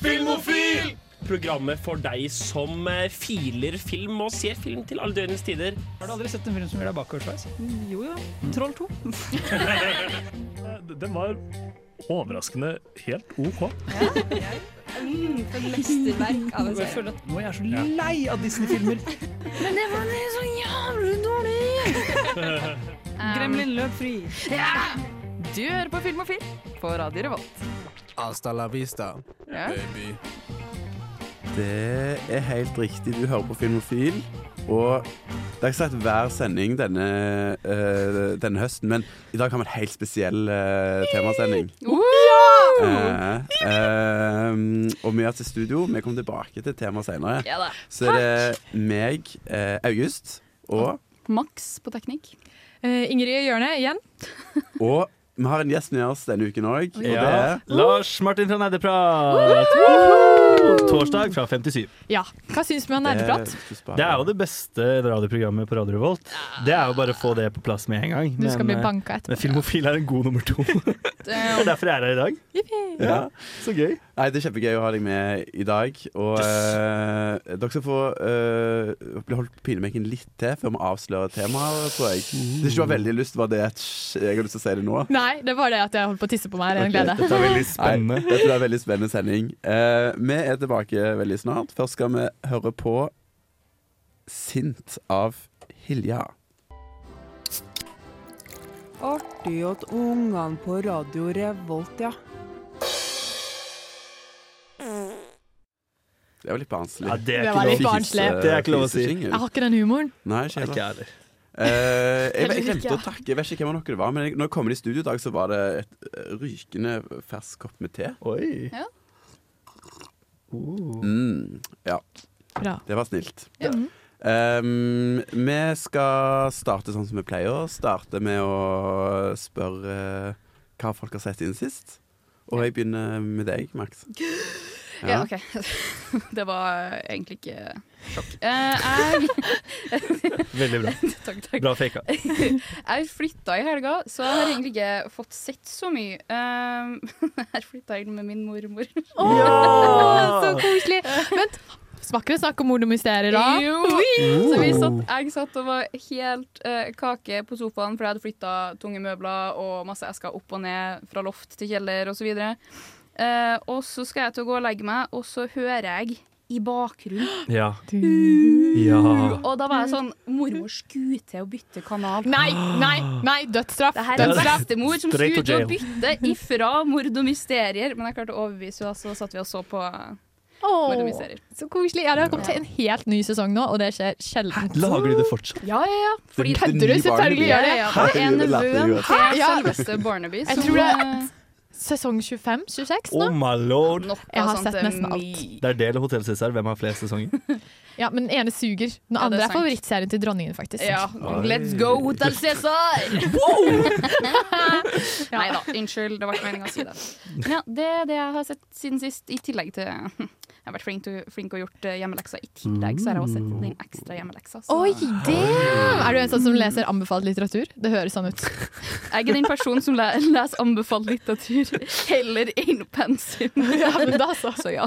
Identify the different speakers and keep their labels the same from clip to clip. Speaker 1: Filmofil!
Speaker 2: Programmet for deg som eh, filer film og ser film til alle døgnets tider.
Speaker 3: Har du aldri sett en film som gjør deg bakoversveis?
Speaker 4: Jo jo. Troll 2.
Speaker 1: Den var overraskende helt OK.
Speaker 4: For et mesterverk av en
Speaker 3: Jeg
Speaker 4: serie.
Speaker 3: føler at nå er jeg så lei av Disney-filmer.
Speaker 5: Men det var så jævlig dårlig!
Speaker 4: Gremlin løp fri.
Speaker 5: Du hører på Filmofil på Radio Revolt.
Speaker 6: Hasta la vista,
Speaker 5: Ja.
Speaker 6: baby.
Speaker 7: Det er helt riktig. Du hører på Filmofil. Og det er ikke sagt hver sending denne, eh, denne høsten, men i dag har vi en helt spesiell eh, temasending. Eh, eh, og vi er til studio. Vi kommer tilbake til temaet senere.
Speaker 5: Ja da.
Speaker 7: Så er det meg, eh, August, og,
Speaker 5: Max på teknikk.
Speaker 8: Eh, Ingrid Hjørne igjen.
Speaker 7: og vi har en gjest med oss denne uken òg. Og det
Speaker 1: Ja.
Speaker 7: er
Speaker 1: Lars Martin fra Nerdeprat. Torsdag fra 57.
Speaker 8: Ja. Hva syns vi om nerdeprat?
Speaker 7: Det
Speaker 1: Det er jo det beste radioprogrammet på Radio Revolt. Det er jo bare å få det på plass med en gang.
Speaker 8: Du skal bli
Speaker 1: eh,
Speaker 8: banka etterpå.
Speaker 1: men Filmofil er en god nummer to. Det
Speaker 5: Eh,
Speaker 1: er derfor jeg er her i dag.
Speaker 7: ja.
Speaker 1: Så gøy.
Speaker 7: Nei, Det er kjempegøy å ha deg med i dag. Og eh, dere skal få eh, bli holdt pinebenken litt til før vi avslører temaet, tror jeg. Hvis du har veldig lyst, var det et sj- Jeg har lyst til å si det nå.
Speaker 8: Nei, det var det at jeg holdt på å tisse på meg. Det er en glede.
Speaker 1: Dette er veldig
Speaker 7: Nei,
Speaker 1: spennende.
Speaker 7: dette er en veldig spennende sending. Eh, vi er tilbake veldig snart. Først skal vi høre på 'Sint' av Hilja.
Speaker 9: Artig at ungene på Radio Revolt, ja.
Speaker 7: Det var litt barnslig.
Speaker 1: Ja, det er
Speaker 8: Det
Speaker 1: ikke
Speaker 8: var
Speaker 1: lov.
Speaker 8: litt barnslig.
Speaker 1: Det er ikke lov å si.
Speaker 7: Fisesingel.
Speaker 8: Jeg har ikke den humoren.
Speaker 7: Nei, ikke
Speaker 1: Ikke
Speaker 7: heller.
Speaker 1: jeg heller.
Speaker 7: Eh, jeg, jeg
Speaker 8: Heller
Speaker 7: glemte
Speaker 8: ikke.
Speaker 7: å takke. Jeg vet ikke hvem av dere det var, men jeg, når jeg kom inn i studio i dag, så var det et eh, rykende fersk kopp med te.
Speaker 1: Oi.
Speaker 5: Ja.
Speaker 1: Uh.
Speaker 7: Mm, ja,
Speaker 8: Bra. Mm.
Speaker 7: det var snilt.
Speaker 5: Ja.
Speaker 7: Um, vi skal starte sånn som vi pleier. Starte med å spørre eh, hva folk har sett siden sist. Og jeg begynner med deg, Max.
Speaker 5: Ja, OK. Det var egentlig ikke sjokk. Eh, jeg
Speaker 1: Veldig bra.
Speaker 5: Takk, takk.
Speaker 1: Bra faka.
Speaker 5: Jeg flytta i helga, så jeg har egentlig ikke fått sett så mye. Um, jeg flytta inn med min mormor.
Speaker 8: Så koselig. Vent, smaker det snakk om mord og mysterier da?
Speaker 5: Jo. Så vi satt, jeg satt og var helt eh, kake på sofaen, for jeg hadde flytta tunge møbler og masse esker opp og ned fra loft til kjeller osv. Uh, og så skal jeg til å gå og legge meg, og så hører jeg i bakgrunnen.
Speaker 1: Ja. Ja.
Speaker 5: Og da var jeg sånn Mormor skulle til å bytte kanal.
Speaker 8: Nei, nei, nei, dødsstraff.
Speaker 5: Det her er
Speaker 8: Dødsstraff.
Speaker 5: bestemor som
Speaker 1: Straight
Speaker 5: skulle
Speaker 1: to
Speaker 5: til å bytte ifra mord og mysterier. Men jeg klarte å overbevise henne, så satt vi og så på mord og
Speaker 8: Åh,
Speaker 5: mysterier.
Speaker 8: så koselig. Ja, det har kommet til en helt ny sesong nå, og det skjer sjelden.
Speaker 1: Lager de det fortsatt?
Speaker 5: Ja, ja, ja. Fordi
Speaker 7: Det-
Speaker 5: det,
Speaker 8: Kødder du?
Speaker 7: nye
Speaker 8: Selvfølgelig gjør
Speaker 5: ja,
Speaker 8: det.
Speaker 5: ja, det er
Speaker 7: Herregud, det lærte jeg
Speaker 5: nevøen
Speaker 7: godt.
Speaker 5: til
Speaker 8: Ja.
Speaker 5: selveste Barnaby
Speaker 8: Jeg
Speaker 5: som
Speaker 8: tror det-
Speaker 5: eh,
Speaker 8: Sesong 25-26 nå?
Speaker 1: Oh my lord.
Speaker 5: Noe
Speaker 8: Jeg har
Speaker 5: sånt
Speaker 8: sett
Speaker 5: er
Speaker 8: nesten alt.
Speaker 5: mye.
Speaker 1: Det er det eller Hotell Cæsar. Hvem har flest sesonger?
Speaker 8: Ja, men den ene suger. Den
Speaker 5: Ja, det
Speaker 8: andre
Speaker 5: er
Speaker 8: er
Speaker 5: sant.
Speaker 8: favorittserien til dronningen, faktisk.
Speaker 5: Ja. Let's go, Hotell Cæsar! Nei da, unnskyld. Det var ikke meninga å si det. Men ja, det er det jeg har sett siden sist, i tillegg til Jeg har vært flink til flink og gjort eh, hjemmeleksa. I tillegg så har jeg også sett den ekstra hjemmeleksa. Så.
Speaker 8: Oi, damn! Er du en sånn som leser anbefalt litteratur? Det høres sånn ut.
Speaker 5: Jeg er den personen som le leser anbefalt litteratur heller enn pensum. Så ja.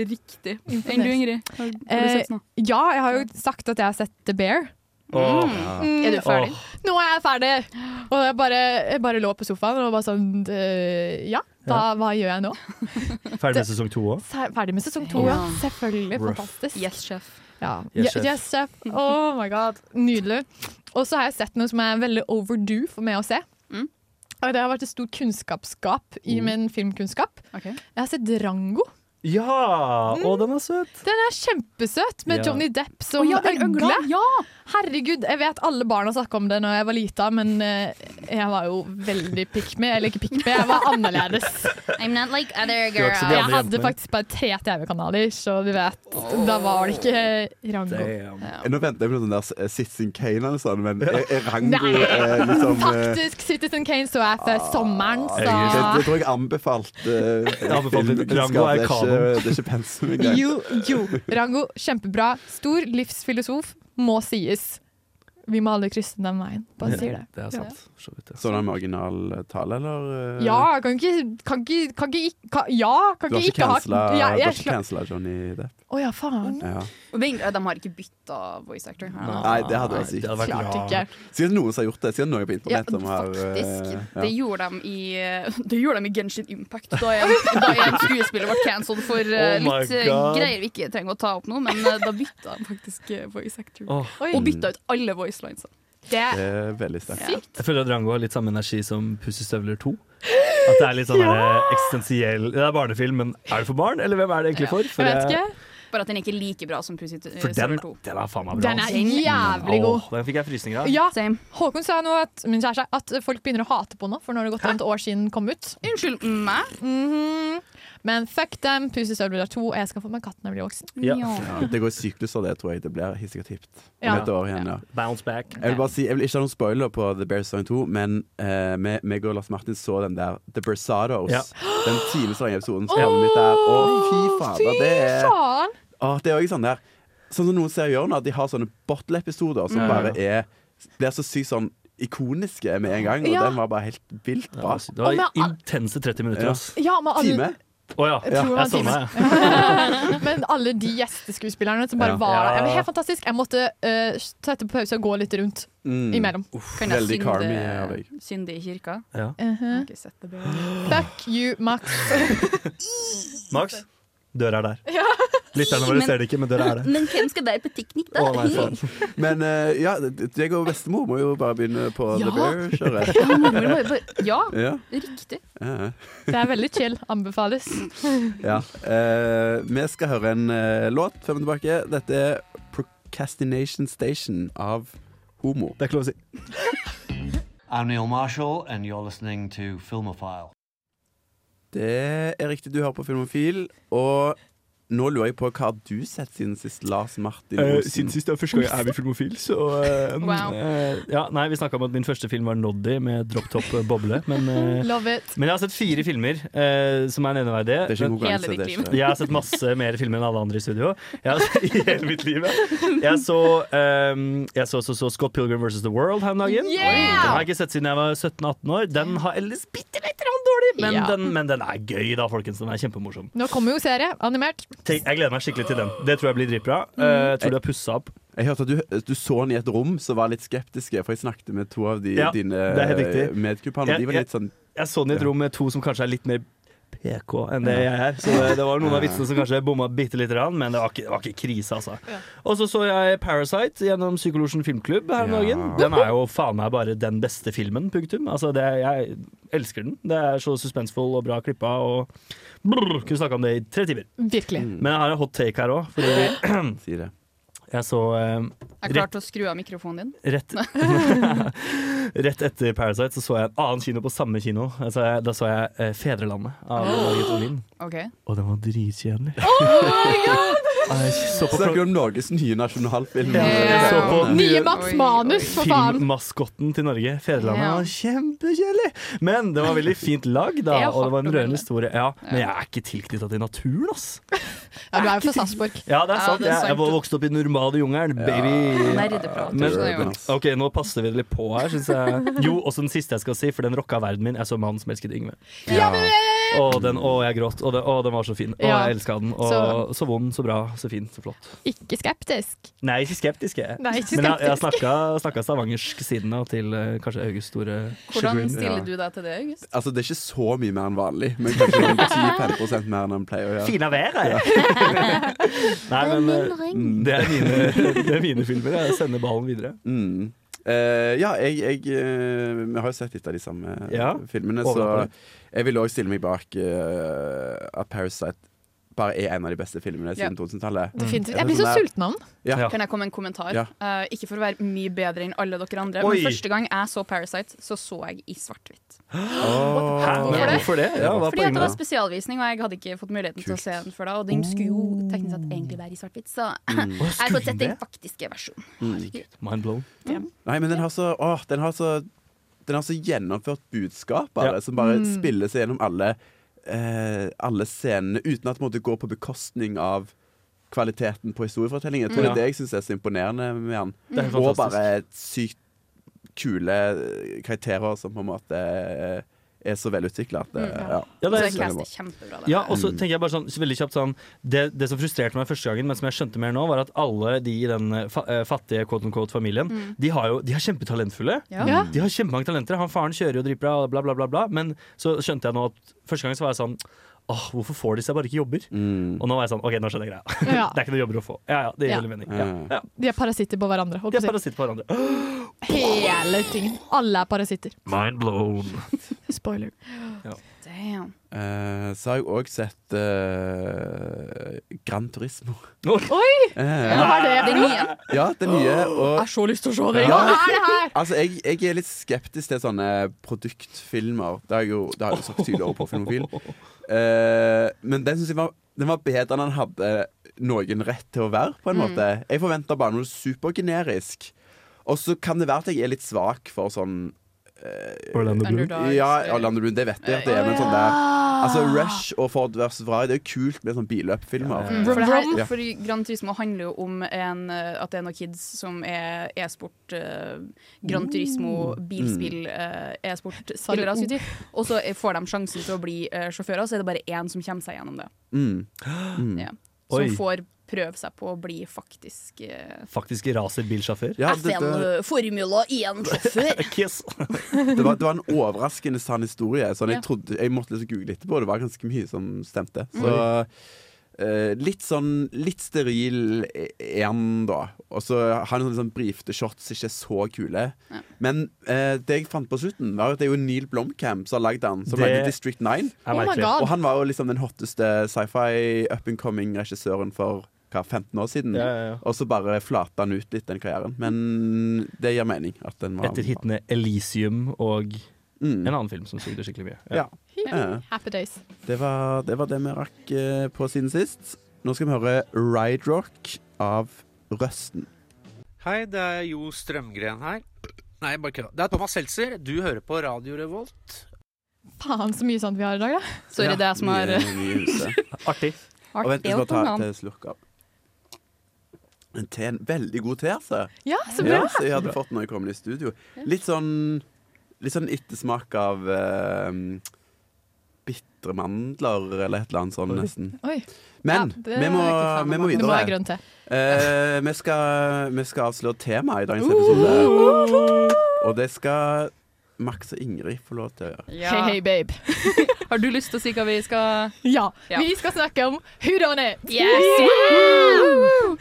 Speaker 5: Riktig. Enn du, Ingrid? Har, har du
Speaker 8: Eh,
Speaker 5: sett noe?
Speaker 8: Ja, jeg har jo sagt at jeg har sett The Bear.
Speaker 1: Åh.
Speaker 5: Er du ferdig?
Speaker 1: Åh.
Speaker 8: Nå er jeg Mm. ferdig! Og jeg bare, jeg bare lå på sofaen og bare sånn eh, Ja, da, hva gjør jeg nå?
Speaker 1: Ferdig med sesong to òg?
Speaker 8: Se- Ferdig med sesong to, ja. Selvfølgelig.
Speaker 1: Rough.
Speaker 8: Fantastisk.
Speaker 5: Yes, sjef.
Speaker 8: Ja.
Speaker 1: Yes,
Speaker 8: Yes,
Speaker 1: chef.
Speaker 8: yes, chef. Oh my god. Nydelig. Og så har jeg sett noe som er veldig overdue for meg å se.
Speaker 5: Mm.
Speaker 8: Og det har vært et stort kunnskapsgap i
Speaker 1: Mm.
Speaker 8: min filmkunnskap.
Speaker 5: Ok.
Speaker 8: Jeg har sett Rango.
Speaker 1: Ja! Å, den er søt.
Speaker 8: Den er kjempesøt, med
Speaker 1: Ja.
Speaker 8: Johnny Depp som øgle.
Speaker 5: Ja!
Speaker 8: Herregud, jeg vet alle barna snakka om det når jeg var lita, men eh, jeg var jo veldig pick me. Eller ikke pick me, jeg var annerledes.
Speaker 5: I'm not like other
Speaker 1: Du har ikke så
Speaker 8: Jeg
Speaker 1: andre
Speaker 8: hadde
Speaker 1: jentene.
Speaker 8: faktisk bare tre TV-kanaler, så du vet, da var det ikke Rango.
Speaker 1: Damn.
Speaker 7: Nå venter jeg på den der eh, Citizen Kane eller sånn, men er, er Rango
Speaker 8: Nei.
Speaker 7: eh, liksom eh,
Speaker 8: Faktisk, Citizen Kane så jeg før sommeren,
Speaker 7: det,
Speaker 8: så
Speaker 7: det tror jeg anbefalt eh,
Speaker 1: anbefalt litt.
Speaker 7: filmkunnskap.
Speaker 1: Rango er
Speaker 7: Det ikke-
Speaker 1: kanon.
Speaker 7: Det er ikke pensum engang.
Speaker 8: Jo, jo. Rango, kjempebra. Stor livsfilosof, må sies. Vi må aldri krysse den veien. Bare sier det.
Speaker 1: Det er sant. for Så vidt, ja.
Speaker 7: Sånn er det med original tale, eller? eh?
Speaker 8: Ja, kan ikke Kan ikke, kan ikke, ikk- kan, ja, kan
Speaker 7: Du har
Speaker 8: ikke,
Speaker 7: ikke
Speaker 8: ikke ha
Speaker 7: cancela
Speaker 8: ja,
Speaker 7: du har
Speaker 8: jeg
Speaker 7: ikke
Speaker 8: sla-
Speaker 7: cancela Johnny Depp?
Speaker 8: Å ja, faen.
Speaker 7: Ja.
Speaker 5: Vent, de har ikke bytta voice actor.
Speaker 7: Nei, det hadde vært
Speaker 1: Det
Speaker 7: sykt.
Speaker 1: hadde vært
Speaker 8: Klart
Speaker 1: rart.
Speaker 8: ikke.
Speaker 7: Sikkert noen som har gjort det. Sikkert noen på
Speaker 5: Ja,
Speaker 7: internett som har
Speaker 5: faktisk.
Speaker 7: eh,
Speaker 5: Det gjorde de i Det gjorde de i Genshin Impact, da en, da en skuespiller ble cancelled for eh,
Speaker 1: Oh my
Speaker 5: litt eh,
Speaker 1: God.
Speaker 5: greier vi ikke trenger å ta opp nå, men eh, da bytta de faktisk eh, voice actor.
Speaker 1: Åh,
Speaker 8: Oi.
Speaker 5: Og bytta ut alle voice lines. Det
Speaker 7: Det er veldig sterkt.
Speaker 1: jeg føler at Rango har litt samme energi som Pussestøvler 2. At det er litt sånn her, eh, eksistensiell Det er barnefilm, men er det for barn, eller hvem er det egentlig for? For,
Speaker 8: Jeg vet
Speaker 1: jeg-
Speaker 8: ikke.
Speaker 5: Bare at den er ikke like bra som Pussy eh,
Speaker 1: for den,
Speaker 5: Server 2.
Speaker 1: den er faen meg bra. altså.
Speaker 8: Den
Speaker 1: ass.
Speaker 8: er jævlig god.
Speaker 1: Åh, den fikk jeg frysninger av.
Speaker 8: Ja,
Speaker 5: Same.
Speaker 8: Håkon sa nå at, min kjæreste, at folk begynner å hate på henne, for nå har det gått et år siden den kom ut.
Speaker 5: Unnskyld meg.
Speaker 8: Mhm. Men fuck dem, Pusestøvler er to, og jeg skal få meg katt når jeg blir voksen.
Speaker 1: Ja.
Speaker 7: Det går i sykluser, det tror jeg. Det blir sikkert hipt. Om
Speaker 8: Ja.
Speaker 7: et år igjen, ja.
Speaker 1: Bounce back.
Speaker 7: Jeg vil bare si, jeg vil ikke ha noen spoiler på The Bear Song 2, men eh, vi- meg og Lars Martin så den der The Bersados.
Speaker 1: Ja.
Speaker 7: Den tidligst lange episoden som kom ut der. Å, fy fader. Det er,
Speaker 8: Faen!
Speaker 7: å, det er også sånn der Sånn som noen ser gjør nå, at de har sånne bottle-episoder som bare er blir så sykt sånn ikoniske med en gang. Og
Speaker 8: Ja.
Speaker 7: den var bare helt vilt
Speaker 1: Det
Speaker 7: bra.
Speaker 1: var, altså, det var
Speaker 8: Og med all-
Speaker 1: intense 30 minutter.
Speaker 7: Ja.
Speaker 1: ass.
Speaker 8: Ja, men alle,
Speaker 7: Time.
Speaker 1: Å ja.
Speaker 8: ah. Jeg tror det var
Speaker 1: Jeg så
Speaker 8: en
Speaker 1: meg.
Speaker 8: men alle de gjesteskuespillerne som bare
Speaker 7: Ja.
Speaker 8: var der.
Speaker 1: Ja.
Speaker 8: Det var helt fantastisk. Jeg måtte eh, sette på pause og gå litt rundt
Speaker 7: Mm.
Speaker 8: imellom.
Speaker 5: Kan jeg
Speaker 7: Veldig karmig av
Speaker 5: synde,
Speaker 7: deg.
Speaker 5: synde i kirka?
Speaker 8: Mhm.
Speaker 5: Har ikke sett det bra.
Speaker 8: Fuck you, Max.
Speaker 1: Max, døra er der. Lytterne våre
Speaker 5: Men-
Speaker 1: ser det ikke, men døra er der.
Speaker 5: Men hvem skal være på teknikk, da?
Speaker 1: Å nei, faen.
Speaker 7: Men eh, ja, jeg og bestemor må jo bare begynne på
Speaker 5: Ja.
Speaker 7: The Bear-kjøret.
Speaker 5: Ja, mormor må jo bare- ja,
Speaker 7: Ja.
Speaker 5: riktig.
Speaker 7: ja.
Speaker 8: Det er veldig chill. Anbefales.
Speaker 7: Ja. Eh, vi skal høre en eh, låt før vi er tilbake. Dette er Procrastination Station av Homo.
Speaker 1: Det er ikke lov å si.
Speaker 10: I'm Neil Marshall, and you're listening to Filmophile.
Speaker 7: Det er riktig, du hører på Filmofil, og nå lurer jeg på hva har du sett siden sist, Lars Martin Olsen?
Speaker 1: Eh, sist det var første gang jeg er med filmofil, så eh,
Speaker 5: Wow.
Speaker 1: eh, ja, Nei, vi snakka om at min første film var Noddy med drop top eh, boble, men, eh,
Speaker 8: Love it.
Speaker 1: men jeg har sett fire filmer eh, som er nevneverdige.
Speaker 7: det er ikke en
Speaker 1: Men-
Speaker 7: konkurranse.
Speaker 5: Hele ditt
Speaker 7: det er
Speaker 5: liv.
Speaker 7: ikke-
Speaker 1: Jeg har sett masse mer filmer enn alle andre i studio. Jeg har sett, I hele mitt liv, ja. Jeg så, ehm, jeg så, så, så Scott Pilgrim vs. The World her om dagen. Den har jeg ikke sett siden jeg var 17-18 år. Den har ellers bitte litt grann dårlig, men,
Speaker 8: Ja.
Speaker 1: den, men den er gøy, da, folkens. Den er kjempemorsom.
Speaker 8: Nå kommer jo serie. Animert.
Speaker 1: Tenk, jeg gleder meg skikkelig til den. Det tror jeg blir dritbra. Eh, jeg tror de har pussa opp.
Speaker 7: Jeg hørte at du, du så den i et rom som var litt skeptiske, for jeg snakket med to av de,
Speaker 1: Ja,
Speaker 7: dine
Speaker 1: det er helt
Speaker 7: eh,
Speaker 1: riktig.
Speaker 7: medkumpaner.
Speaker 1: Jeg-
Speaker 7: De var
Speaker 1: jeg-
Speaker 7: litt sånn
Speaker 1: Jeg så den i et
Speaker 7: Ja.
Speaker 1: rom med to som kanskje er litt mer PK enn det jeg er. Så det, det var noen av vitsene som kanskje bomma bitte lite grann, men det var ikke, det var ikke krise, altså. Og så så jeg Parasite gjennom Psykolosjen filmklubb her om
Speaker 7: Ja.
Speaker 1: dagen. Den er jo faen meg bare den beste filmen, punktum. Altså, det, jeg elsker den. Det er så suspensfull og bra klippa og brr, Kunne snakka om det i tre timer.
Speaker 8: Virkelig.
Speaker 7: Mm.
Speaker 1: Men jeg har en hot take her òg, fordi
Speaker 7: Si det.
Speaker 1: jeg så eh,
Speaker 5: Jeg klarte å skru av mikrofonen din.
Speaker 1: rett Rett etter Parasite så så jeg en annen kino på samme kino. Altså, jeg, da så jeg eh, Fedrelandet
Speaker 7: Ah.
Speaker 1: av Margit Olin.
Speaker 5: Ok.
Speaker 1: Og den var dritkjedelig. Nei, jeg så på
Speaker 7: Snakker du om Norges nye nasjonalfilm?
Speaker 5: Ja.
Speaker 1: Så på-
Speaker 8: Nye Max
Speaker 5: Oi,
Speaker 8: Manus, for faen.
Speaker 1: Filmmaskotten til Norge, Fedrelandet,
Speaker 5: Ja.
Speaker 1: var kjempekjedelig! Men det var veldig fint lag, da,
Speaker 5: Det er
Speaker 1: og det var
Speaker 5: hardt
Speaker 1: en
Speaker 5: å melde.
Speaker 1: rørende historie. Ja, men jeg er ikke tilknytta til naturen, ass.
Speaker 8: Ja, du er jo fra Sarpsborg.
Speaker 1: Ja, det
Speaker 5: Ja,
Speaker 1: er sant.
Speaker 5: det er
Speaker 1: Jeg, jeg
Speaker 5: sant.
Speaker 1: var vokst opp i den normale jungelen, baby.
Speaker 5: Nerdeprat.
Speaker 1: Men-
Speaker 5: skjønner jeg jo.
Speaker 7: Ass.
Speaker 1: OK, nå passer vi litt på her, syns jeg. Jo, også den siste jeg skal si, for den rocka verden min. Jeg så 'Mannen som elsket Yngve'. Å, den, å, jeg gråt. Og den, å, den var så fin. Å,
Speaker 8: Ja.
Speaker 1: jeg elska den. Og
Speaker 8: Så-
Speaker 1: så... vond, så bra, så fin, så flott.
Speaker 8: Ikke skeptisk.
Speaker 1: Nei, ikke skeptisk, jeg.
Speaker 8: Nei, ikke
Speaker 1: Men jeg, jeg
Speaker 8: skeptisk.
Speaker 1: snakka, snakka stavangersk siden av til eh, kanskje Augusts store
Speaker 5: Hvordan
Speaker 1: chagrin.
Speaker 5: stiller
Speaker 7: Ja.
Speaker 5: du deg til det, August?
Speaker 7: Altså, det er ikke så mye mer enn vanlig, men kanskje sånn 10-15 mer enn en pleier å gjøre.
Speaker 1: Fina været! Nei, men eh, det er mine, det er mine filmer. Jeg sender ballen videre.
Speaker 7: Mm. Eh, ja, jeg, jeg eh, Vi har jo sett litt av de samme
Speaker 1: Ja,
Speaker 7: filmene, så
Speaker 1: overraskende.
Speaker 7: jeg vil òg stille meg bak eh, at Parasite bare er en av de beste filmene siden 2000-tallet.
Speaker 8: Definitivt.
Speaker 7: Mm.
Speaker 8: Jeg blir så sulten av den.
Speaker 7: Ja.
Speaker 1: Ja.
Speaker 5: Kan jeg komme med en kommentar?
Speaker 7: Ja.
Speaker 5: Eh, ikke for å være mye bedre enn alle dere andre,
Speaker 1: Oi.
Speaker 5: men første gang jeg så Parasite, så så jeg i svart-hvitt.
Speaker 7: Åh.
Speaker 1: Hæ? Men
Speaker 5: det?
Speaker 1: Hvorfor det? Ja, hva er
Speaker 5: Fordi at
Speaker 1: poenget
Speaker 5: det
Speaker 1: med
Speaker 5: var spesialvisning, og jeg hadde ikke fått muligheten til å se den før da. Og den skulle jo teknisk sett egentlig være i svart-hvitt, så
Speaker 1: det? Å,
Speaker 5: jeg har fått
Speaker 1: Oh. Mm, skulle
Speaker 5: sett den Mm.
Speaker 1: det? Mm,
Speaker 5: faktiske versjonen.
Speaker 1: Herregud, Mind blown.
Speaker 7: Nei, men den har så Åh, den har så Den har så gjennomført budskap bare,
Speaker 1: Ja.
Speaker 7: som bare
Speaker 5: Mm.
Speaker 7: spiller seg gjennom alle eh, Alle scenene, uten at det går på bekostning av kvaliteten på historiefortellingen. Jeg tror det
Speaker 1: Mm.
Speaker 7: er det jeg syns er så imponerende med han.
Speaker 1: Det er helt
Speaker 7: Og
Speaker 1: fantastisk.
Speaker 7: bare sykt kule karakterer som på en måte eh, er så velutvikla at eh,
Speaker 5: Mm.
Speaker 7: ja.
Speaker 1: Ja, det
Speaker 5: Så
Speaker 1: er-
Speaker 5: det castet er kjempebra. Det.
Speaker 1: Ja, og
Speaker 7: Mm.
Speaker 1: så tenker jeg bare sånn, så veldig kjapt sånn det, det som frustrerte meg første gangen, men som jeg skjønte mer nå, var at alle de i den eh, fa eh, fattige quote unquote familien,
Speaker 5: Mm.
Speaker 1: de, har jo, de er kjempetalentfulle.
Speaker 5: Ja.
Speaker 8: Ja.
Speaker 1: De har kjempemange talenter. Han faren kjører jo dritbra, bla, bla, bla, bla. Men så skjønte jeg nå at første gang så var jeg sånn Åh, hvorfor får de seg bare ikke jobber?
Speaker 7: Mm.
Speaker 1: Og nå var jeg sånn, ok, nå skjønner jeg greia.
Speaker 8: Ja.
Speaker 1: Det er ikke noen jobber å få. Ja, ja, det gir
Speaker 8: Ja.
Speaker 1: veldig mening. Ja. Ja.
Speaker 8: De er parasitter på hverandre. Holdt
Speaker 1: De
Speaker 8: på å
Speaker 1: er
Speaker 8: si.
Speaker 1: parasitter på hverandre.
Speaker 8: Hele tingen. Alle er parasitter.
Speaker 1: Mind blown.
Speaker 8: Spoiler.
Speaker 5: Damn.
Speaker 7: Eh, så har jeg òg sett eh, Gran Turismo. Eh,
Speaker 8: Hva er det for
Speaker 5: Den
Speaker 8: noe?
Speaker 5: nye.
Speaker 7: ja, det nye.
Speaker 8: Jeg
Speaker 7: Og
Speaker 8: har så lyst til å se det!
Speaker 7: Ja.
Speaker 8: Hva er det her?
Speaker 7: Altså, jeg, jeg er litt skeptisk til sånne produktfilmer. Det har jeg jo, det har jeg jo sagt tidligere på Filmofil. Eh, men den synes jeg var, den var bedre enn den hadde noen rett til å være, på en måte. Jeg forventa bare noe supergenerisk. Og så kan det være at jeg er litt svak for sånn eh,
Speaker 1: Orlando Bloom.
Speaker 5: Underdogs.
Speaker 7: Ja, Orlando Bloom, det vet jeg at det er, men sånn der Altså, Rush og Ford vs. Vride det er jo kult med sånne billøpfilmer.
Speaker 1: Ja, ja,
Speaker 5: For, det her,
Speaker 7: Ja.
Speaker 5: for Gran Turismo handler jo om en, eh, at det er noen kids som er e-sport eh, Gran Turismo,
Speaker 7: Mm.
Speaker 5: bilspill, eh, e-sport-spillere.
Speaker 8: Sa du
Speaker 5: skulle jeg si. Og så eh, får de sjansen til å bli eh, sjåfører, så er det bare én som kommer seg gjennom det.
Speaker 7: Mm. Mm.
Speaker 5: Ja.
Speaker 1: Oi.
Speaker 5: Som får prøve seg på å bli faktisk eh,
Speaker 1: Faktisk racerbilsjåfør.
Speaker 7: Ja, det, det,
Speaker 5: FN-formula 1-sjåfør.
Speaker 1: Kiss.
Speaker 7: det, var, det var en overraskende sann historie. Sånn,
Speaker 5: Ja.
Speaker 7: jeg, trodde, jeg måtte liksom google etterpå, og det var ganske mye som stemte. Så
Speaker 5: Mm.
Speaker 7: eh, litt sånn litt steril er han da. Og så har han sånne sånn brifte shots, ikke så kule.
Speaker 5: Ja.
Speaker 7: Men eh, det jeg fant på slutten, var at det er jo Neil Blomkamp som har lagd den. Som
Speaker 1: Det-
Speaker 7: lagde District 9.
Speaker 1: Er
Speaker 8: Oh my
Speaker 1: merkelig.
Speaker 8: god.
Speaker 7: Og han var jo liksom den hotteste sci-fi up and coming regissøren for hva, 15 år siden.
Speaker 1: Ja, ja, ja.
Speaker 7: Og så bare flata han ut litt, den karrieren. Men det gir mening. At den var
Speaker 1: Etter hitene Elysium og
Speaker 7: Mm.
Speaker 1: en annen film som sugde skikkelig mye.
Speaker 7: Ja. Ja.
Speaker 8: Happy days.
Speaker 7: Det var, det var det vi rakk eh, på siden sist. Nå skal vi høre Ride Rock av Røsten.
Speaker 11: Hei, det er Jo Strømgren her. Nei, bare kødda. Det er Thomas Seltzer. Du hører på Radio Revolt.
Speaker 8: Faen, så mye sånt vi har i dag, da.
Speaker 5: Sorry, det er jeg som har eh,
Speaker 7: Mye- mye eh, huset.
Speaker 1: Artig.
Speaker 7: Og vent, jeg skal ta
Speaker 5: Artig å ta
Speaker 7: et eh, slurk av. En te, en veldig god te, altså.
Speaker 8: Ja, så bra.
Speaker 7: Ja, så jeg hadde fått når jeg kom inn i studio. Litt sånn, litt sånn ettersmak av uh, bitre mandler eller et eller annet sånn, nesten.
Speaker 8: Oi.
Speaker 7: Men
Speaker 8: Ja, det
Speaker 7: vi, må,
Speaker 8: er ikke faen
Speaker 7: vi
Speaker 8: meg. Nå
Speaker 7: må
Speaker 8: må jeg ha
Speaker 7: videre.
Speaker 8: grønn te.
Speaker 7: Eh, vi, skal, vi skal avsløre temaet i dagens
Speaker 8: Uh-huh.
Speaker 7: episode.
Speaker 8: Uh!
Speaker 7: Og det skal Max og Ingrid få lov til å gjøre.
Speaker 5: Ja.
Speaker 8: Hey, hey, babe.
Speaker 5: Har du lyst til å si hva vi skal
Speaker 8: Ja.
Speaker 5: Ja.
Speaker 8: Vi skal snakke om who done it.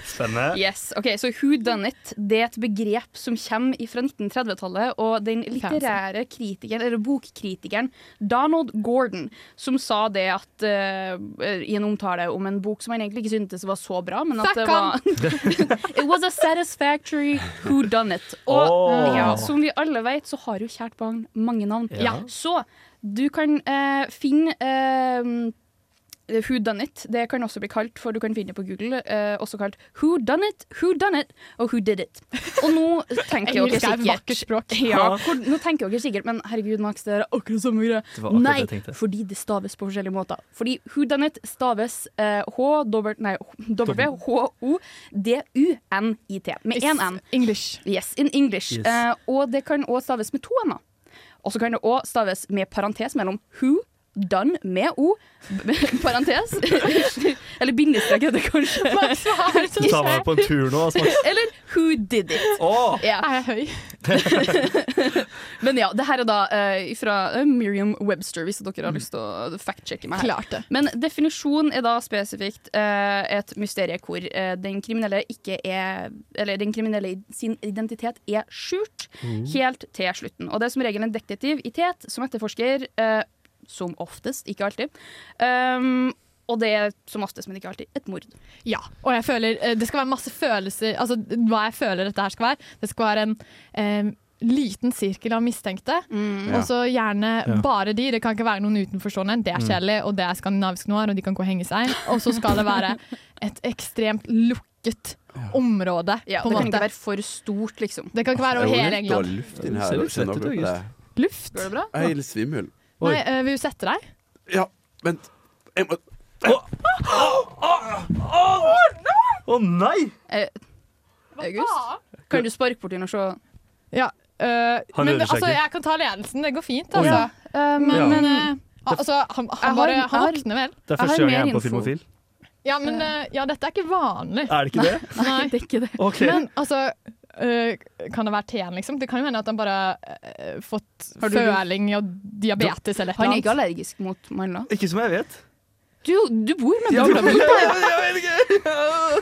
Speaker 1: Spennende.
Speaker 5: Yes, ok, så Who Done It det er et begrep som kommer fra 1930-tallet. Og den litterære kritikeren, eller bokkritikeren Donald Gordon som sa det at eh, i en omtale om en bok som han egentlig ikke syntes var så bra, men at
Speaker 8: Fuck
Speaker 5: det var It was a satisfactory who done it. Og
Speaker 1: Åh.
Speaker 5: ja, som vi alle vet, så har jo kjært barn mange navn.
Speaker 1: Ja.
Speaker 5: Så du kan eh, finne eh, Who done it? Det kan også bli kalt, for du kan finne det på Google, eh, også kalt Who done it, who done it, og who did it. Og nå tenker dere
Speaker 8: Engelsk er et
Speaker 5: sikkert
Speaker 8: vakkert språk.
Speaker 5: ja, hvor, nå tenker dere sikkert, men herregud, Max, det er akkurat samme greie.
Speaker 1: Det var akkurat
Speaker 5: Nei,
Speaker 1: det jeg tenkte.
Speaker 5: fordi det staves på forskjellige måter. Fordi whodunit staves eh, H-W-H-O-D-U-N-I-T. Med én N.
Speaker 8: English.
Speaker 5: Yes, in English.
Speaker 1: Yes.
Speaker 5: Eh, og det kan også staves med to n-er. Og så kan det også staves med parentes mellom who, done, med o, b- parentes. Eller bindestrek heter det kanskje.
Speaker 8: Max, hva er det som
Speaker 1: Du tar meg
Speaker 8: skjer?
Speaker 1: med på en tur nå. altså, Max.
Speaker 5: Eller who did it.
Speaker 1: Åh!
Speaker 5: Ja.
Speaker 8: Er jeg høy?
Speaker 5: Men ja, det her er da eh, fra eh, Miriam Webster, hvis dere
Speaker 1: Mm.
Speaker 5: har lyst til å fact-sjekke meg her.
Speaker 8: Klart det.
Speaker 5: Men definisjonen er da spesifikt eh, et mysterium hvor eh, den kriminelle ikke er Eller den kriminelle i- sin identitet er skjult helt til slutten. Og det er som regel en detektiv i tet som etterforsker, eh, som oftest, ikke alltid. Um, og det er som oftest, men ikke alltid, et mord.
Speaker 8: Ja, og jeg føler eh, det skal være masse følelser Altså hva jeg føler dette her skal være. Det skal være en eh, liten sirkel av mistenkte.
Speaker 5: Mm.
Speaker 8: Og så gjerne bare de. Det kan ikke være noen utenforstående. Det
Speaker 1: Mm.
Speaker 8: er kjedelig, og det er skandinavisk noir, og de kan gå og henge seg. Og så skal det være et ekstremt lukket område,
Speaker 5: Ja,
Speaker 8: på
Speaker 5: det
Speaker 8: en
Speaker 5: kan ikke
Speaker 8: måte.
Speaker 5: være for stort, liksom.
Speaker 8: Det kan ikke være over hele
Speaker 7: litt
Speaker 8: England.
Speaker 7: dårlig luft inn
Speaker 1: Ser
Speaker 7: her.
Speaker 1: litt
Speaker 7: Kjenner
Speaker 1: svett ut,
Speaker 7: dere på det?
Speaker 8: Luft?
Speaker 5: Går det bra?
Speaker 7: Jeg er helt svimmel.
Speaker 1: Oi.
Speaker 8: Nei, eh, vil du sette deg?
Speaker 7: Ja, vent. Jeg må
Speaker 1: Å nei!
Speaker 5: Eh, August? Kan du sparke bort inn og se?
Speaker 8: Ja. øh, men
Speaker 1: Han gjør det seg
Speaker 8: altså,
Speaker 1: ikke.
Speaker 8: jeg kan ta ledelsen. Det går fint,
Speaker 1: Å,
Speaker 8: altså.
Speaker 1: ja.
Speaker 5: Eh, men
Speaker 1: Ja.
Speaker 5: men
Speaker 8: Eh, al- altså, han, han,
Speaker 5: Jeg
Speaker 8: bare,
Speaker 5: har-
Speaker 8: han
Speaker 5: jeg har-
Speaker 8: våkner vel.
Speaker 1: Det er
Speaker 5: Jeg har
Speaker 1: første gang jeg
Speaker 5: mer
Speaker 1: er på
Speaker 5: info.
Speaker 1: Filmofil.
Speaker 8: Ja, men øh, ja, dette er ikke vanlig.
Speaker 1: Er det ikke det?
Speaker 8: Nei.
Speaker 5: det er ikke det.
Speaker 1: Ok.
Speaker 8: Men altså øh, Kan det være teen, liksom? Det kan jo hende at han bare har fått
Speaker 5: Har du-
Speaker 8: føling og diabetes eller et
Speaker 5: Han
Speaker 8: eller
Speaker 5: er ikke
Speaker 8: annet.
Speaker 5: allergisk mot mandler.
Speaker 1: Ikke som jeg vet.
Speaker 5: Du, du bor med
Speaker 1: Ja,
Speaker 5: mora
Speaker 1: men-
Speaker 5: mi!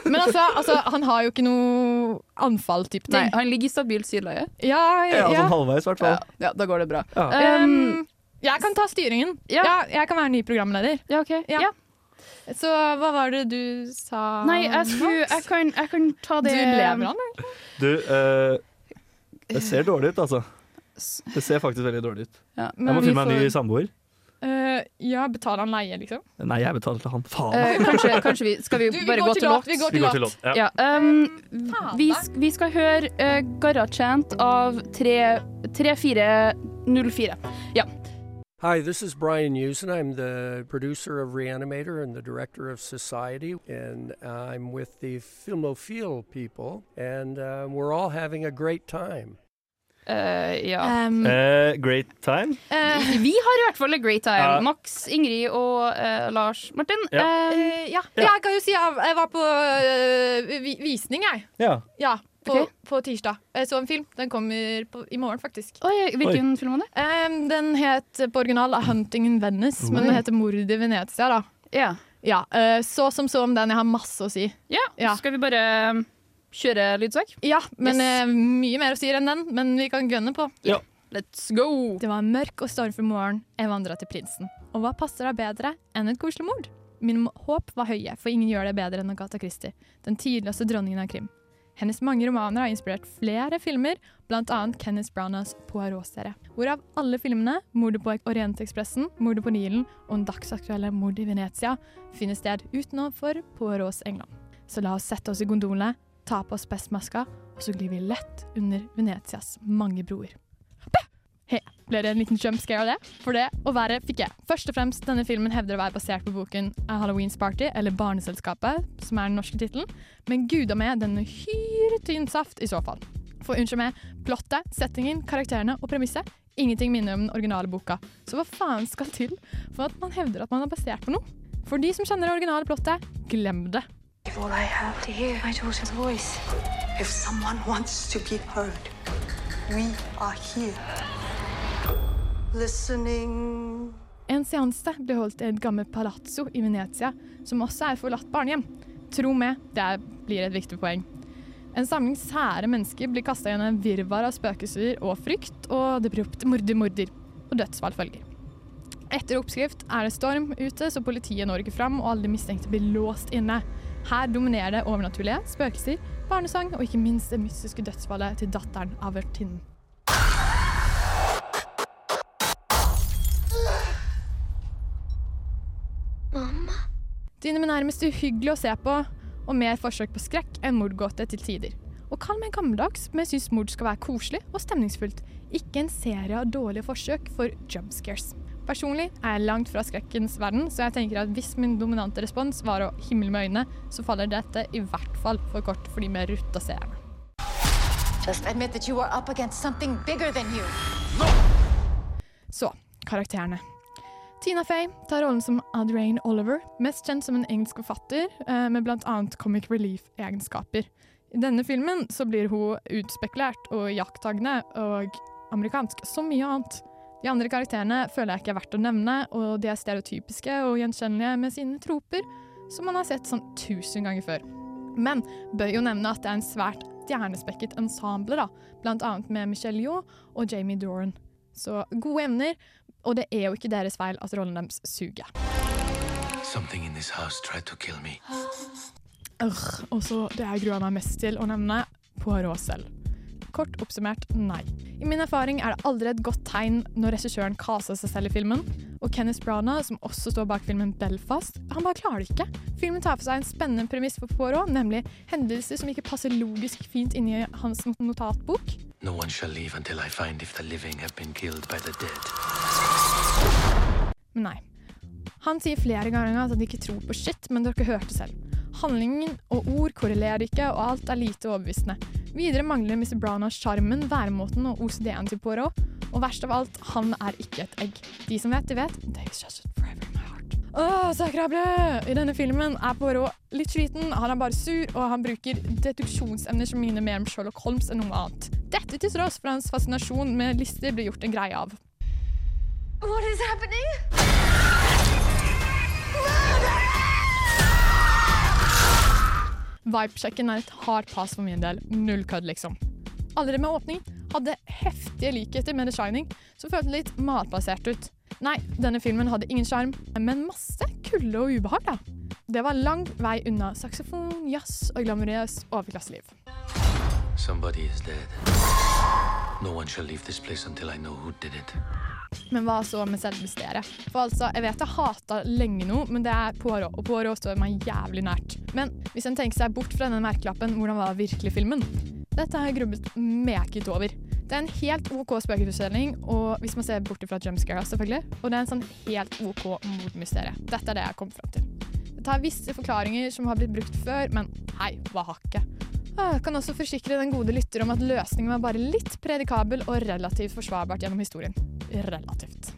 Speaker 8: Men altså, altså, han har jo ikke noe anfall type
Speaker 5: Nei,
Speaker 8: ting.
Speaker 5: han ligger i stabilt sydleie.
Speaker 8: Ja,
Speaker 1: Ja,
Speaker 8: ja.
Speaker 1: sånn halvveis, i hvert fall.
Speaker 5: Ja, da går det bra.
Speaker 1: Ja.
Speaker 5: Um,
Speaker 8: Um, jeg kan ta styringen.
Speaker 5: Ja.
Speaker 8: Ja. jeg kan være ny programleder.
Speaker 5: ja, OK.
Speaker 8: Ja.
Speaker 5: Ja.
Speaker 8: Så hva var det du sa?
Speaker 5: Nei, jeg, skulle, jeg, kan, jeg kan ta
Speaker 8: Du
Speaker 5: det
Speaker 8: lever han, eller?
Speaker 1: Du, eh, det ser dårlig ut, altså. Det ser faktisk veldig dårlig ut.
Speaker 5: Ja.
Speaker 1: Jeg må finne meg en ny samboer.
Speaker 8: Eh, ja, betaler han leie, liksom?
Speaker 1: Nei, jeg betaler til han. Faen.
Speaker 5: Eh, kanskje, kanskje vi Skal vi
Speaker 8: Du, vi
Speaker 5: bare
Speaker 8: går
Speaker 5: gå
Speaker 8: til
Speaker 5: til
Speaker 8: låt,
Speaker 5: låt?
Speaker 8: vi går
Speaker 1: Vi går til låt. Ja.
Speaker 5: Ja, um,
Speaker 8: Faen,
Speaker 5: vi,
Speaker 8: da.
Speaker 5: sk- vi skal høre uh, Garachant av tre- 3404.
Speaker 12: Hi, this is Brian Usen. I'm the producer of Reanimator and the director of Society, and I'm with the Filmophile people, and uh, we're all having a great time.
Speaker 5: Eh, ja.
Speaker 8: Um,
Speaker 1: Eh, great time.
Speaker 8: eh,
Speaker 5: Vi har i hvert fall a great time.
Speaker 1: Ja.
Speaker 5: Max, Ingrid og eh, Lars Martin.
Speaker 1: Ja.
Speaker 5: eh,
Speaker 8: ja. jeg kan jo si jeg, jeg var på eh, vi- visning, jeg.
Speaker 1: Ja.
Speaker 8: Ja, på,
Speaker 5: Ok.
Speaker 8: på tirsdag. Jeg så en film. Den kommer på, i morgen, faktisk.
Speaker 5: oi, hvilken film var det?
Speaker 8: Em, den het på original 'Hunting in Venice', men
Speaker 5: Mm.
Speaker 8: den heter 'Mord i Venezia'. da
Speaker 5: Ja.
Speaker 8: ja, eh, Så som så om den. Jeg har masse å si.
Speaker 5: ja.
Speaker 8: Ja.
Speaker 5: Skal vi bare um, kjøre lydsak?
Speaker 8: Ja, men
Speaker 5: Yes.
Speaker 8: eh, Mye mer å si enn den, men vi kan gønne på.
Speaker 5: Let's go!
Speaker 8: Det var en mørk og stormfull morgen. Jeg vandret til prinsen. Og hva passer da bedre enn et koselig mord? Min m- håp var høye, for ingen gjør det bedre enn Agatha Christie, den tidligste dronningen av krim. Hennes mange romaner har inspirert flere filmer, bl.a. Kenneth Branaghs Poirot-serie. Hvorav alle filmene, mordet på Orientekspressen, mordet på Nilen og den dagsaktuelle mordet i Venezia, finner sted utenfor Poirots England. Så la oss sette oss i gondolene, ta på oss pestmaska, og så glir vi lett under Venezias mange broer. Hei, ble det en liten jump scare av det? For det og verre fikk jeg. Først og fremst, denne filmen hevder å være basert på boken A Halloween's Party, eller Barneselskapet, som er den norske tittelen, men gud og meg, den er uhyre tynn saft i så fall. For unnskyld meg, plottet, settingen, karakterene og premisset, ingenting minner om den originale boka. Så hva faen skal til for at man hevder at man er basert på noe? For de som kjenner det originale plottet, glem det.
Speaker 13: All I have to hear my daughter's voice. If someone wants to be heard, we are here. Listening.
Speaker 8: En seanse ble holdt i et gammelt palazzo i Venezia, som også er forlatt barnehjem. Tro meg, det er- blir et viktig poeng. En samling sære mennesker blir kasta gjennom en virvar av spøkelser og frykt, og det blir opp til morder, morder, og dødsfall følger. Etter oppskrift er det storm ute, så politiet når ikke fram, og alle de mistenkte blir låst inne. Her dominerer det overnaturlige, spøkelser, barnesang og ikke minst det mystiske dødsfallet til datteren av vertinnen. Dynene er nærmest uhyggelig å se på, og mer forsøk på skrekk enn mordgåte til tider. Og kall meg gammeldags, men jeg syns mord skal være koselig og stemningsfullt, ikke en serie av dårlige forsøk for jumpscares. Personlig er jeg langt fra skrekkens verden, så jeg tenker at hvis min dominante respons var å himle med øynene, så faller dette i hvert fall for kort for de mer rutta seerne.
Speaker 14: Just admit that you are up against something bigger than you.
Speaker 8: Så, karakterene. Tina Fey tar rollen som Adrain Oliver, mest kjent som en engelsk forfatter eh, med bl.a. comic relief-egenskaper. I denne filmen så blir hun utspekulert og jakttagende og amerikansk som mye annet. De andre karakterene føler jeg ikke er verdt å nevne, og de er stereotypiske og gjenkjennelige med sine troper, som man har sett sånn tusen ganger før. Men bør jo nevne at det er en svært stjernespekket ensemble, da, bl.a. med Michelle Yeoh og Jamie Doran. Så gode evner, og det er jo ikke deres feil at rollen deres suger.
Speaker 15: Something in this house tried to kill me.
Speaker 8: Urgh, og så det jeg gruer meg mest til å nevne, Poirot selv. Kort oppsummert nei. I min erfaring er det aldri et godt tegn når regissøren kaser seg selv i filmen. Og Kenneth Branagh, som også står bak filmen Belfast, han bare klarer det ikke. Filmen tar for seg en spennende premiss for Poirot, nemlig hendelser som ikke passer logisk fint inn i hans notatbok.
Speaker 15: No one shall leave until I find if the living have been killed by the dead.
Speaker 8: Men nei. Han sier flere ganger at han ikke tror på shit, men dere hørte selv. Handlingen og ord korrelerer ikke, og alt er lite overbevisende. Videre mangler Mr. Brana sjarmen, væremåten og OCD-en til Poirot. Og verst av alt, han er ikke et egg. De som vet, de vet. Dave's just forever in my heart. Åh, sakrable! I denne filmen er Poirot litt sliten, han er bare sur, og han bruker deduksjonsevner som minner mer om Sherlock Holmes enn noe annet. Dette til tross for hans fascinasjon med lister blir gjort en greie av.
Speaker 13: What is happening?
Speaker 8: Vibe-sjekken er et hard pass for min del. Null kødd, liksom. Allerede med åpning hadde heftige likheter med The Shining, som føltes litt matbasert ut. Nei, denne filmen hadde ingen sjarm, men masse kulde og ubehag, da. Det var lang vei unna saksofon, jazz og glamorøs overklasseliv.
Speaker 15: Somebody is dead. No one shall leave this place until I know who did it.
Speaker 8: Men hva så med selve mysteriet? For altså, jeg vet jeg hata lenge nå, men det er Poirot, og Poirot står meg jævlig nært. Men hvis en tenker seg bort fra denne merkelappen, hvordan var virkelig filmen? Dette har jeg grubbet meget over. Det er en helt OK spøkelsesfortelling, og hvis man ser bort fra jumpscare, selvfølgelig, og det er en sånn helt OK mordmysterie. Dette er det jeg kom fram til. Det tar visse forklaringer som har blitt brukt før, men hei, hva hakket? Jeg kan også forsikre den gode lytter om at løsningen var bare litt predikabel og relativt forsvarbart gjennom historien. Relativt.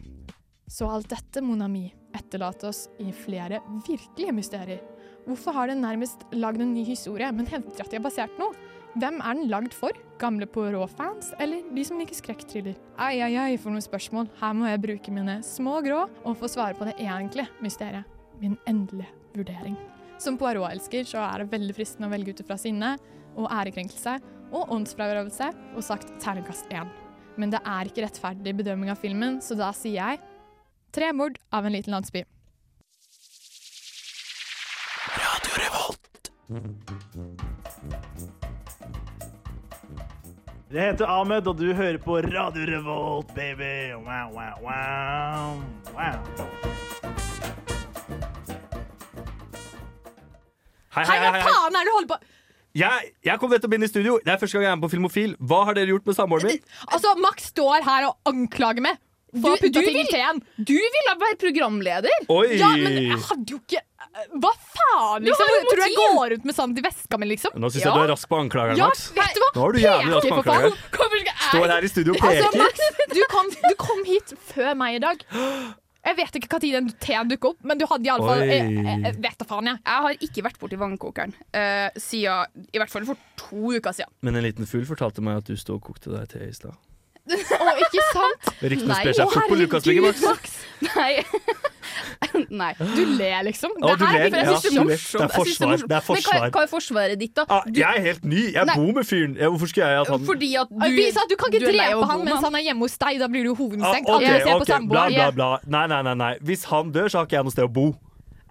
Speaker 8: Så alt dette, mon ami, etterlater oss i flere virkelige mysterier. Hvorfor har den nærmest lagd en ny historie, men hevder at de har basert noe? Hvem er den lagd for? Gamle Poirot-fans, eller de som liker skrekkthriller? Ai, ai, ai, for noen spørsmål. Her må jeg bruke mine små grå og få svare på det egentlige mysteriet. Min endelige vurdering. Som Poirot-elsker så er det veldig fristende å velge ut ifra sinne og ærekrenkelse og åndsfraberøvelse og sagt terningkast én. Men det er ikke rettferdig bedømming av filmen, så da sier jeg tre mord av en liten landsby.
Speaker 13: Radio Revolt.
Speaker 16: Jeg heter Ahmed, og du hører på Radio Revolt, baby. Wow, wow, wow. wow.
Speaker 1: Hei,
Speaker 8: Hei, hva faen er det du holder på
Speaker 1: Jeg, jeg kom nettopp inn i studio. Det er første gang jeg er med på Filmofil. Hva har dere gjort med samboeren min?
Speaker 8: Altså, Max står her og anklager meg. For å
Speaker 5: Du-
Speaker 8: putte
Speaker 5: du
Speaker 8: ting i
Speaker 5: vil-
Speaker 8: teen.
Speaker 5: Du ville være programleder!
Speaker 1: Oi.
Speaker 8: Ja, men jeg hadde jo ikke Hva faen,
Speaker 5: Du
Speaker 8: liksom?
Speaker 5: har jo
Speaker 8: Tror du jeg
Speaker 5: motiv.
Speaker 8: går rundt med sand i veska mi, liksom?
Speaker 1: Nå syns jeg du er rask på anklageren,
Speaker 8: Ja,
Speaker 1: Max.
Speaker 8: vet du hva?
Speaker 1: Nå er du jævlig rask
Speaker 8: Peker,
Speaker 1: på
Speaker 8: for faen.
Speaker 1: anklageren.
Speaker 8: Hvorfor skal jeg-
Speaker 1: Står her i studio og
Speaker 8: Altså,
Speaker 1: peker.
Speaker 8: Max, du kom, du kom hit før meg i dag. Jeg vet ikke når den teen dukket opp, men du hadde iallfall
Speaker 5: Oi.
Speaker 8: Vet da faen, jeg.
Speaker 5: Jeg har ikke vært borti vannkokeren eh, siden I hvert fall for to uker siden.
Speaker 1: Men en liten fugl fortalte meg at du stod og kokte deg te i stad.
Speaker 5: Å, ikke sant?
Speaker 1: Ryktene sprer seg fort på Lukas Lygemax.
Speaker 5: Nei. Nei.
Speaker 8: Du ler, liksom.
Speaker 1: Å, du
Speaker 5: her-
Speaker 1: ler,
Speaker 5: jeg synes
Speaker 1: ja,
Speaker 5: det er
Speaker 1: du ler. Det er
Speaker 5: morsomt. Jeg synes
Speaker 1: forsvar, det er
Speaker 5: morsomt. Men
Speaker 1: forsvar.
Speaker 5: hva, hva er forsvaret ditt, da?
Speaker 1: Ah, jeg sånn- er helt ny. Jeg
Speaker 5: Nei.
Speaker 1: bor med fyren. Ja, Hvorfor skulle jeg at han
Speaker 5: Fordi at du
Speaker 8: Vis at du kan ikke
Speaker 5: er lei
Speaker 8: drepe
Speaker 5: av å
Speaker 8: han
Speaker 5: bo med
Speaker 8: mens han er hjemme hos deg. Da blir du
Speaker 1: Ah,
Speaker 8: hovedmistenkt.
Speaker 1: ok,
Speaker 8: Alle ser på
Speaker 1: ok, bla,
Speaker 8: samboeren.
Speaker 1: bla, bla. Nei, nei, nei, nei. Hvis han dør, så har ikke jeg noe sted å bo.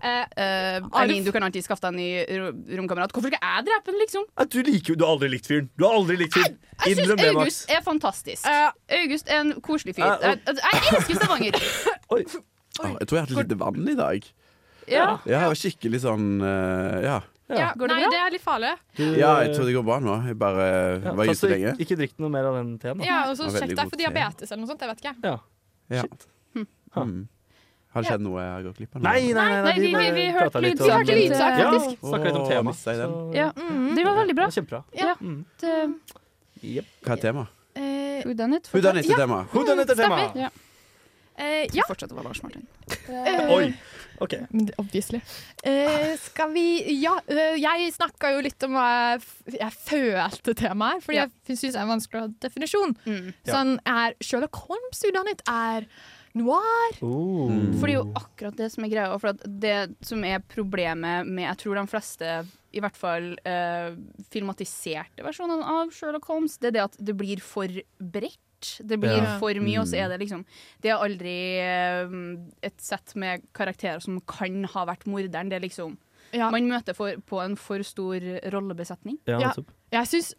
Speaker 5: Eh, Eileen, du kan alltid skaffe deg en ny ro- romkamerat. Hvorfor skal jeg drepe ham, liksom?
Speaker 1: Nei, Du liker jo Du har aldri likt fyren. Du har aldri likt fyren.
Speaker 5: Jeg syns
Speaker 1: Innrøm det, Max. Eh,
Speaker 5: August er fantastisk.
Speaker 8: Eh,
Speaker 5: August er en koselig fyr.
Speaker 7: Ja, og-
Speaker 5: Jeg, jeg elsker Stavanger.
Speaker 7: Å, jeg tror jeg har hatt litt lite vann i dag.
Speaker 5: Ja.
Speaker 7: Jeg var skikkelig sånn eh, ja.
Speaker 8: Ja, nei, det er litt farlig.
Speaker 7: ja, jeg tror det går bra nå. Jeg bare var
Speaker 1: ta
Speaker 7: ute
Speaker 1: så
Speaker 7: lenge.
Speaker 1: Ikke drikk noe mer av den teen. da.
Speaker 8: Ja, og så
Speaker 7: Det var
Speaker 8: Sjekk
Speaker 7: veldig
Speaker 8: deg
Speaker 7: god
Speaker 8: for
Speaker 7: te.
Speaker 8: diabetes eller noe sånt. Jeg vet ikke.
Speaker 1: Ja.
Speaker 7: Ja.
Speaker 5: Hm.
Speaker 7: Hmm. Har det skjedd noe jeg har gått glipp av? nå?
Speaker 1: Nei, nei, nei, nei, vi- vi- vi hørte
Speaker 7: pratet litt
Speaker 1: lyd- vi
Speaker 7: om-
Speaker 1: hørte lydsak,
Speaker 7: Ja,
Speaker 1: faktisk. snakket litt om
Speaker 7: Åh,
Speaker 1: tema,
Speaker 7: mistet jeg den.
Speaker 5: Ja, det var veldig bra.
Speaker 1: Kjempebra.
Speaker 5: Ja. mm. Det-
Speaker 7: Hva er temaet?
Speaker 8: Eh,
Speaker 5: Who done it?
Speaker 7: Who done it er
Speaker 5: Ja.
Speaker 7: tema.
Speaker 1: Who done it er tema.
Speaker 5: Stemmer. Ja.
Speaker 8: eh, ja.
Speaker 5: Fortsatt var Lars Martin.
Speaker 1: Oi. OK.
Speaker 8: Eh, Mm, Obviously. Eh, skal vi Ja, eh, jeg snakka jo litt om hva jeg, f jeg følte temaet er, fordi
Speaker 5: Ja.
Speaker 8: jeg syns det er en vanskelig definisjon.
Speaker 5: Ja.
Speaker 8: Sånn er Sherlock Holmes-utdannet er noir.
Speaker 1: Oh. Mm.
Speaker 5: For det er jo akkurat det som er greia. For at det som er problemet med jeg tror de fleste, i hvert fall eh, filmatiserte versjonene av Sherlock Holmes, det er det at det blir for bredt. Det blir
Speaker 4: Ja.
Speaker 5: for mye, og så
Speaker 4: Mm.
Speaker 5: er det liksom Det er aldri eh, et sett med karakterer som kan ha vært morderen. Det er liksom Man møter for, på en for stor rollebesetning.
Speaker 8: Ja. Jeg syns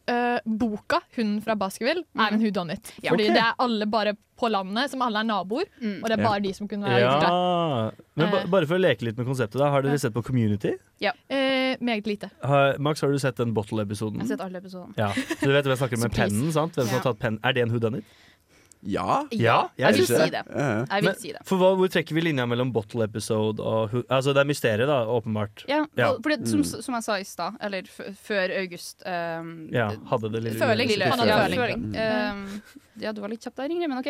Speaker 8: boka 'Hunden fra Baskerville' er en whodunit.
Speaker 5: Mm. Ja. Mm.
Speaker 8: Fordi
Speaker 5: Ok.
Speaker 8: det er alle bare på landet, som alle er naboer, og det er bare
Speaker 1: Ja.
Speaker 8: de som kunne være ute.
Speaker 1: Ja. Men ba,
Speaker 8: Eh.
Speaker 1: bare for å leke litt med konseptet, da. Har dere sett på Community?
Speaker 8: Eh, meget lite.
Speaker 1: Har, Max, har du sett den bottle-episoden?
Speaker 5: Mm. Jeg har sett alle episodene.
Speaker 1: Ja. Så du vet hvem jeg snakker om med
Speaker 5: Surprise.
Speaker 1: pennen, sant? Hvem som
Speaker 5: Ja.
Speaker 1: har tatt pennen. Er det en whodunit?
Speaker 7: Ja.
Speaker 1: Ja,
Speaker 5: jeg vil
Speaker 1: synes
Speaker 5: si det.
Speaker 1: Ja.
Speaker 5: Jeg vil
Speaker 1: Men
Speaker 5: si det.
Speaker 1: For hva, hvor trekker vi linja mellom bottle episode og hu- Altså, det er mysteriet, da, åpenbart.
Speaker 5: Ja,
Speaker 1: Ja.
Speaker 5: for det, som,
Speaker 1: Mm.
Speaker 5: som jeg sa i stad, eller f før august um,
Speaker 1: Ja, hadde det lille
Speaker 5: Føling.
Speaker 1: lille-
Speaker 5: Han hadde
Speaker 1: Føling.
Speaker 5: føling.
Speaker 1: Mm.
Speaker 5: Um, ja, du var litt kjapp der, Ingrid, men OK.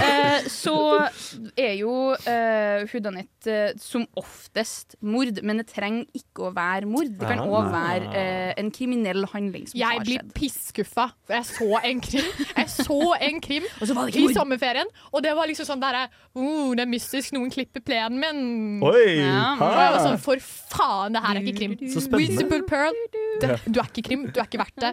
Speaker 5: Eh, så er jo uh, Hudanit som oftest mord, men det trenger ikke å være mord. Det kan
Speaker 8: Ja,
Speaker 5: òg
Speaker 8: nei.
Speaker 5: være eh, en kriminell handling som
Speaker 8: Jeg
Speaker 5: har
Speaker 8: blir
Speaker 5: skjedd.
Speaker 8: pisskuffa, for jeg så en krim Jeg så en krim
Speaker 5: Og så var det ikke
Speaker 8: i
Speaker 5: mord.
Speaker 8: sommerferien. Og det var liksom sånn der oh, Det er mystisk, noen klipper plenen min.
Speaker 1: Oi,
Speaker 8: ja.
Speaker 1: ha.
Speaker 8: Og jeg var sånn, For faen, det her er ikke krim.
Speaker 1: Så spennende.
Speaker 8: Visible Pearl, det,
Speaker 1: Ja.
Speaker 8: du er ikke krim. Du er ikke verdt det.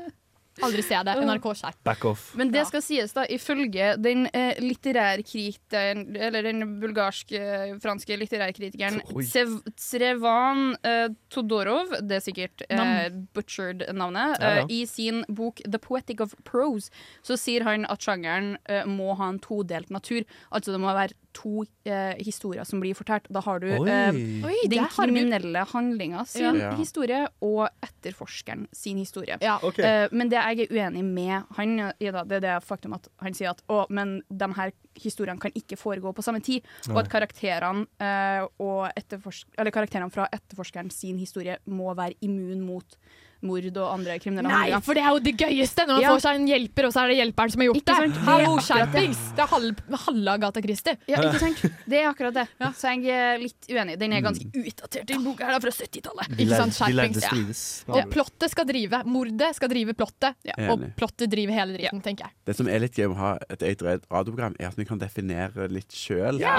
Speaker 8: Aldri se det. NRK skjerp.
Speaker 1: Back off.
Speaker 5: Men det skal sies, da, ifølge den eh, litterærkritikeren Eller den bulgarsk-franske litterærkritikeren
Speaker 8: Oi.
Speaker 5: Tsev- Tsrevan eh, Todorov, det er sikkert eh, butchered navnet,
Speaker 8: Ja, ja.
Speaker 5: eh, i sin bok The Poetic of Prose, så sier han at sjangeren eh, må ha en todelt natur. Altså det må være to eh, historier som blir fortalt. Da har du
Speaker 8: Oi.
Speaker 5: eh,
Speaker 8: Oi, der
Speaker 5: den
Speaker 8: har vi-
Speaker 5: kriminelle handlinga
Speaker 8: Ja.
Speaker 5: sin
Speaker 8: Ja.
Speaker 5: historie og etterforskeren sin historie.
Speaker 8: Ok.
Speaker 5: Eh, men det jeg er uenig med han i, da, det er det faktum at han sier at å, men de her historiene kan ikke foregå på samme tid, og at
Speaker 8: Nei.
Speaker 5: karakterene, eh, og etterforsk- eller karakterene fra etterforskeren sin historie må være immun mot mord og andre kriminelle
Speaker 8: Nei, for det er jo det gøyeste når man
Speaker 5: Ja.
Speaker 8: får seg en hjelper, og så er det hjelperen som har gjort
Speaker 5: Ikke sant?
Speaker 8: det.
Speaker 5: Det er
Speaker 8: Hallo,
Speaker 5: akkurat det.
Speaker 8: skjerpings! Det er halve halve Agatha Christie.
Speaker 5: Ja, ikke sant? Det er akkurat det. Så jeg er litt uenig. Den er ganske utdatert, den boka her, da, fra 70-tallet.
Speaker 8: Ikke sant, skjerpings. Ja.
Speaker 7: Ja.
Speaker 8: Og plottet skal drive. Mordet skal drive plottet, og
Speaker 7: Enig.
Speaker 8: plottet driver hele dritten, tenker jeg.
Speaker 7: Det som er litt gøy med å ha et eget radioprogram, er at vi kan definere litt sjøl
Speaker 8: Ja!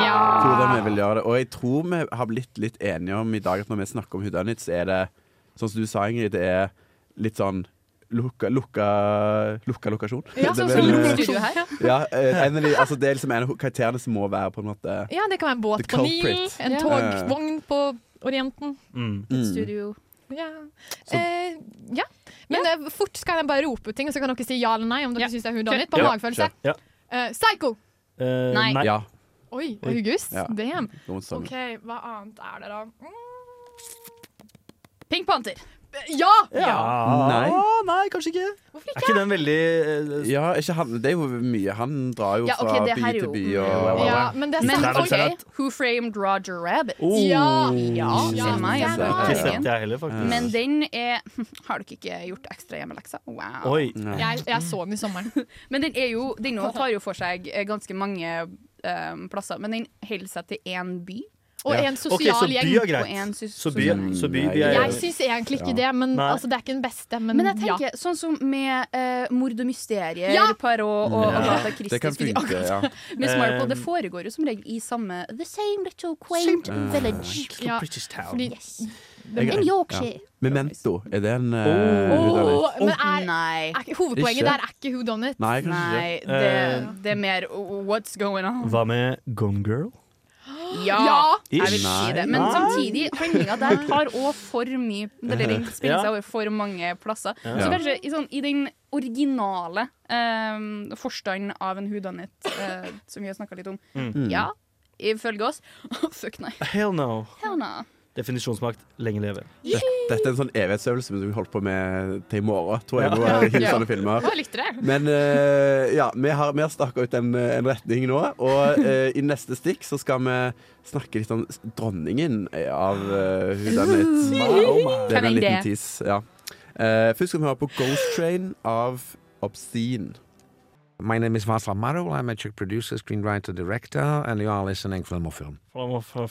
Speaker 7: hvordan vi vil gjøre det. Og jeg tror vi har blitt litt enige om i dag at når vi snakker om Hudanit, så er det sånn som du sa, Ingrid, det er litt sånn Lukka, lukka, lukka lokasjon.
Speaker 8: Ja,
Speaker 7: Det er
Speaker 8: sånn som
Speaker 7: vel,
Speaker 8: lukket
Speaker 7: eh,
Speaker 8: studio her.
Speaker 7: Ja, eh, en av de, altså det er liksom en av karakterene som må være på en måte
Speaker 8: Ja, det kan være en båt
Speaker 7: The
Speaker 8: på Nilen,
Speaker 7: culprit.
Speaker 8: en
Speaker 7: Ja.
Speaker 8: togvogn på Orienten.
Speaker 7: Mm.
Speaker 5: Studio.
Speaker 8: Ja. Eh, ja. Men eh, fort skal jeg bare rope ut ting, og så kan dere si ja eller nei om dere syns det er hun Donit. På
Speaker 1: Ja,
Speaker 8: magefølelse.
Speaker 1: sure. Ja.
Speaker 8: Eh, psycho!
Speaker 1: Eh,
Speaker 8: Nei.
Speaker 1: nei.
Speaker 7: Mm. Ja.
Speaker 8: Oi,
Speaker 1: Oi.
Speaker 8: august.
Speaker 1: Ja. Sånn.
Speaker 8: Damn.
Speaker 1: Det må stemme.
Speaker 8: OK, hva annet er det, da? Mm.
Speaker 5: Pink Panther.
Speaker 8: Ja!
Speaker 7: Nei.
Speaker 1: Ah, nei, kanskje ikke. eh,
Speaker 7: Er ikke den veldig Ja, ikke han, det er jo mye. Han drar jo
Speaker 5: Ja, ok, det
Speaker 7: fra
Speaker 5: her
Speaker 7: by
Speaker 5: er jo-
Speaker 7: til by
Speaker 5: Mm.
Speaker 7: og
Speaker 5: Ja, men det er sant. Who Framed Roger Rabbit?
Speaker 7: Oh.
Speaker 5: Ja! ja,
Speaker 7: Ja,
Speaker 5: se meg, jeg
Speaker 7: den
Speaker 5: har
Speaker 7: har jeg.
Speaker 5: sett
Speaker 7: Ikke
Speaker 5: den.
Speaker 7: sett jeg heller, faktisk.
Speaker 5: Men den er Har dere ikke gjort ekstra hjemmelekser? Wow.
Speaker 1: Oi. Nei.
Speaker 5: Jeg,
Speaker 8: jeg så den i sommeren.
Speaker 5: men den er jo Den nå tar jo for seg eh, ganske mange eh, plasser, men den holder seg til én by.
Speaker 8: Og
Speaker 1: Ja.
Speaker 8: en sosial
Speaker 1: Ok, så by er
Speaker 8: gjeng.
Speaker 1: greit.
Speaker 5: Og en sos-
Speaker 1: Så by, så by vi er
Speaker 8: Jeg syns egentlig ikke det, men
Speaker 1: Nei.
Speaker 8: altså, det er ikke den beste. Men,
Speaker 5: Men jeg tenker, sånn som med eh, mord og mysterier,
Speaker 8: Ja!
Speaker 5: Poirot og
Speaker 8: Ja.
Speaker 5: Agatha
Speaker 7: Det kan
Speaker 5: Christie skulle-
Speaker 7: funke, ja.
Speaker 5: Miss Marple, det
Speaker 7: Eh,
Speaker 5: foregår jo som regel i samme The same little quaint
Speaker 7: Same little
Speaker 5: village.
Speaker 7: little Ja, British town. fordi-
Speaker 5: yes.
Speaker 7: Jeg-
Speaker 5: In Yorkshire.
Speaker 7: Ja. Memento, er det en uh,
Speaker 8: ja.
Speaker 7: Hudanit?
Speaker 8: Åh, men er, er, ikke- hovedpoenget
Speaker 7: Ikke?
Speaker 8: der er ikke who done it.
Speaker 7: Nei, kanskje
Speaker 5: Nei, eh,
Speaker 7: ikke.
Speaker 5: det, det er mer what's going on.
Speaker 1: Hva med Gone Girl?
Speaker 5: Ja,
Speaker 1: Ja.
Speaker 5: jeg vil si det.
Speaker 1: Nei.
Speaker 5: Men
Speaker 1: Nei.
Speaker 5: samtidig, handlinga der tar òg for mye Eller den spiller
Speaker 1: Ja.
Speaker 5: seg over for mange plasser.
Speaker 1: Ja.
Speaker 5: Så kanskje i, sånn, i den originale um, forstanden av en hudanit, eh, som vi har snakka litt om,
Speaker 1: Mm.
Speaker 5: ja, ifølge oss Fuck nei.
Speaker 1: Hell no.
Speaker 5: Hell no.
Speaker 1: Definisjonsmakt, lenge leve.
Speaker 7: Dette, dette er en sånn evighetsøvelse som vi holdt på med til i morgen, tror jeg.
Speaker 1: Ja.
Speaker 7: på Hilsende
Speaker 1: Ja.
Speaker 7: filmer.
Speaker 1: Å, jeg likte det.
Speaker 7: Men eh, ja, vi har, vi har staka ut en, en retning nå. Og eh, i neste stikk så skal vi snakke litt om dronningen av uh, Hudanit.
Speaker 1: Ooh.
Speaker 7: Det er en
Speaker 1: Kan jeg
Speaker 7: liten
Speaker 1: det?
Speaker 7: tis. Ja. Eh, først skal vi høre på Ghost Train av Obscene.
Speaker 17: My name is Václav Marul. I'm a Czech producer, screenwriter, director, and you are listening to Filmofilm.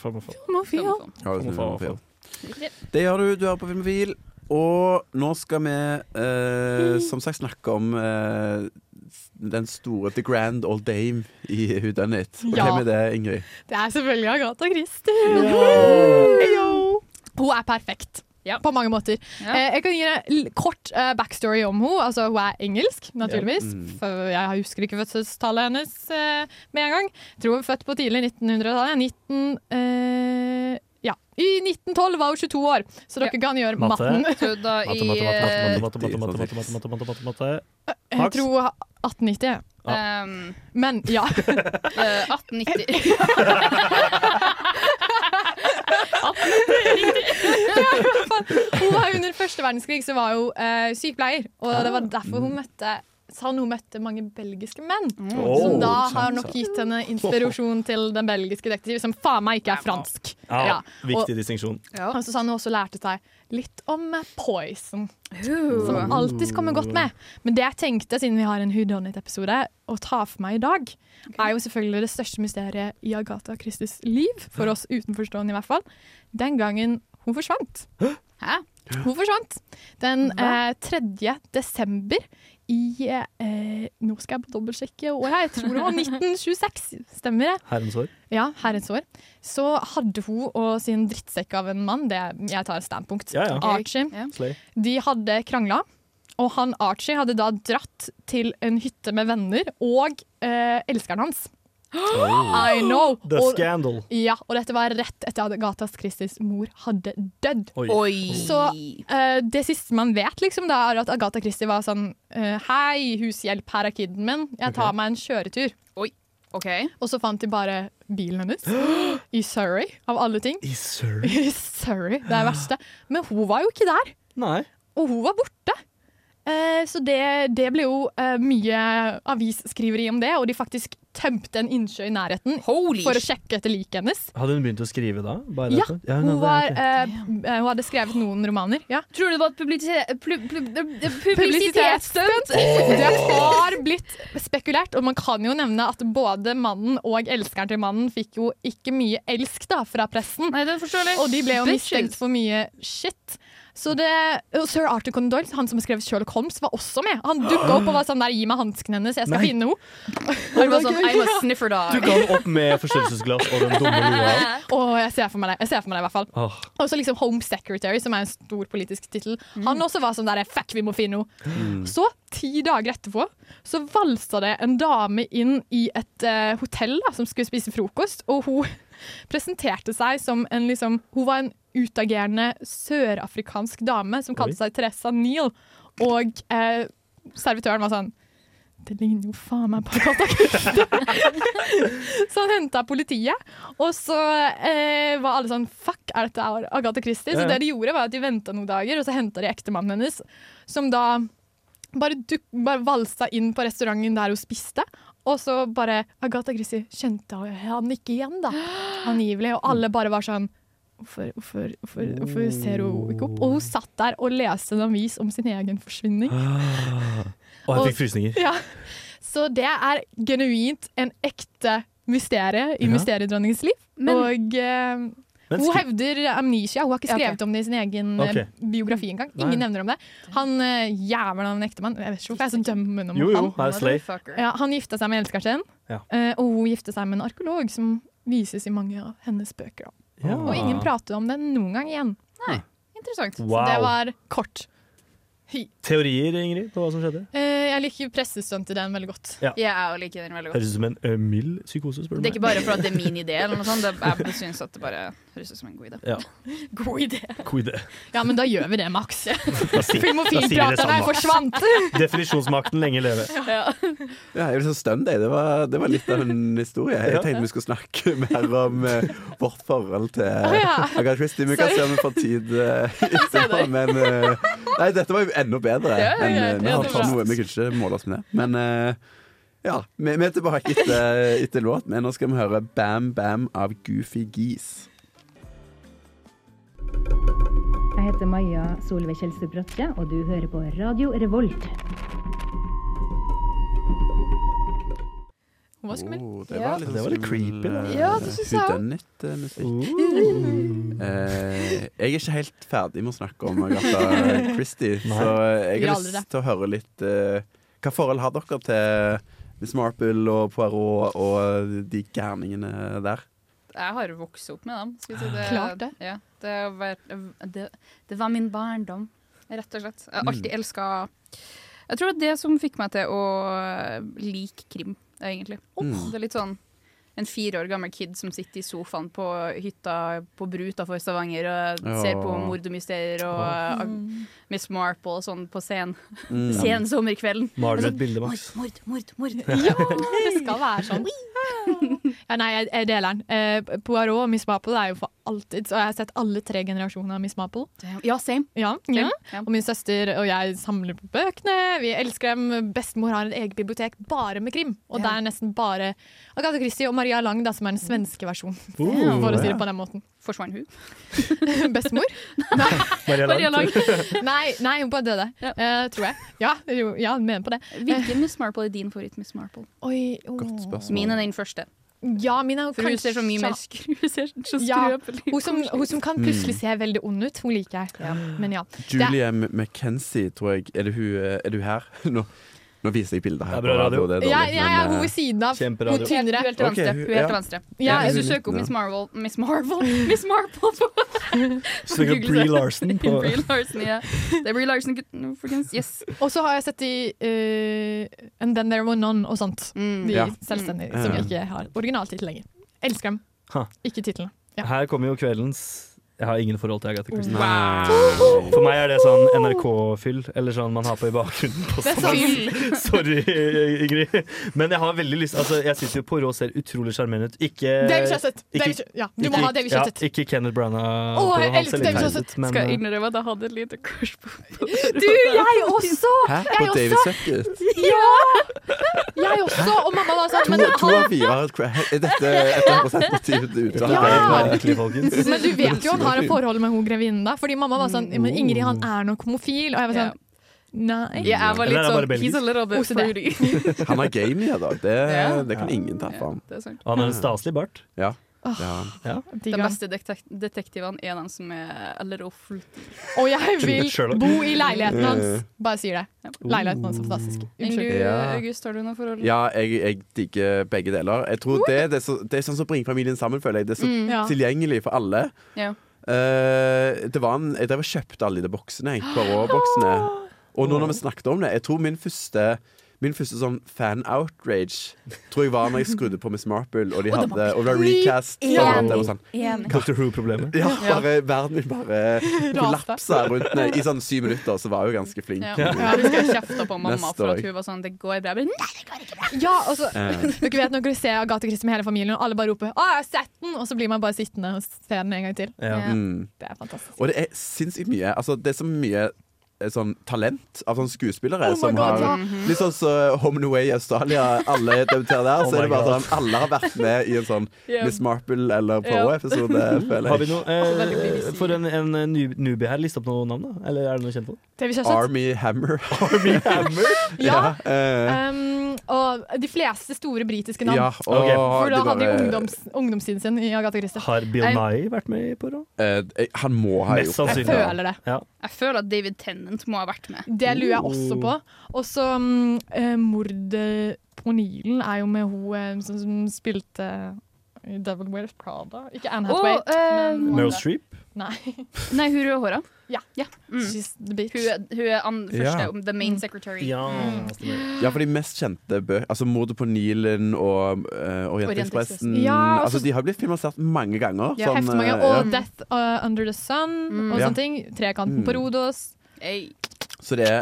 Speaker 7: Ja, det er Filmofil. Det gjør du. Du hører på Filmofil. Og nå skal vi eh, som sagt snakke om eh, den store The Grand Old Dame i Hudanit. Og
Speaker 8: Ja.
Speaker 7: hvem er det, Ingrid?
Speaker 8: Det er selvfølgelig Agatha Christie. Hun er perfekt. På mange måter. Eh, Jeg kan gi deg l- kort eh, backstory om henne. Altså, hun er engelsk, naturligvis.
Speaker 5: Ja. Mm.
Speaker 8: For jeg husker ikke fødselstallet hennes eh, med en gang. Jeg tror hun er født på tidlig 1900-tallet. 19, eh, ja. I 1912 var hun 22 år, så dere kan gjøre
Speaker 1: Matte.
Speaker 8: matten.
Speaker 5: Så da i
Speaker 8: eh,
Speaker 1: Matte, matte, matte, matte, matte, matte, matte, matte, matte, matte, matte, matte.
Speaker 8: Jeg tror 1890. jeg.
Speaker 1: Ja.
Speaker 5: Um,
Speaker 8: Men ja.
Speaker 5: eh, 1890
Speaker 8: Hun var under første verdenskrig så var hun eh, sykepleier, og det var derfor hun møtte sa hun hun møtte mange belgiske menn.
Speaker 1: Oh,
Speaker 8: som da har
Speaker 1: sant,
Speaker 8: nok
Speaker 1: sant.
Speaker 8: gitt henne inspirasjon til den belgiske detektiv, som faen meg ikke er fransk.
Speaker 1: Ja,
Speaker 8: Og-
Speaker 1: Viktig distinksjon.
Speaker 8: ja. Og så sa han hun også lærte seg litt om eh, poison.
Speaker 5: Ooh.
Speaker 8: Som han alltid kommer godt med. Men det jeg tenkte, siden vi har en Hudonit-episode, å ta for meg i dag, er jo selvfølgelig det største mysteriet i Agatha Christies liv, for oss utenforstående i hvert fall, den gangen hun forsvant. Hæ? Hun forsvant den eh, 3. desember i eh, Nå skal jeg dobbeltsjekke året, her. jeg tror det var 1926, stemmer det?
Speaker 1: Herrens år.
Speaker 8: Ja, herrens år. Så hadde hun og sin drittsekk av en mann, det jeg tar standpunkt,
Speaker 1: Ja, ja.
Speaker 8: Archie,
Speaker 1: Slay.
Speaker 8: de hadde krangla. Og han Archie hadde da dratt til en hytte med venner og eh, elskeren hans.
Speaker 1: Oh.
Speaker 8: I know!
Speaker 1: The
Speaker 8: Og-
Speaker 1: Scandal.
Speaker 8: ja, og dette var rett etter at Gatas Christies mor hadde dødd.
Speaker 1: Oi. Oi.
Speaker 8: Så eh, det siste man vet, liksom, da, er at Agatha Christie var sånn eh, Hei, hushjelp, her er kiden min. Jeg tar
Speaker 5: Ok.
Speaker 8: meg en kjøretur. Og så fant de bare bilen hennes. I Surrey, av alle ting.
Speaker 1: I Surrey?
Speaker 8: I Surrey, Det er det verste. Men hun var jo ikke der.
Speaker 1: Nei.
Speaker 8: Og hun var borte. Eh, Så det, det ble jo eh, mye avisskriveri om det, og de faktisk tømte en innsjø i nærheten for å sjekke etter liket hennes.
Speaker 1: Hadde hun begynt å skrive da? Bare
Speaker 8: Ja,
Speaker 1: dette? nei,
Speaker 8: hun,
Speaker 1: det
Speaker 8: var,
Speaker 1: er ok.
Speaker 8: eh, eh, hun hadde skrevet noen romaner. Ja.
Speaker 5: Tror du det var et publisitet- plu- plu- publisitetsstunt?
Speaker 8: Det har blitt spekulert, og man kan jo nevne at både mannen og elskeren til mannen fikk jo ikke mye elsk da, fra pressen. Og de ble jo
Speaker 5: Bitches.
Speaker 8: mistenkt for mye shit. Så det, og Sir Arthur Conan Doyle, han som har skrevet Sherlock Holmes, var også med. Han dukka opp og var sånn der, gi meg hansken hennes, jeg skal
Speaker 1: Nei.
Speaker 8: finne henne.
Speaker 5: Han var sånn, I'm a sniffer dog.
Speaker 1: Du kom opp med forstørrelsesglass og den dumme lua.
Speaker 8: Åh, jeg ser for meg det. Jeg ser for meg det i hvert fall.
Speaker 1: Åh.
Speaker 8: Og så liksom Home Secretary, som er en stor politisk tittel. Han også var sånn der Fuck, vi må finne henne!
Speaker 1: Mm.
Speaker 8: Så, ti dager etterpå, så valsa det en dame inn i et eh, hotell da, som skulle spise frokost, og hun presenterte seg som en liksom Hun var en utagerende sørafrikansk dame som kalte seg Teresa Neal, og eh, servitøren var sånn det ligner jo faen meg på Agatha Christie! så han henta politiet, og så eh, var alle sånn Fuck, er dette Agatha Christie?
Speaker 5: Ja,
Speaker 8: Så
Speaker 5: ja.
Speaker 8: det de gjorde, var at de venta noen dager, og så henta de ektemannen hennes, som da bare, duk, bare valsa inn på restauranten der hun spiste. Og så bare Agatha Christie kjente han ikke igjen, da. Angivelig. Og alle bare var sånn Hvorfor, hvorfor, hvorfor, hvorfor ser hun ikke opp? Og hun satt der og leste en avis om sin egen forsvinning.
Speaker 1: Og jeg fikk frysninger.
Speaker 8: Ja. Så det er genuint en ekte mysterie i
Speaker 1: Ja.
Speaker 8: Mysteriedronningens liv.
Speaker 5: Men-
Speaker 8: og eh,
Speaker 1: Men
Speaker 8: hun
Speaker 1: skri-
Speaker 8: hevder amnesia. Hun har ikke skrevet om det i sin egen eh,
Speaker 1: Ok.
Speaker 8: biografi engang. Ingen
Speaker 1: Nei.
Speaker 8: nevner om det. Han eh, jævelen av en ektemann Jeg vet ikke hvorfor jeg er så dømmende
Speaker 1: Jo,
Speaker 8: mot
Speaker 1: jo,
Speaker 8: han.
Speaker 1: han er slay. Motherfucker.
Speaker 8: Ja, han gifta seg med elskeren sin,
Speaker 1: Ja.
Speaker 8: eh, og hun gifta seg med en arkeolog, som vises i mange av hennes bøker. Da.
Speaker 1: Ja.
Speaker 8: Og ingen prater om det noen gang igjen.
Speaker 1: Nei.
Speaker 8: Interessant.
Speaker 1: Ah. Wow.
Speaker 8: Så det var kort. Hi.
Speaker 1: Teorier, Ingrid, på hva som skjedde?
Speaker 8: Eh, jeg liker pressestuntet i den veldig godt.
Speaker 1: Ja.
Speaker 5: Jeg liker den veldig godt.
Speaker 1: Høres ut som en ø, mild psykose, spør du
Speaker 5: Det er ikke bare for at det er min idé, eller noe sånt. Det, jeg bare synes at det bare høres ut som en god idé.
Speaker 1: Ja.
Speaker 8: God idé.
Speaker 1: God idé.
Speaker 8: Ja, men da gjør vi det, Max.
Speaker 1: sier- da sier vi det sånn,
Speaker 8: Filmofilpraterne
Speaker 1: samme.
Speaker 8: forsvant.
Speaker 1: Definisjonsmakten lenge leve.
Speaker 7: Ja, jeg ble så støm, deg. Det var, det var litt av en historie. Jeg
Speaker 1: Ja.
Speaker 7: tenkte vi skulle snakke mer om eh, vårt forhold til
Speaker 1: ja.
Speaker 7: Agatha Christie. Vi kan
Speaker 1: Sorry.
Speaker 7: se om vi får tid eh, etterpå, men eh, Nei, dette var jo enda bedre.
Speaker 1: Ja, ja,
Speaker 7: enn,
Speaker 1: ja,
Speaker 7: eh, vi,
Speaker 1: ja,
Speaker 7: har
Speaker 1: det
Speaker 7: tatt
Speaker 1: var-
Speaker 7: noe, vi kunne ikke måle oss med det. Men eh, ja, vi, vi er tilbake etter, etter låt, men nå skal vi høre Bam Bam av Goofy Geese.
Speaker 18: Jeg heter Maja Solveig Kjelstrup Bratte, og du hører på Radio Revolt.
Speaker 8: Hun var skummel.
Speaker 7: Oh, det var litt,
Speaker 1: Det var litt creepy, da.
Speaker 8: Ja, det synes jeg også.
Speaker 1: Uh.
Speaker 7: musikk Eh, jeg er ikke helt ferdig med å snakke om Agatha Christie, så eh, jeg
Speaker 8: Vi er
Speaker 7: har
Speaker 8: aldri det.
Speaker 7: lyst til å høre litt eh, Hva forhold har dere til Miss Marple og Poirot og de gærningene der?
Speaker 5: Jeg har vokst opp med dem. Skal vi si. det,
Speaker 8: Klart det.
Speaker 5: Ja, det, har vært- det. Det var min barndom, rett og slett. Jeg har alltid elska Jeg tror det er det som fikk meg til å eh, like krim, egentlig.
Speaker 8: Mm.
Speaker 5: Det er litt sånn en fire år gammel kid som sitter i sofaen på hytta på bru utenfor Stavanger og
Speaker 8: Åh.
Speaker 5: ser på mord og mysterier og
Speaker 8: Åh.
Speaker 5: eh, Miss Marple og sånn på scenen.
Speaker 1: Mm.
Speaker 5: Sen sommerkvelden.
Speaker 1: Maler du et
Speaker 5: Og sånn,
Speaker 1: bilde, Max?
Speaker 5: Mord, mord, mord, mord.
Speaker 8: Ja, det skal være sånn. Ja, nei, jeg jeg deler den. Eh, Poirot og Miss Maple er jo for alltid, så jeg har sett alle tre generasjoner av Miss Maple.
Speaker 5: Ja, same.
Speaker 8: Ja, ja. Og min søster og jeg samler på bøkene. Vi elsker dem. Bestemor har et eget bibliotek bare med krim. Og det er nesten bare Agatha Christie og Maria Lang, da, som er den svenske versjonen.
Speaker 7: Uh.
Speaker 1: Oh,
Speaker 8: for å si
Speaker 1: ja.
Speaker 8: det på den måten.
Speaker 5: Forsvant hun?
Speaker 8: Bestemor?
Speaker 1: Maria Lang.
Speaker 8: Maria Lang. Nei, nei, hun bare døde. Eh, tror jeg. Ja, jo, ja, mener på det.
Speaker 5: Hvilken Miss Marple er din favoritt Miss Marple?
Speaker 8: Oi, oh.
Speaker 5: Min er den første.
Speaker 8: Ja, min er jo
Speaker 5: For hun
Speaker 8: kanskje-
Speaker 5: ser så mye mer skru- hun ser så
Speaker 8: Ja,
Speaker 5: skrøpelig
Speaker 8: hun som,
Speaker 5: koselig
Speaker 8: hun som kan
Speaker 7: Mm.
Speaker 8: plutselig se veldig ond ut, hun liker jeg. Men ja. Det-
Speaker 7: Julie M- McKenzie, tror jeg. Er det hun, eh, er du her? Nå, nå viser jeg bilder her.
Speaker 1: Det er bra
Speaker 7: på
Speaker 1: radio.
Speaker 7: det er
Speaker 8: Jeg,
Speaker 7: dårlig,
Speaker 8: jeg er
Speaker 7: men,
Speaker 8: hun
Speaker 7: eh,
Speaker 8: ved siden av.
Speaker 7: kjemperadio.
Speaker 8: Hun tynnere.
Speaker 5: Hun er helt til
Speaker 7: Ok,
Speaker 5: venstre.
Speaker 7: hun-
Speaker 5: Hun er helt til
Speaker 7: ja.
Speaker 5: venstre.
Speaker 8: Ja,
Speaker 5: Hvis du
Speaker 7: hun er
Speaker 5: søker opp
Speaker 7: liten,
Speaker 5: Miss
Speaker 7: ja.
Speaker 5: Marvel Miss Marvel! Miss Marple på, på
Speaker 1: Søker opp
Speaker 5: Google.
Speaker 1: Brie Larson på-
Speaker 5: Brie Larson, ja. Det er Brie Larson, gutten, folkens. Yes.
Speaker 8: Og så har jeg sett de eh, And Then There Were None og
Speaker 5: Mm.
Speaker 8: sånt. Mm. De
Speaker 1: Ja.
Speaker 8: selvstendige
Speaker 1: Mm.
Speaker 8: som
Speaker 1: Ja.
Speaker 8: ikke har originaltittel lenger. Elsker dem,
Speaker 1: Ha. Eh,
Speaker 8: ikke titlene. Ja.
Speaker 1: Her kommer jo kveldens Jeg har ingen forhold til Agatha Christie.
Speaker 8: Wow.
Speaker 1: For meg er det sånn NRK-fyll, eller sånn man har på i bakgrunnen. På
Speaker 8: Det er
Speaker 1: sånn. Sorry, Ingrid. Men jeg har veldig lyst Altså, jeg syns jo Poirot ser utrolig sjarmerende ut. Ikke
Speaker 8: David Chasset.
Speaker 1: ikke-
Speaker 8: David Chasset. Ja, du må ha David Chasset.
Speaker 1: Ja, ikke Kenneth Branagh.
Speaker 8: Å, jeg
Speaker 1: Poirot. Han
Speaker 8: elsker
Speaker 1: ser litt
Speaker 8: David
Speaker 1: teit
Speaker 8: Chasset.
Speaker 1: ut, men-
Speaker 5: Skal jeg innrømme at jeg hadde et lite crush på
Speaker 8: Du, jeg også!
Speaker 7: Hæ?
Speaker 8: Jeg
Speaker 7: På David
Speaker 8: også!
Speaker 7: Sucket?
Speaker 8: Ja! Jeg også! Og mamma var sånn men,
Speaker 7: To, to av
Speaker 8: han,
Speaker 7: fire har et cra- Er dette 100 motivet ut av
Speaker 1: Ja.
Speaker 7: det?
Speaker 1: Virkelig, folkens.
Speaker 8: men du vet jo han har et forhold med hun grevinnen, da. Fordi mamma var sånn Men Ingrid, han er nok homofil. Og jeg var sånn Nei.
Speaker 5: Ja, jeg
Speaker 7: Eller
Speaker 5: var litt
Speaker 7: er det bare
Speaker 5: sånn
Speaker 7: belgisk?
Speaker 5: He's a little bit
Speaker 8: OCD.
Speaker 5: fruity.
Speaker 7: Han er game i dag. Det, det kan ingen ta fra ham.
Speaker 5: Det er sant.
Speaker 1: Han har en staselig bart.
Speaker 7: Ja.
Speaker 8: Åh.
Speaker 7: Ja.
Speaker 5: De beste detek detektivene er de som er a little fruity.
Speaker 8: Og jeg vil
Speaker 1: Sherlock.
Speaker 8: bo i leiligheten
Speaker 1: Eh.
Speaker 8: hans. Bare sier det. Leiligheten hans er fantastisk.
Speaker 5: Enn du,
Speaker 8: Unnskyld.
Speaker 7: Ja.
Speaker 5: August, har du noe forhold?
Speaker 7: Ja, jeg, jeg digger begge deler. Jeg tror det, det, er så, det er sånn som bringer familien sammen, føler jeg. Det er så
Speaker 5: Mm, ja.
Speaker 7: tilgjengelig for alle.
Speaker 5: Ja.
Speaker 7: Eh, det var en, jeg drev og kjøpte alle de boksene. jeg, Poirot-boksene. Og nå når vi snakket om det Jeg tror min første Min første sånn fan-outrage Tror jeg var når jeg skrudde på Miss Marple, og de
Speaker 1: Og det
Speaker 7: hadde,
Speaker 1: var
Speaker 7: og det var recast.
Speaker 1: enig,
Speaker 7: og alt det var sånn.
Speaker 1: enig. Doctor Who-problemet.
Speaker 7: Ja,
Speaker 1: Ja.
Speaker 7: bare, verden min bare kollapsa rundt meg. I sånn syv minutter, så var jeg jo ganske flink.
Speaker 5: Ja. Jeg husker jeg kjefta på mamma
Speaker 7: Neste
Speaker 5: for at
Speaker 7: år.
Speaker 5: hun var sånn Det går bra. Jeg bare, Nei, det går ikke bra!
Speaker 8: Ja, og så,
Speaker 7: Eh.
Speaker 8: dere vet når dere ser Agatha Christie med hele familien, og alle bare roper 'Å, jeg har sett den!' Og så blir man bare sittende og se den en gang til.
Speaker 7: Ja. Mm.
Speaker 8: Det er fantastisk.
Speaker 7: Og det er sinnssykt mye. Altså, det er så mye eh, sånn talent av sånne skuespillere
Speaker 8: Oh my
Speaker 7: som
Speaker 8: God,
Speaker 7: har
Speaker 8: ja.
Speaker 7: Litt sånn som eh, Home and Away i Australia. Alle debuterer der.
Speaker 1: Oh
Speaker 7: så er det
Speaker 1: my
Speaker 7: bare
Speaker 1: God.
Speaker 7: sånn Alle har vært med i en sånn
Speaker 1: Ja.
Speaker 7: Miss Marple eller
Speaker 1: Ja.
Speaker 7: Poe-episode, føler jeg.
Speaker 1: Har vi noe eh, For en, en new- newbie her, liste opp noen navn, da? Eller er det noe kjent folk?
Speaker 8: David Chasset.
Speaker 7: Army Hammer.
Speaker 8: Ja.
Speaker 7: eh,
Speaker 8: Um, og de fleste store britiske navn.
Speaker 7: Ja, og
Speaker 8: For da
Speaker 7: det
Speaker 8: hadde de
Speaker 7: bare-
Speaker 8: ungdoms, ungdomstiden sin i Agatha Christie.
Speaker 1: Har Bill
Speaker 8: Jeg-
Speaker 1: Nye vært med i Poirot?
Speaker 7: eh, eh, han må ha
Speaker 1: Mest
Speaker 7: gjort det.
Speaker 1: sannsynlig.
Speaker 8: Jeg føler det.
Speaker 1: Ja.
Speaker 5: Jeg føler at David Tennant må ha vært med.
Speaker 8: Det lurer jeg også på. Og så um, eh, mordet på Nilen er jo med hun eh, som, som spilte i Devil Wears Prada. Ikke Anne
Speaker 5: Og,
Speaker 8: Hathaway.
Speaker 5: eh,
Speaker 8: men-
Speaker 1: Meryl Streep?
Speaker 8: Nei.
Speaker 5: Nei, hun rødhåra.
Speaker 8: Ja.
Speaker 5: Mm.
Speaker 8: She's the bitch.
Speaker 5: Hun er, hun er an, første,
Speaker 7: Ja.
Speaker 5: om the main secretary. Mm.
Speaker 7: Ja, for de mest kjente bøkene Altså 'Mordet på Nilen' og uh,
Speaker 5: Orientekspressen.
Speaker 7: 'Orientekspressen'.
Speaker 8: Ja,
Speaker 7: altså,
Speaker 8: altså-
Speaker 7: de har blitt filmatisert mange ganger.
Speaker 8: Ja, heftig mange.
Speaker 7: eh,
Speaker 8: Og
Speaker 7: ja.
Speaker 8: Death uh, Under the Sun og
Speaker 7: Ja.
Speaker 8: sånne ting. Trekanten
Speaker 7: Mm.
Speaker 8: på Rodos.
Speaker 7: Så det er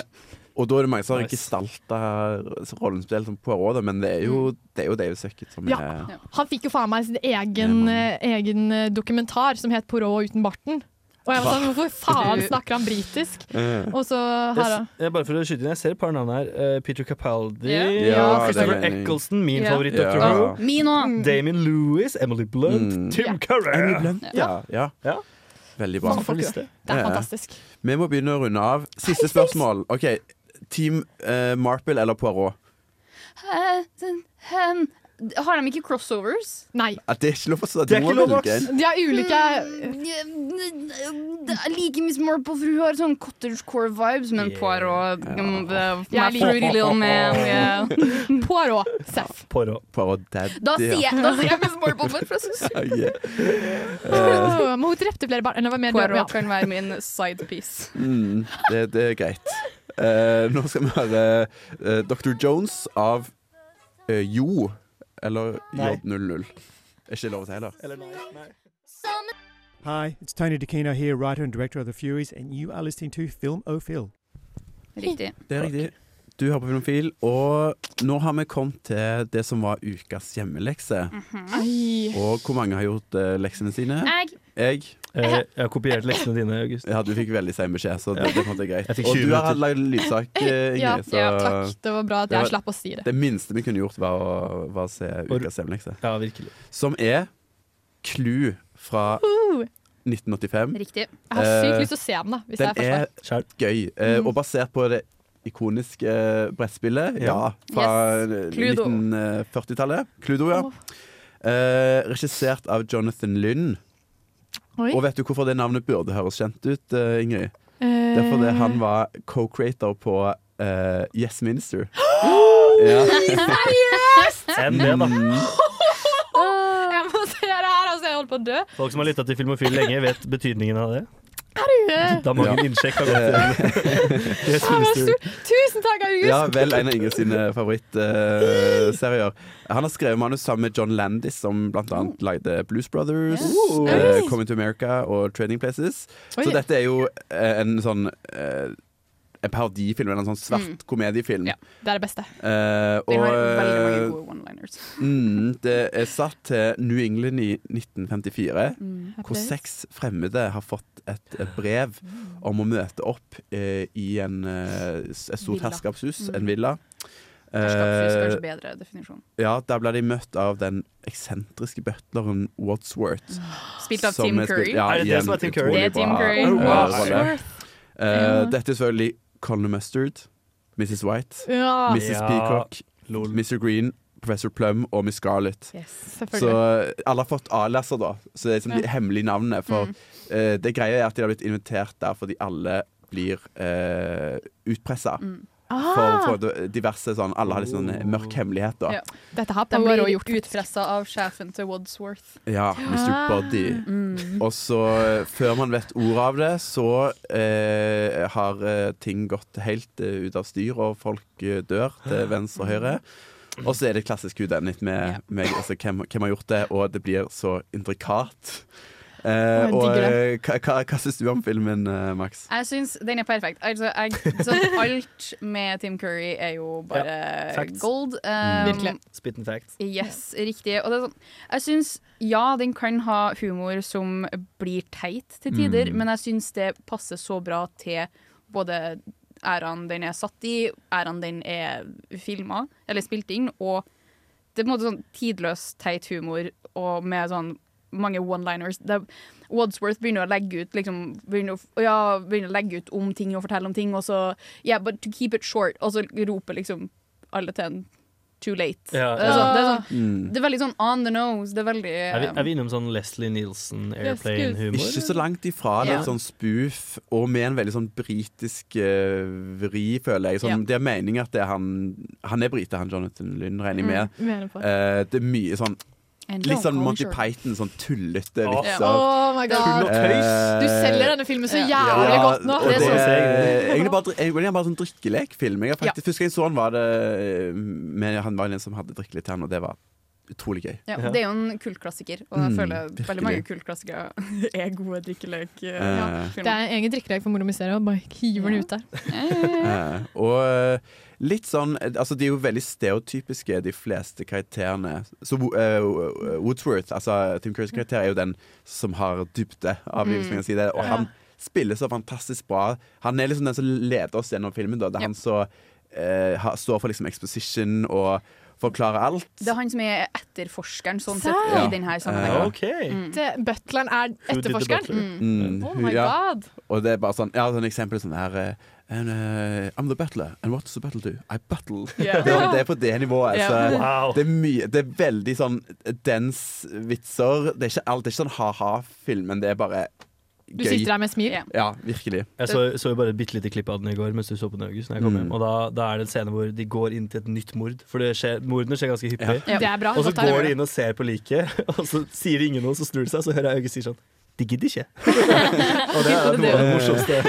Speaker 7: og da er det mange som har gestalta rollen spesielt som Poirot, da, men det er jo, det er jo David Sucket som
Speaker 8: Ja.
Speaker 7: er
Speaker 8: Han fikk jo faen meg sin egen, eh, egen eh, dokumentar som het 'Poirot uten barten'. Og jeg var sånn, hvorfor faen snakker han britisk?
Speaker 1: Eh.
Speaker 8: Og så
Speaker 1: Jeg
Speaker 8: her, da.
Speaker 1: s- jeg, bare for å skyte inn, jeg ser et par navn her. Eh, Peter Capaldi.
Speaker 8: Ja.
Speaker 7: Ja, det er
Speaker 1: Christopher
Speaker 7: enig.
Speaker 1: Eccleston, min
Speaker 7: Ja.
Speaker 1: favoritt.
Speaker 7: Ja.
Speaker 1: Dr. Who.
Speaker 5: Min òg!
Speaker 1: Damien Lewis, Emily Blunt,
Speaker 7: Mm.
Speaker 1: Tim Curry.
Speaker 7: Emily Blunt, ja. ja. Veldig bra.
Speaker 1: Mange folk, ja. Det
Speaker 8: er
Speaker 7: Ja, ja.
Speaker 8: fantastisk.
Speaker 7: Vi må begynne å runde av. Siste spørsmål. OK. Team eh, Marple eller Poirot?
Speaker 5: Eh, den- hen- Har de ikke crossovers?
Speaker 8: Nei.
Speaker 7: Ah, Det er ikke lov å si.
Speaker 1: Det er ikke lov, ass.
Speaker 8: De har ulike
Speaker 5: Mm. Jeg liker Miss Marple, for hun har sånn cottagecore-vibes, men mm, Poirot yeah.
Speaker 8: Jeg liker
Speaker 5: Pretty little man. yeah.
Speaker 8: eh, Poirot. Seff.
Speaker 1: Poirot.
Speaker 7: Poirot daddy. Ah,
Speaker 5: Da sier jeg, da sier jeg Miss Marple, bare for å
Speaker 7: Ja, yeah. Eh,
Speaker 8: Åh, Men hun drepte flere barn. Eller var mer død, ja.
Speaker 5: Poirot kan være min sidepiece.
Speaker 7: mm, det, det er greit. Eh, nå skal vi høre eh, Dr. Jones av eh, Jo, eller
Speaker 19: Nei.
Speaker 7: J00. Er ikke lov å si heller.
Speaker 19: Hi, it's Tony DeCino here, writer and director of The Furies, and you are listening to Film O'Phil.
Speaker 5: Riktig.
Speaker 7: Det er riktig. Du hører på Filmofil, og nå har vi kommet til det som var ukas hjemmelekse.
Speaker 8: Mm.
Speaker 5: Mm-hmm.
Speaker 7: Og hvor mange har gjort eh, leksene sine?
Speaker 5: Jeg.
Speaker 7: Jeg.
Speaker 1: Eh, jeg har kopiert leksene dine, August.
Speaker 7: Ja, du fikk veldig sein beskjed, så det, det måtte jeg greit.
Speaker 1: Jeg fikk
Speaker 7: Og
Speaker 1: 20
Speaker 7: du har
Speaker 1: minutter.
Speaker 7: lagd lydsak, eh, Ingrid.
Speaker 8: Ja,
Speaker 7: så
Speaker 8: ja, takk. Det var bra at jeg slapp å si det.
Speaker 7: Det minste vi kunne gjort, var å, var å se ukas hjemmelekse.
Speaker 1: Ja, virkelig.
Speaker 7: Som er Clue fra
Speaker 8: Uh,
Speaker 7: 1985.
Speaker 5: Riktig.
Speaker 8: jeg har sykt
Speaker 7: Eh,
Speaker 8: lyst til å se den, da. Hvis
Speaker 7: Den
Speaker 8: jeg
Speaker 7: er
Speaker 8: får
Speaker 7: gøy, eh,
Speaker 8: Mm.
Speaker 7: og basert på det ikoniske eh, brettspillet ja, fra
Speaker 8: Yes.
Speaker 7: eh,
Speaker 8: Cluedo.
Speaker 7: 1940-tallet. Cluedo, ja. Eh, regissert av Jonathan Lynn.
Speaker 8: Oi.
Speaker 7: Og vet du hvorfor det navnet burde høres kjent ut, eh, Ingrid?
Speaker 8: Eh.
Speaker 7: Det er fordi han var co-creator på eh, Yes Minister. Ja.
Speaker 8: Seriøst!
Speaker 7: Mm.
Speaker 1: Enn det, da.
Speaker 8: Eh, Jeg må se det her, altså. Jeg holder på å dø.
Speaker 1: Folk som har lytta til Filmofil lenge, vet betydningen av det.
Speaker 8: Herregud.
Speaker 1: Da mange
Speaker 7: Ja.
Speaker 1: innsjekk har gått til
Speaker 8: Det var stort. Tusen takk, August.
Speaker 7: Ja, vel en av Ingrid sine favorittserier. han har skrevet manus sammen med John Landis, som blant annet lagde Blues Brothers,
Speaker 8: Oh. Yes.
Speaker 7: eh,
Speaker 8: Nice.
Speaker 7: Coming to America og Trading Places.
Speaker 8: Oi.
Speaker 7: Så dette er jo eh, en sånn eh, en parodifilm, eller en sånn svart
Speaker 8: Mm.
Speaker 7: komediefilm.
Speaker 8: Det er det beste.
Speaker 7: Eh,
Speaker 5: Den har
Speaker 7: og- eh,
Speaker 5: veldig mange gode one-liners.
Speaker 7: Mm, det er satt til New England i 1954,
Speaker 5: Mm.
Speaker 7: hvor
Speaker 5: Applaus.
Speaker 7: seks fremmede har fått et eh, brev om å møte opp eh, i en, eh, s- et stort
Speaker 5: Villa.
Speaker 7: herskapshus,
Speaker 5: Mm.
Speaker 7: en villa.
Speaker 5: Herskapshus,
Speaker 7: Eh,
Speaker 5: kanskje bedre definisjon.
Speaker 7: ja, der ble de møtt av den eksentriske butleren Wadsworth.
Speaker 5: Spilt av
Speaker 7: som
Speaker 5: Tim
Speaker 7: er spilt-
Speaker 5: Curry.
Speaker 7: Ja,
Speaker 1: Er det det
Speaker 7: igjen,
Speaker 1: som er Tim Curry?
Speaker 7: utrolig
Speaker 5: Det er Tim
Speaker 7: bra,
Speaker 5: Curry.
Speaker 7: eh,
Speaker 5: Oh,
Speaker 7: rolle.
Speaker 5: Wadsworth.
Speaker 7: Eh,
Speaker 5: Ja.
Speaker 7: Dette er selvfølgelig Colin Mustard, Mrs. White,
Speaker 5: Ah.
Speaker 8: Ja.
Speaker 7: Mrs.
Speaker 8: Ja.
Speaker 7: Peacock, Mr. Green, Professor Plum og Miss Scarlett. Så eh,
Speaker 8: selvfølgelig.
Speaker 7: alle har fått A-lesser, da. Så det er liksom
Speaker 8: Ja.
Speaker 7: de
Speaker 8: Mm.
Speaker 7: hemmelige navnene. For eh, det greia er at de har blitt invitert der fordi alle blir uh, utpressa.
Speaker 8: Ah.
Speaker 7: For, for diverse sånn Alle har liksom en mørk hemmelighet, da.
Speaker 5: Ja.
Speaker 8: Dette har
Speaker 5: De
Speaker 8: Power
Speaker 5: blir
Speaker 8: også gjort.
Speaker 5: utpressa av sjefen til Wadsworth.
Speaker 7: Ja,
Speaker 8: Ah.
Speaker 7: Mr. Body.
Speaker 5: Mm.
Speaker 7: Og så, eh, før man vet ordet av det, så eh, har eh, ting gått helt eh, ut av styr, og folk eh, dør til venstre og høyre. Og så er det klassisk Whodunit med, med altså, hvem, hvem har gjort det, og det blir så intrikat. Eh,
Speaker 5: Å, jeg
Speaker 7: og
Speaker 5: digger
Speaker 7: eh, hva, hva, hva syns du om filmen, eh, Max?
Speaker 5: Jeg syns den er perfekt. Altså, jeg, sånn, alt med Tim Curry er jo bare
Speaker 1: Facts.
Speaker 5: gold.
Speaker 7: Mm.
Speaker 5: Um,
Speaker 1: Spitten facts.
Speaker 5: Yes, riktig. Og det er sånn, jeg syns ja, den kan ha humor som blir teit til tider,
Speaker 1: Mm.
Speaker 5: men jeg syns det passer så bra til både æraen den er satt i, æraen den er filma eller spilt inn, og det er på en måte sånn tidløs, teit humor og med sånn mange one-liners. Det- Wadsworth begynner å legge ut liksom, begynner, å, f- ja, begynner å legge ut om ting og fortelle om ting, og så Yeah, but to keep it short. Og så roper liksom alle til en Too late.
Speaker 1: Ja,
Speaker 5: Det, er sånn,
Speaker 1: ja.
Speaker 5: det, er sånn,
Speaker 7: Ah.
Speaker 1: Mm.
Speaker 5: det er veldig sånn on the nose. Det er veldig um,
Speaker 1: Er vi, er vi innom sånn Leslie Nielsen airplane-humor?
Speaker 7: Ikke så langt ifra. Litt
Speaker 1: Ja.
Speaker 7: sånn spoof, og med en veldig sånn britisk eh, vri, føler jeg. Sånn,
Speaker 1: Ja.
Speaker 7: Det er meningen at det er han Han er brite, han Jonathan Lynn, regner jeg
Speaker 8: Mm, mener
Speaker 7: med.
Speaker 8: på.
Speaker 7: Eh, det er mye sånn
Speaker 8: And
Speaker 7: Litt
Speaker 8: don't
Speaker 7: sånn
Speaker 8: go
Speaker 7: Monty
Speaker 8: short.
Speaker 7: Python, sånn tullete liksom.
Speaker 8: Ja.
Speaker 7: vitser.
Speaker 8: Oh my god.
Speaker 7: Tull og tøys.
Speaker 8: Du selger denne filmen så jævlig godt nå.
Speaker 7: Eh,
Speaker 8: sånn-
Speaker 7: og det, er egentlig bare, egentlig bare sånn drikkelekfilm. Jeg har faktisk, Første gang jeg så han var det Men han var en som hadde drikkelek til han, og det var utrolig gøy.
Speaker 5: ja, Det er jo en kultklassiker, og jeg
Speaker 7: Mm,
Speaker 5: føler
Speaker 7: virkelig.
Speaker 5: veldig mange kultklassikere er gode drikkelek. Ja,
Speaker 7: Eh.
Speaker 8: Det er en egen drikkelek for moro mysterium. Bare hiver den ut der.
Speaker 7: Eh, og eh, litt sånn eh, Altså, de er jo veldig stereotypiske, de fleste karakterene. Så Wo- eh, Wo- Woodsworth, altså Tim Currys karakter, er jo den som har dybde, av livet,
Speaker 1: Mm.
Speaker 7: hvis man kan si det. Og
Speaker 1: Ja.
Speaker 7: han spiller så fantastisk bra. Han er liksom den som leder oss gjennom filmen, da. Det
Speaker 5: Ja.
Speaker 7: er han som eh, har- står for liksom exposition og forklarer alt.
Speaker 5: Det er han som er etterforskeren sånn sett,
Speaker 8: Serr?
Speaker 5: i denne
Speaker 7: Ja. Eh,
Speaker 5: sammenhengen.
Speaker 7: Ok.
Speaker 5: Mm.
Speaker 8: Det, butleren er
Speaker 7: Who did the
Speaker 8: etterforskeren.
Speaker 7: butler? Mm.
Speaker 8: Oh my
Speaker 7: Ja.
Speaker 8: god.
Speaker 7: Og det er bare sånn, ja, sånn eksempel sånn her eh, and, eh, I'm the butler, and what's the butler do? I buttle.
Speaker 1: Ja.
Speaker 7: Det, er- det er på det nivået.
Speaker 1: Ja.
Speaker 7: Så
Speaker 1: Wow.
Speaker 7: det, er mye, det er veldig sånn dance-vitser. Det er ikke alt, det er ikke sånn ha-ha-film, men det er bare gøy.
Speaker 8: Du sitter der med smil.
Speaker 7: Ja, virkelig.
Speaker 1: Jeg så, så jo bare et bitte lite klipp av den i går mens du så på den, August. Når jeg kom
Speaker 7: Mm.
Speaker 1: hjem. Og da, da er det en scene hvor de går inn til et nytt mord. For det skjer, mordene skjer ganske hyppig.
Speaker 8: Ja. Det er bra.
Speaker 1: Og så
Speaker 8: Godt å høre.
Speaker 1: går de inn og ser på liket, og så sier ingen noe, så snur de seg, så hører jeg August si sånn De gidder ikke. og det er noe av det morsomste.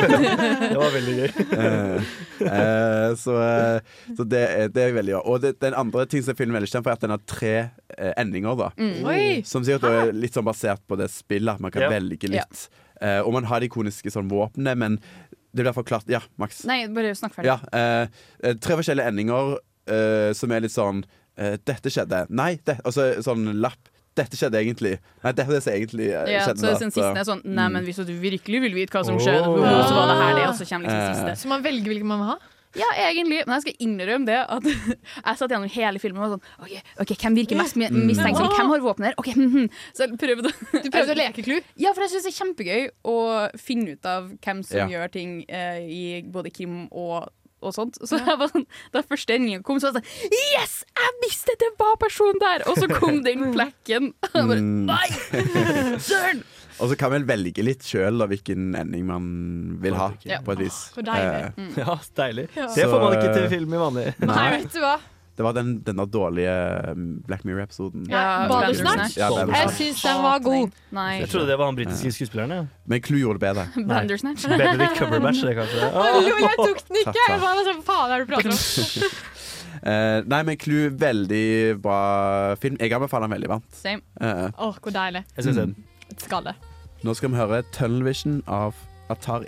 Speaker 1: det var veldig gøy.
Speaker 7: Eh, eh, så eh, så det, er, det er veldig bra. Og det, den andre ting som filmen er veldig kjent for, er at den har tre eh, endinger. Da.
Speaker 8: Mm. Ah. Oi.
Speaker 7: Som sikkert er litt sånn basert på det spillet, at man kan
Speaker 1: Ja.
Speaker 7: velge
Speaker 1: Ja.
Speaker 7: litt. Eh, og man har de ikoniske sånn våpnene, men Det blir forklart. Ja, Max.
Speaker 5: Nei, bare snakk ferdig.
Speaker 7: Ja, eh, eh, tre forskjellige endinger eh, som er litt sånn eh, Dette skjedde. Nei, det, og så sånn lapp. Dette skjedde egentlig. Nei, det er det som egentlig eh,
Speaker 5: Ja,
Speaker 7: skjedde.
Speaker 5: så
Speaker 7: da.
Speaker 5: den
Speaker 7: Så-
Speaker 5: siste er sånn Nei, men hvis du virkelig vil vite hva som
Speaker 7: Åh.
Speaker 5: skjedde,
Speaker 7: Ja.
Speaker 5: så var det her det, og så kommer liksom
Speaker 7: Eh.
Speaker 5: siste.
Speaker 8: Så man velger hvilken man vil ha?
Speaker 5: Ja, egentlig. Men jeg skal innrømme det at jeg satt gjennom hele filmen og var sånn OK, ok, hvem virker mest mi-
Speaker 8: Mm.
Speaker 5: mistenksom?
Speaker 8: Ja.
Speaker 5: Hvem har våpen her? OK, hm, hm. Så jeg prøvde å
Speaker 8: Du prøvde å leke Clue?
Speaker 5: Ja, for jeg syns det er kjempegøy å finne ut av hvem som
Speaker 8: Ja.
Speaker 5: gjør ting eh, i både Kim og og sånt. Så jeg var sånn, Da første endingen kom, så var jeg sånn Yes! Jeg visste det var personen der! Og så kom den plekken. Og jeg bare,
Speaker 7: Mm.
Speaker 5: Nei! Søren!
Speaker 7: Og så kan man velge litt sjøl hvilken ending man vil ha,
Speaker 8: Ja.
Speaker 7: på et vis.
Speaker 8: Åh, hvor deilig.
Speaker 7: Eh,
Speaker 8: Mm.
Speaker 1: Ja, deilig.
Speaker 8: Ja.
Speaker 1: Det får man ikke
Speaker 7: Så,
Speaker 1: til film i vanlig.
Speaker 8: Nei, vet du hva?
Speaker 7: Det var den, denne dårlige mm, Black Mirror-episoden.
Speaker 8: Ja, Bandersnatch?
Speaker 7: Ja,
Speaker 8: Jeg
Speaker 7: Bandersnatch.
Speaker 8: syns den var god.
Speaker 5: Nei.
Speaker 1: Jeg trodde det var han britiske skuespilleren. Ja.
Speaker 7: Men Clue gjorde det bedre.
Speaker 5: Bandersnatch.
Speaker 1: Nei. Benedict Cumberbatch, det kanskje.
Speaker 8: Hallo, jeg tok den ikke!
Speaker 7: Ta,
Speaker 8: Jeg
Speaker 7: ta.
Speaker 8: var sånn, faen er det du prater om?
Speaker 7: Eh, nei, men Clue, veldig bra film. Jeg anbefaler den veldig varmt.
Speaker 8: Same.
Speaker 7: Eh,
Speaker 8: Åh, hvor deilig.
Speaker 7: Jeg synes den.
Speaker 8: Et skalle.
Speaker 7: nå skal vi høre Tunnelvision av Atari.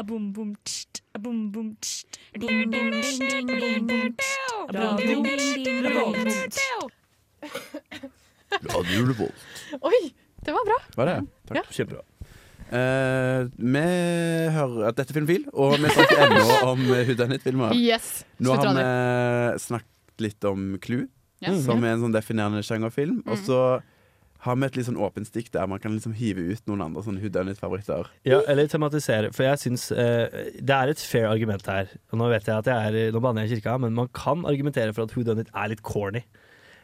Speaker 19: Abum bum tst, abum bum tst, abum bum tst, abum bum tst, abum bum tst, abum bum tst.
Speaker 8: Oi, det var bra.
Speaker 7: Var det?
Speaker 8: Ja.
Speaker 7: Kjempebra. Eh, vi hører at dette er Filmfil, og vi snakker ennå om eh, Huddanit-filmer.
Speaker 8: Yes,
Speaker 7: Nå har vi
Speaker 8: sluttradioen.
Speaker 7: snakket litt om Clue,
Speaker 8: Ja.
Speaker 7: som
Speaker 8: Mhm.
Speaker 7: er en sånn definerende sjangerfilm. Og så har vi et litt sånn åpent stikk der man kan liksom hive ut noen andre sånn Huddanit-favoritter.
Speaker 1: Ja, eller tematisere. For jeg syns eh, det er et fair argument her. Og nå vet jeg at jeg er Nå banner jeg i kirka, men man kan argumentere for at who done it er litt corny.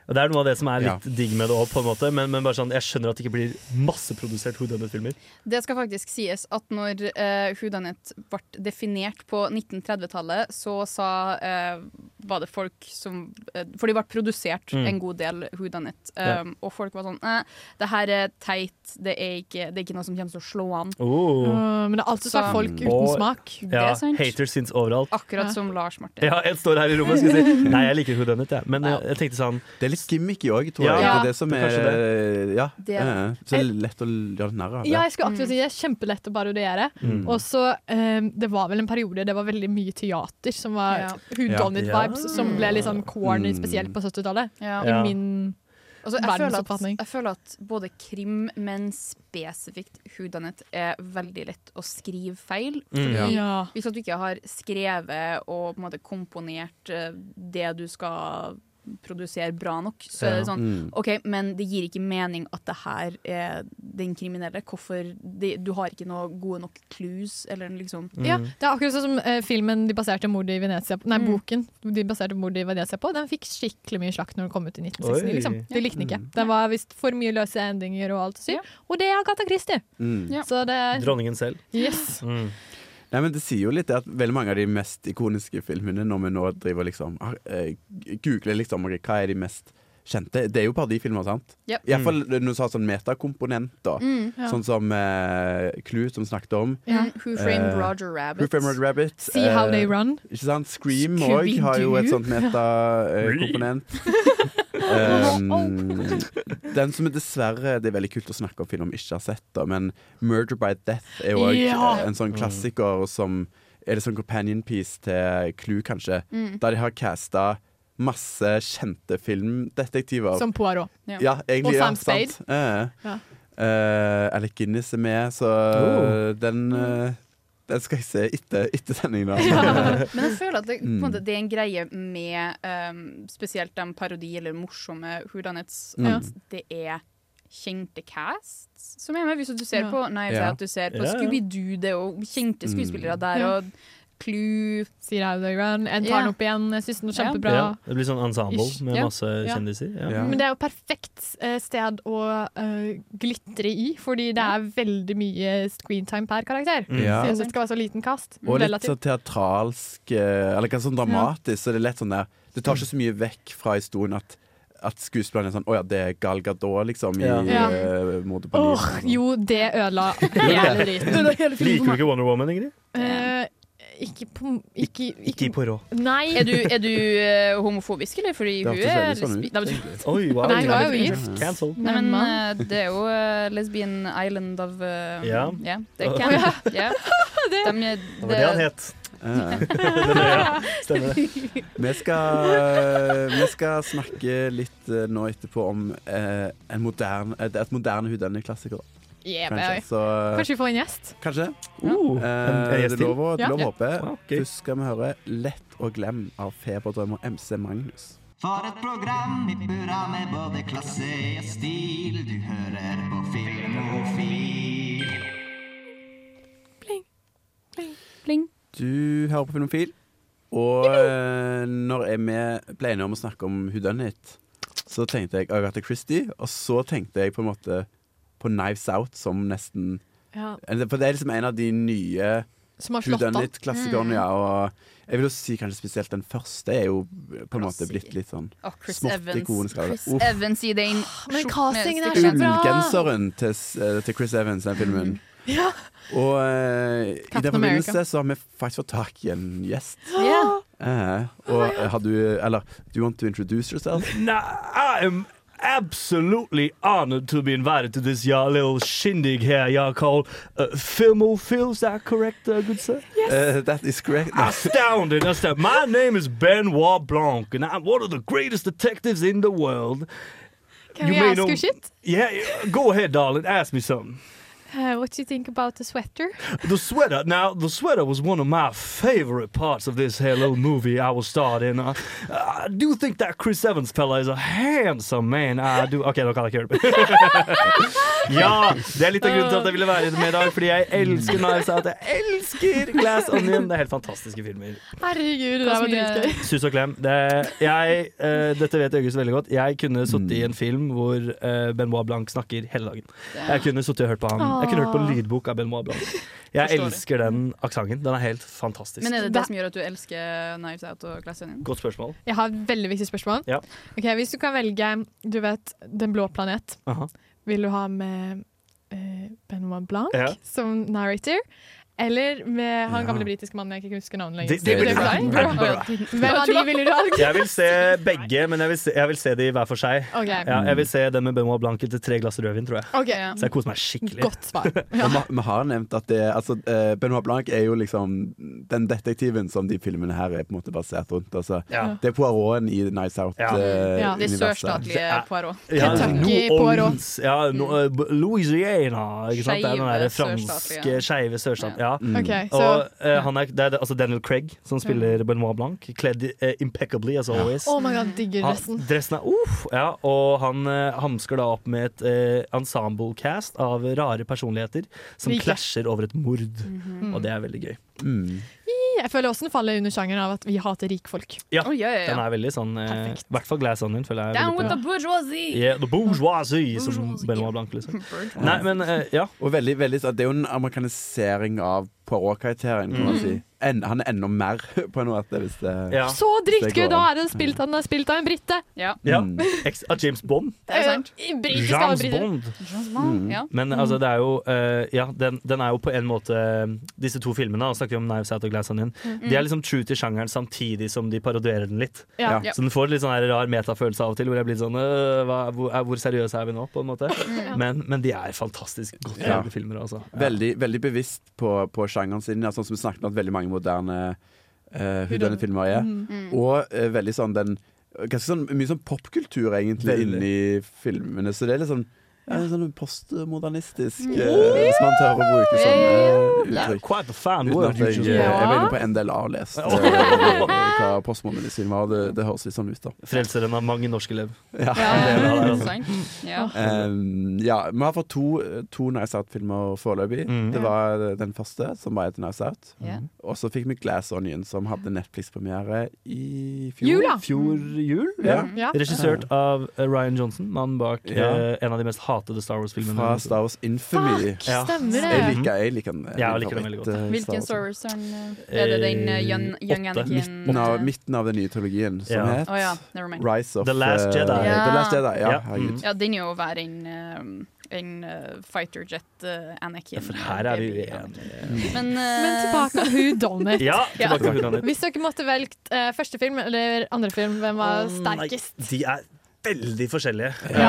Speaker 1: Og Det er noe av det som er litt digg med det òg, på en måte. Men, men bare sånn, jeg skjønner at det ikke blir masseprodusert who done it-filmer.
Speaker 5: Det skal faktisk sies at når uh, Hudanet ble definert på 1930-tallet, så sa eh, var det folk som eh, For de ble produsert
Speaker 8: Mm.
Speaker 5: en god del Hudanet,
Speaker 8: Ja.
Speaker 5: um, og folk var sånn eh, Det her er teit, det er ikke, det er ikke noe som kommer til å slå an.
Speaker 1: Oh.
Speaker 8: Øh, men det er alltid sagt folk uten
Speaker 1: Og-
Speaker 8: smak.
Speaker 1: Ja,
Speaker 5: Det er sant.
Speaker 1: Haters fins overalt.
Speaker 5: Akkurat som Lars Martin.
Speaker 1: Ja, en står her i rommet og skal si Nei, jeg liker who done it, jeg. Men jeg, jeg tenkte sånn
Speaker 7: Det er litt gimmicky òg, tror
Speaker 1: Ja.
Speaker 7: jeg. Det
Speaker 1: Ja.
Speaker 7: er det som
Speaker 1: Det er
Speaker 7: er Ja.
Speaker 8: Det er det.
Speaker 7: eh, Så det er lett å gjøre litt narr av. det.
Speaker 8: Ja, jeg skulle akkurat si det. Kjempelett å parodiere.
Speaker 7: Mm.
Speaker 8: Og så eh, Det var vel en periode det var veldig mye teater som var
Speaker 5: Ja.
Speaker 8: Who Done
Speaker 5: Ja.
Speaker 8: It-vibes, som ble litt sånn corny,
Speaker 5: Mm.
Speaker 8: spesielt på 70-tallet.
Speaker 5: Ja.
Speaker 8: I
Speaker 5: Ja.
Speaker 8: min
Speaker 5: Altså, jeg, føler at,
Speaker 8: verdensoppfatning.
Speaker 5: jeg føler at både krim, men spesifikt Hudanet, er veldig lett å skrive feil.
Speaker 8: Mm.
Speaker 5: Fordi
Speaker 8: Ja.
Speaker 5: Hvis at du ikke har skrevet og på en måte komponert eh, det du skal produsere bra nok, så er det
Speaker 8: Ja.
Speaker 5: sånn
Speaker 8: Mm.
Speaker 5: OK, men det gir ikke mening at det her er den kriminelle. Hvorfor det, Du har ikke noe gode nok clues, eller liksom
Speaker 8: Ja,
Speaker 1: mm.
Speaker 8: det er akkurat sånn som eh, filmen de baserte mordet i Venezia på Nei,
Speaker 5: Mm.
Speaker 8: boken de baserte mordet i Venezia på, den fikk skikkelig mye slakt når den kom ut i 1969.
Speaker 5: Oi. Mm.
Speaker 8: Liksom.
Speaker 5: Ja.
Speaker 8: De likte den ikke. Det var visst for mye løse endinger og alt sykt. Og det er Agatha Christie!
Speaker 7: Mm. Ja.
Speaker 8: Så det er
Speaker 1: Dronningen selv.
Speaker 8: Yes.
Speaker 1: Mm.
Speaker 7: Nei, men Det sier jo litt det at veldig mange av de mest ikoniske filmene, når vi nå driver liksom ah, eh, googler liksom, ok, hva er de mest kjente Det er jo parodifilmer, sant?
Speaker 5: Yep.
Speaker 7: Iallfall når du sa sånn metakomponent, da.
Speaker 5: Mm, ja.
Speaker 7: Sånn som eh, Clue, som vi snakket om.
Speaker 5: Ja. Who Framed
Speaker 7: Eh,
Speaker 5: Roger Rabbit.
Speaker 7: Who Framed Roger Rabbit.
Speaker 8: See How
Speaker 7: Eh,
Speaker 8: They Run.
Speaker 7: Ikke sant? Scream
Speaker 8: Scooby-Doo.
Speaker 7: òg har jo et sånt metakomponent. Um, den som er dessverre Det er veldig kult å snakke om film man ikke har sett, da, men 'Murder by Death' er jo også
Speaker 8: Ja.
Speaker 7: eh, en sånn klassiker som er det sånn companion piece til Clue, kanskje.
Speaker 8: Mm.
Speaker 7: Der de har casta masse kjente filmdetektiver.
Speaker 8: Som Poirot.
Speaker 7: Ja, egentlig,
Speaker 8: og Sam
Speaker 7: ja,
Speaker 8: Spade.
Speaker 7: Sant. Eh.
Speaker 8: Ja.
Speaker 7: Eh, Alec Guinness er med, så
Speaker 1: Oh.
Speaker 7: den,
Speaker 8: Mm.
Speaker 7: eh, den skal jeg se etter, etter sendingen. da.
Speaker 5: Men jeg føler at det, på en
Speaker 7: Mm.
Speaker 5: måte, det er en greie med ehm, spesielt de parodi- eller morsomme Hoodanets,
Speaker 7: Ja.
Speaker 5: at det er kjente casts som er med. Hvis du ser
Speaker 8: Ja.
Speaker 5: på Knives
Speaker 8: Ja.
Speaker 5: Out, du ser på
Speaker 8: Ja, ja.
Speaker 5: Scooby-Doo, det er jo kjente skuespillere
Speaker 8: Mm.
Speaker 5: der,
Speaker 8: Ja.
Speaker 5: og Clue
Speaker 8: See How They Run. En
Speaker 5: Ja.
Speaker 8: tar den opp igjen. Jeg syns den var kjempebra.
Speaker 1: Ja, det blir sånn ensemble
Speaker 8: Ish.
Speaker 1: med
Speaker 8: Ja.
Speaker 1: masse
Speaker 8: Ja.
Speaker 1: kjendiser. Ja.
Speaker 8: Men det er jo perfekt eh, sted å eh, glitre i, fordi det er veldig mye screentime per karakter.
Speaker 7: Mm. Ja.
Speaker 8: Siden det skal være så liten kast.
Speaker 7: Og litt
Speaker 8: relativt.
Speaker 7: sånn teatralsk eh, Eller ganske sånn dramatisk. Så det er lett sånn der Det tar ikke så mye vekk fra historien at, at skuespilleren er sånn Å ja, det er Gal Gadot, liksom, i
Speaker 1: Ja.
Speaker 8: Ja.
Speaker 7: eh, Mordet på
Speaker 8: Åh,
Speaker 7: Nilen.
Speaker 8: jo, det ødela hele driten.
Speaker 1: Liker du ikke Wonder Woman, Ingrid?
Speaker 8: Eh, ikke på ikke,
Speaker 1: Ikke i Poirot.
Speaker 8: Nei.
Speaker 5: Er du, er du eh, homofobisk, eller? Fordi
Speaker 1: Det
Speaker 5: hun
Speaker 1: hørtes
Speaker 5: er
Speaker 1: veldig sånn
Speaker 5: lesbi-
Speaker 1: ut,
Speaker 5: Nei, men-
Speaker 1: egentlig. Oi, wow.
Speaker 5: Nei, hun er
Speaker 1: Nei,
Speaker 5: jo gift.
Speaker 1: cancelled.
Speaker 5: Nei, men
Speaker 1: Men
Speaker 5: eh, det er jo eh, lesbian island of eh,
Speaker 1: Ja.
Speaker 5: Det
Speaker 1: Å,
Speaker 5: kan
Speaker 1: ja.
Speaker 5: ja.
Speaker 8: det?
Speaker 5: De,
Speaker 1: Det var det han het.
Speaker 7: Eh, Ja.
Speaker 1: Stemmer det.
Speaker 7: Vi skal, eh, vi skal snakke litt eh, nå etterpå om eh, en moderne, et, et moderne hudendelig-klassiker. da.
Speaker 8: Yeah,
Speaker 7: Kanskje,
Speaker 8: baby.
Speaker 5: eh,
Speaker 7: så- eh,
Speaker 8: Kanskje vi får en gjest?
Speaker 7: Kanskje.
Speaker 1: Uh,
Speaker 7: Eh, det er lov å, det er lov å håpe.
Speaker 1: Ja,
Speaker 7: Først skal vi høre 'Lett å glemme' av Feberdrømmer MC Magnus.
Speaker 20: For et program i burra med både klasse og stil. Du hører på Filmofil.
Speaker 5: Pling.
Speaker 7: Du hører på Filmofil, og eh, når jeg vi ble enige om å snakke om Who Done It, så tenkte jeg Agatha Christie, og så tenkte jeg på en måte på Knives Out som nesten
Speaker 8: Ja.
Speaker 7: Eller, For det er liksom en av de nye
Speaker 8: Som har
Speaker 7: Who
Speaker 8: slått
Speaker 7: Done
Speaker 8: an.
Speaker 7: It-klassikerne,
Speaker 8: Mm.
Speaker 7: ja. Og jeg vil jo si kanskje spesielt den første er jo på en måte blitt litt sånn
Speaker 5: Å, Chris
Speaker 7: smått
Speaker 5: Evans.
Speaker 7: ikonisk. av det.
Speaker 5: Chris
Speaker 7: Uff.
Speaker 5: Evans i den
Speaker 8: Ah, Men
Speaker 5: skjorten-
Speaker 8: castingen er så bra!
Speaker 7: Ullgenseren til, s- eh, til Chris Evans i den filmen.
Speaker 8: Ja.
Speaker 7: Og eh, i den
Speaker 8: Captain America.
Speaker 7: forbindelse så har vi faktisk fått tak i en gjest.
Speaker 5: Yeah.
Speaker 7: Eh, og eh, har du Eller, do you want to introduce yourself?
Speaker 1: Now, I am absolutely honored to be invited to this y'all little shindig here y'all call uh, Filmophil. Is that correct, uh, good sir?
Speaker 7: Eh, that is correct.
Speaker 1: Astounded, astounded. My name is Benoit Blanc, and I'm one of the greatest detectives in the world.
Speaker 8: Can
Speaker 1: You
Speaker 8: we
Speaker 1: may
Speaker 8: ask
Speaker 1: know-
Speaker 8: you shit?
Speaker 1: Yeah, yeah, go ahead, darling. Ask me something.
Speaker 8: Uh, what do you think about the sweater?
Speaker 1: The sweater. Now, the sweater was one of my favorite parts of this here little movie I was starred in. I, I do think that Chris Evans fella is a handsome man. I do. OK, nå kan jeg ikke gjøre det. ja! Det er litt av grunnen til at jeg ville være med i dag, fordi jeg elsker Knives Out. Jeg elsker Glass Onion. Det er helt fantastiske filmer.
Speaker 8: Herregud, det der var dritgøy.
Speaker 1: Sus og klem. Det, jeg, eh, dette vet August veldig godt. Jeg kunne sittet i en film hvor eh, Benoit Blanc snakker hele dagen. Jeg kunne sittet og hørt på ham. Jeg kunne hørt på
Speaker 5: Åh.
Speaker 1: lydbok av Benoit Blanc. Jeg
Speaker 5: Forstår det.
Speaker 1: elsker den aksenten. Den er Eh, helt fantastisk.
Speaker 5: Men er det det som gjør at du elsker Knives Out og Glass Onion?
Speaker 1: Godt spørsmål.
Speaker 8: Jeg har et veldig viktig spørsmål.
Speaker 1: Ja.
Speaker 8: Ok, hvis du kan velge du vet, Den blå planet,
Speaker 1: Aha.
Speaker 8: vil du ha med eh, Benoit Blanc
Speaker 1: Ja.
Speaker 8: som narrator? Eller med han
Speaker 1: Ja.
Speaker 8: gamle britiske mannen jeg ikke husker navnet
Speaker 1: Det-
Speaker 8: lenger.
Speaker 1: det ville
Speaker 8: Steve
Speaker 1: vært
Speaker 8: Dye?
Speaker 1: bra.
Speaker 8: Hvem av de ville du ha?
Speaker 1: Jeg vil se begge, men jeg vil se, jeg vil se de hver for seg.
Speaker 8: Ok.
Speaker 1: Ja, jeg vil se den med Benoit Blanc etter tre glass rødvin, tror jeg.
Speaker 8: Ok.
Speaker 1: Så jeg koser meg skikkelig.
Speaker 8: Godt svar.
Speaker 7: Og ma- Vi har nevnt at det altså, eh, Benoit Blanc er jo liksom den detektiven som de filmene her er på en måte basert rundt. Altså.
Speaker 1: Ja.
Speaker 7: Det er Poiroten i Nice eh,
Speaker 1: Ja.
Speaker 5: Ja, det
Speaker 7: Out-universet.
Speaker 5: sørstatlige Poirot.
Speaker 8: Kentucky,
Speaker 1: New
Speaker 8: Poirot.
Speaker 1: Orleans, Ja, no, eh, B- Louisiana, ikke sant? Det er den
Speaker 5: Skeive
Speaker 1: der franske,
Speaker 5: sørstatlige.
Speaker 1: skeive sørstaten. Ja.
Speaker 8: Ok, så-
Speaker 1: Og eh, han er, det er det- altså Daniel Craig som spiller Benoit Blanc, kledd eh, impeccably as always.
Speaker 8: Oh my god, digger
Speaker 1: Han-
Speaker 8: dressen.
Speaker 1: dressen er uff, ja, og han eh, hamsker da opp med et eh, ensemble-cast av rare personligheter som
Speaker 8: Rike. Mhm.
Speaker 1: klasjer over et mord. Og det er veldig gøy.
Speaker 7: Mm.
Speaker 8: Ih, Jeg føler også den faller under sjangeren av at vi hater rikfolk.
Speaker 1: Ja,
Speaker 5: ja, ja.
Speaker 1: den er veldig sånn eh, I hvert fall Glass Onion føler jeg. er
Speaker 5: Down
Speaker 1: veldig
Speaker 5: with
Speaker 1: på.
Speaker 5: the bourgeoisie!
Speaker 1: Yeah, the bourgeoisie, som Benoit Blanc, liksom.
Speaker 8: Mm.
Speaker 1: Nei, men eh, ja.
Speaker 7: Og veldig, veldig, så det er jo en amerikanisering av Poirot-karakteren, kan man
Speaker 8: Mm.
Speaker 7: si. En, han er enda mer på en måte, hvis det
Speaker 8: Så dritgøy!
Speaker 7: hvis det går
Speaker 8: Da
Speaker 7: an.
Speaker 8: er den spilt, han er spilt av en brite. Eh,
Speaker 5: Ja.
Speaker 1: Ja.
Speaker 7: Mm.
Speaker 1: Ex av James Bond.
Speaker 8: Britisk
Speaker 1: James
Speaker 8: av en brite.
Speaker 1: Bond.
Speaker 5: Bond, ja.
Speaker 1: Men altså, det er jo eh, Ja, den, den er jo på en måte Disse to filmene, og snakker vi om Knives Out og Glass Onion,
Speaker 5: Mm.
Speaker 1: de er liksom true til sjangeren samtidig som de parodierer den litt.
Speaker 5: Ja. Ja.
Speaker 1: Så den får litt sånn her rar metafølelse av og til, hvor jeg blir sånn øh, hva, hvor, er- hvor seriøse er vi nå, på en måte?
Speaker 7: Mm.
Speaker 1: Men, men de er fantastisk godt
Speaker 7: Ja.
Speaker 1: lagde filmer, altså.
Speaker 7: Veldig, veldig bevisst på, på sjangeren sin, ja, sånn som vi snakket om at veldig mange moderne uh, filmer er.
Speaker 1: Mm. Mm.
Speaker 7: Og eh, veldig sånn den Ganske sånn, mye sånn popkultur, egentlig,
Speaker 1: Veldig.
Speaker 7: inni filmene. Så det er litt sånn ja, sånn postmodernistisk,
Speaker 1: Mm.
Speaker 7: eh, hvis man tør å bruke sånne eh,
Speaker 1: Yeah.
Speaker 7: uttrykk.
Speaker 1: Quite a fan
Speaker 7: Uten
Speaker 1: word
Speaker 7: at jeg,
Speaker 1: you
Speaker 7: eh,
Speaker 1: just-
Speaker 7: jeg var inne på NDLA-lest eh, hva postmodernismen var. Det, det høres litt sånn ut, da.
Speaker 1: Frelseren av mange norske elev.
Speaker 7: Ja.
Speaker 5: Ja.
Speaker 7: Um, ja, vi har fått to, to Nice Out-filmer foreløpig.
Speaker 1: Mm.
Speaker 7: Det var den første, som var et Nice Out.
Speaker 5: Ja.
Speaker 7: Og så fikk vi Glass Onion, som hadde Netflix-premiere i fjor.
Speaker 1: Jul, ja. Fjor
Speaker 5: Mm.
Speaker 1: jul, ja.
Speaker 8: Mm.
Speaker 7: Ja.
Speaker 1: Regissert av eh, Ryan Johnson, mannen bak
Speaker 7: Ja.
Speaker 1: eh, en av de mest hatede Star Wars-filmene.
Speaker 7: Fra Star Wars Infamy.
Speaker 5: Fuck, stemmer det.
Speaker 7: Jeg liker, jeg liker den.
Speaker 1: Ja, jeg liker den veldig godt.
Speaker 7: eh, Star
Speaker 5: Hvilken
Speaker 7: Wars.
Speaker 5: Star Wars er den? eh, Er det den eh, Young, young
Speaker 7: Åtte.
Speaker 5: Anakin eh?
Speaker 7: midten, av, midten av den nye trilogien, som
Speaker 1: Ja.
Speaker 7: het
Speaker 5: Å ja, never mind.
Speaker 7: Rise of
Speaker 1: The Last
Speaker 7: eh,
Speaker 1: Jedi.
Speaker 7: The Last Jedi. Ja,
Speaker 1: Ja.
Speaker 7: herregud.
Speaker 5: Ja, den er jo verre enn eh, enn, eh, fighter jet eh, Anakin.
Speaker 1: For her er vi
Speaker 5: Baby
Speaker 1: uenige.
Speaker 5: Men,
Speaker 8: Men
Speaker 5: eh,
Speaker 8: tilbake til Who Done It.
Speaker 1: Ja, tilbake til Who Done It.
Speaker 8: Hvis dere måtte velgt eh, første film eller andre film, hvem var sterkest?
Speaker 1: De er veldig forskjellige.
Speaker 8: Ja.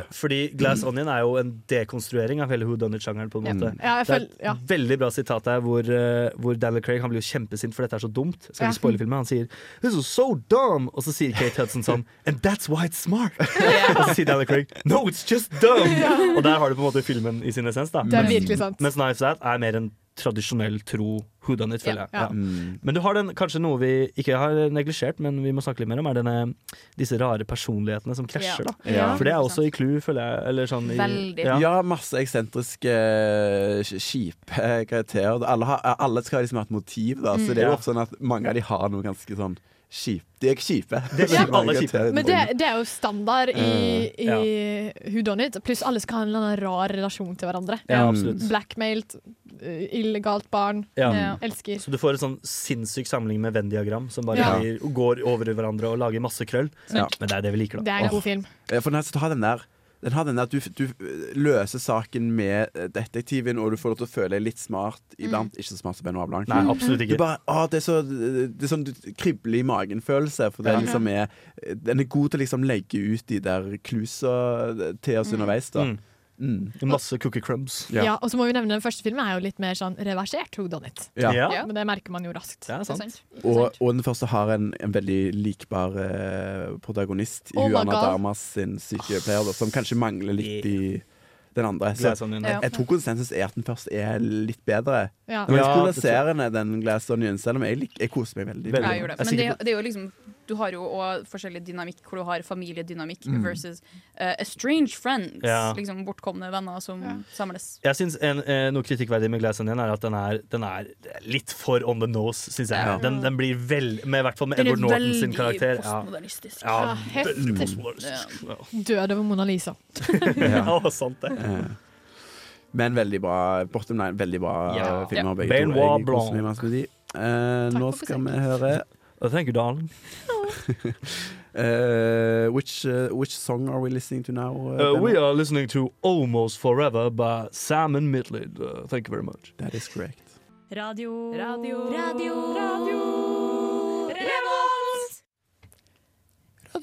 Speaker 1: Eh, fordi Glass Onion er jo en dekonstruering av hele whodunit-sjangeren. på en måte
Speaker 8: Ja, Mm. jeg
Speaker 1: Det er
Speaker 8: føl- ja.
Speaker 1: et veldig bra sitat der hvor, eh, hvor Daniel Craig han blir jo kjempesint for dette er så dumt. Skal
Speaker 8: Ja.
Speaker 1: ikke spoile filmen, Han sier 'This is so dumb', og så sier Kate Hudson sånn 'And that's why it's smart'. og så sier Daniel Craig 'No, it's just dumb'.
Speaker 8: Ja.
Speaker 1: Og der har du på en måte filmen i sin essens. da
Speaker 8: Det er
Speaker 1: Mens-
Speaker 8: virkelig sant.
Speaker 1: Mens 'Knives Out' er mer en tradisjonell tro whodunit, føler jeg.
Speaker 8: Ja, ja.
Speaker 1: Ja.
Speaker 7: Mm.
Speaker 1: Men du har den, kanskje noe vi ikke har neglisjert, men vi må snakke litt mer om, er denne, disse rare personlighetene som krasjer. da.
Speaker 7: Ja. Ja.
Speaker 1: For det er også i Clue, føler jeg. Eller sånn i,
Speaker 7: Ja. masse eksentriske, sk- kjipe eh, karakterer. Alle, har, alle skal liksom ha et motiv, da.
Speaker 8: Mm.
Speaker 7: Så det er jo
Speaker 8: Ja.
Speaker 7: ofte sånn at mange av de har noe ganske sånn kjipt. De er kjipe.
Speaker 8: Det er
Speaker 7: Så
Speaker 8: Ja.
Speaker 7: mange
Speaker 1: alle kjipe.
Speaker 7: karakterer
Speaker 8: Men det, det er jo standard i, i
Speaker 7: Ja.
Speaker 8: Who Done It. Pluss alle skal ha en eller annen rar relasjon til hverandre.
Speaker 1: Ja,
Speaker 7: Um,
Speaker 1: absolutt.
Speaker 8: Blackmailt, eh, illegalt barn,
Speaker 1: Ja.
Speaker 8: elsker.
Speaker 1: Så du får en sånn sinnssyk samling med Venn-diagram som bare
Speaker 8: Ja.
Speaker 1: blir, går over i hverandre og lager masse krøll.
Speaker 7: Ja.
Speaker 1: Men det er det vi liker, da.
Speaker 8: Det er en god
Speaker 7: Åh.
Speaker 8: film.
Speaker 7: Ja, For den, her- så ta den der. Den har den der at du, du eh, løser saken med eh, detektiven, og du får lov til å føle deg litt smart
Speaker 8: Mm.
Speaker 7: iblant. Ikke så smart som Benno Ablank.
Speaker 1: Nei, absolutt ikke.
Speaker 7: Du bare, å, det er så det er sånn du- kribler i magen-følelse. For det
Speaker 1: Ja.
Speaker 7: liksom er, den er god til å liksom legge ut de der klusa eh, til oss
Speaker 8: Mm.
Speaker 7: underveis. Da.
Speaker 1: Mm. Masse cookie crumbs.
Speaker 8: Ja. og så må vi nevne den første filmen er jo litt mer sånn reversert Who Done It.
Speaker 7: Ja. Ja.
Speaker 8: Men det merker man jo raskt. Det
Speaker 1: er
Speaker 5: sånn.
Speaker 1: sant.
Speaker 7: Og, og den første har en, en veldig likbar eh, protagonist i
Speaker 8: Oh my
Speaker 7: Juana
Speaker 8: God.
Speaker 7: Damas sin sykepleier, da, som kanskje mangler litt i den andre. Så
Speaker 1: Glass Onion, ja.
Speaker 7: jeg, jeg tror konsensus er at den første er litt bedre.
Speaker 5: Ja.
Speaker 7: Når jeg
Speaker 1: Ja,
Speaker 7: skulle
Speaker 1: det tror jeg.
Speaker 7: serien den Glass Onion, selv om jeg, lik, jeg koser meg veldig.
Speaker 5: Ja, jeg gjorde det. Men det, det er jo liksom du har jo også forskjellig dynamikk, hvor du har familiedynamikk
Speaker 1: Mm.
Speaker 5: versus eh, estranged friends.
Speaker 1: Ja.
Speaker 5: Liksom bortkomne venner som samles.
Speaker 1: Jeg synes en, eh, Noe kritikkverdig med Glass Onion er at den er, den er litt for on the nose, syns jeg.
Speaker 5: Ja.
Speaker 1: Den, den blir vel, med, I hvert fall med
Speaker 5: Den er
Speaker 1: Edward Norton sin
Speaker 5: veldig
Speaker 1: karakter.
Speaker 5: postmodernistisk.
Speaker 1: Ja.
Speaker 8: Ja,
Speaker 1: Ja,
Speaker 8: heftig.
Speaker 1: veldig postmodernistisk. Ja.
Speaker 8: Død over Mona Lisa.
Speaker 1: Ja, sant det.
Speaker 7: Eh, Men veldig bra bottom line. Veldig bra
Speaker 1: Ja.
Speaker 7: filmer,
Speaker 1: Ja.
Speaker 7: begge to.
Speaker 1: Benoit
Speaker 7: Jeg koser meg masse med de. Eh, nå skal vi høre
Speaker 1: Thank you, darling.
Speaker 7: eh, which, eh, which song are we listening to now? eh,
Speaker 1: Uh,
Speaker 7: Benno?
Speaker 1: we are listening to Almost Forever by Sam and Midlid. Uh, thank you very much.
Speaker 7: That is correct.
Speaker 19: Radio
Speaker 9: Radio.
Speaker 19: Radio. Radio. Revolt!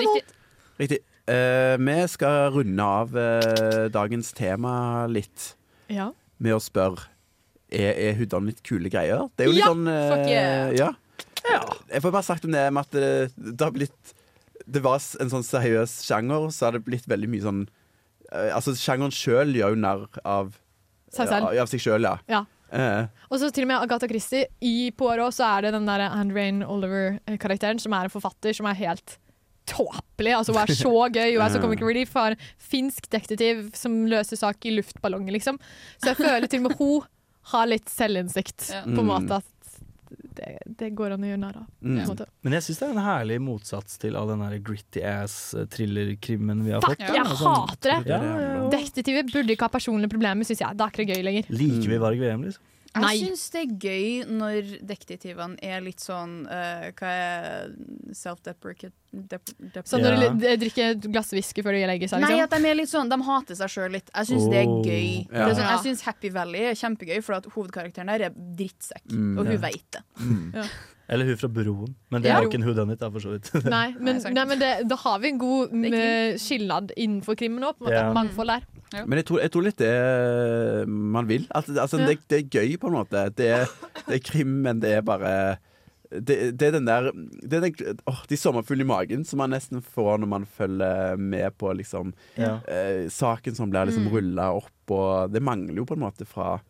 Speaker 5: Riktig.
Speaker 7: Riktig. Eh, vi skal runde av eh, dagens tema litt
Speaker 8: Ja.
Speaker 7: med å spørre Er, er hudene litt kule greier. Det er jo litt
Speaker 8: Ja,
Speaker 7: sånn eh,
Speaker 8: fuck yeah.
Speaker 7: ja. Jeg får bare sagt om det med at det, det har blitt Det var s- en sånn seriøs sjanger, så har det blitt veldig mye sånn eh, Altså, sjangeren sjøl gjør jo narr av
Speaker 8: Seg selv.
Speaker 7: Av, av seg sjøl, ja.
Speaker 8: Ja.
Speaker 7: Eh,
Speaker 8: Og så til og med Agatha Christie i Poirot så er det den der Andrain Oliver-karakteren som er en forfatter som er helt tåpelig. Altså Hun er så gøy, hun er så comic relief, har en finsk detektiv som løser sak i luftballonger, liksom. Så jeg føler til og med hun har litt selvinnsikt,
Speaker 1: Ja.
Speaker 8: på en
Speaker 1: Mm.
Speaker 8: måte. At det, det går an å gjøre narr av. på en
Speaker 1: Mm.
Speaker 8: måte.
Speaker 1: Men jeg syns det er en herlig motsats til all den der gritty ass eh, thriller-krimmen vi har
Speaker 8: Fuck,
Speaker 1: fått. da.
Speaker 8: jeg
Speaker 1: Sånn-
Speaker 8: hater det!
Speaker 1: Ja, ja, ja.
Speaker 8: Detektiver burde ikke ha personlige problemer, syns jeg. Da er ikke det gøy lenger.
Speaker 1: Liker vi Varg VM, liksom?
Speaker 8: Nei.
Speaker 5: Jeg syns det er gøy når detektivene er litt sånn eh, Hva er self-deprecate dep dep
Speaker 8: Sånn når du li- drikker et glass whisky før du legger seg,
Speaker 5: Nei, at
Speaker 8: liksom.
Speaker 5: de er litt sånn De hater seg sjøl litt. Jeg syns det er
Speaker 8: Oh.
Speaker 5: gøy. Det
Speaker 8: Ja.
Speaker 5: er
Speaker 8: Ja.
Speaker 5: sånn, jeg syns Happy Valley er kjempegøy, for at hovedkarakteren der er drittsekk,
Speaker 1: Mm.
Speaker 5: og hun
Speaker 1: Ja.
Speaker 5: veit det. Ja.
Speaker 1: Eller hun fra Broen. Men det
Speaker 8: Ja.
Speaker 1: er jo ikke en hudonit, da, for så vidt.
Speaker 8: Nei, men, nei, men det, da har vi en god mm, skillnad innenfor krimmen òg, på en måte.
Speaker 7: Ja.
Speaker 8: Mangfold der.
Speaker 7: Men jeg tror, jeg tror litt det er man vil. At, altså,
Speaker 8: Ja.
Speaker 7: det, det er gøy, på en måte. Det er, det er krim, men det er bare det, det er den der det er den, åh, De sommerfuglene i magen som man nesten får når man følger med på liksom,
Speaker 1: Ja.
Speaker 7: eh, saken som blir liksom
Speaker 1: Mm.
Speaker 7: rulla opp, og det mangler jo på en måte fra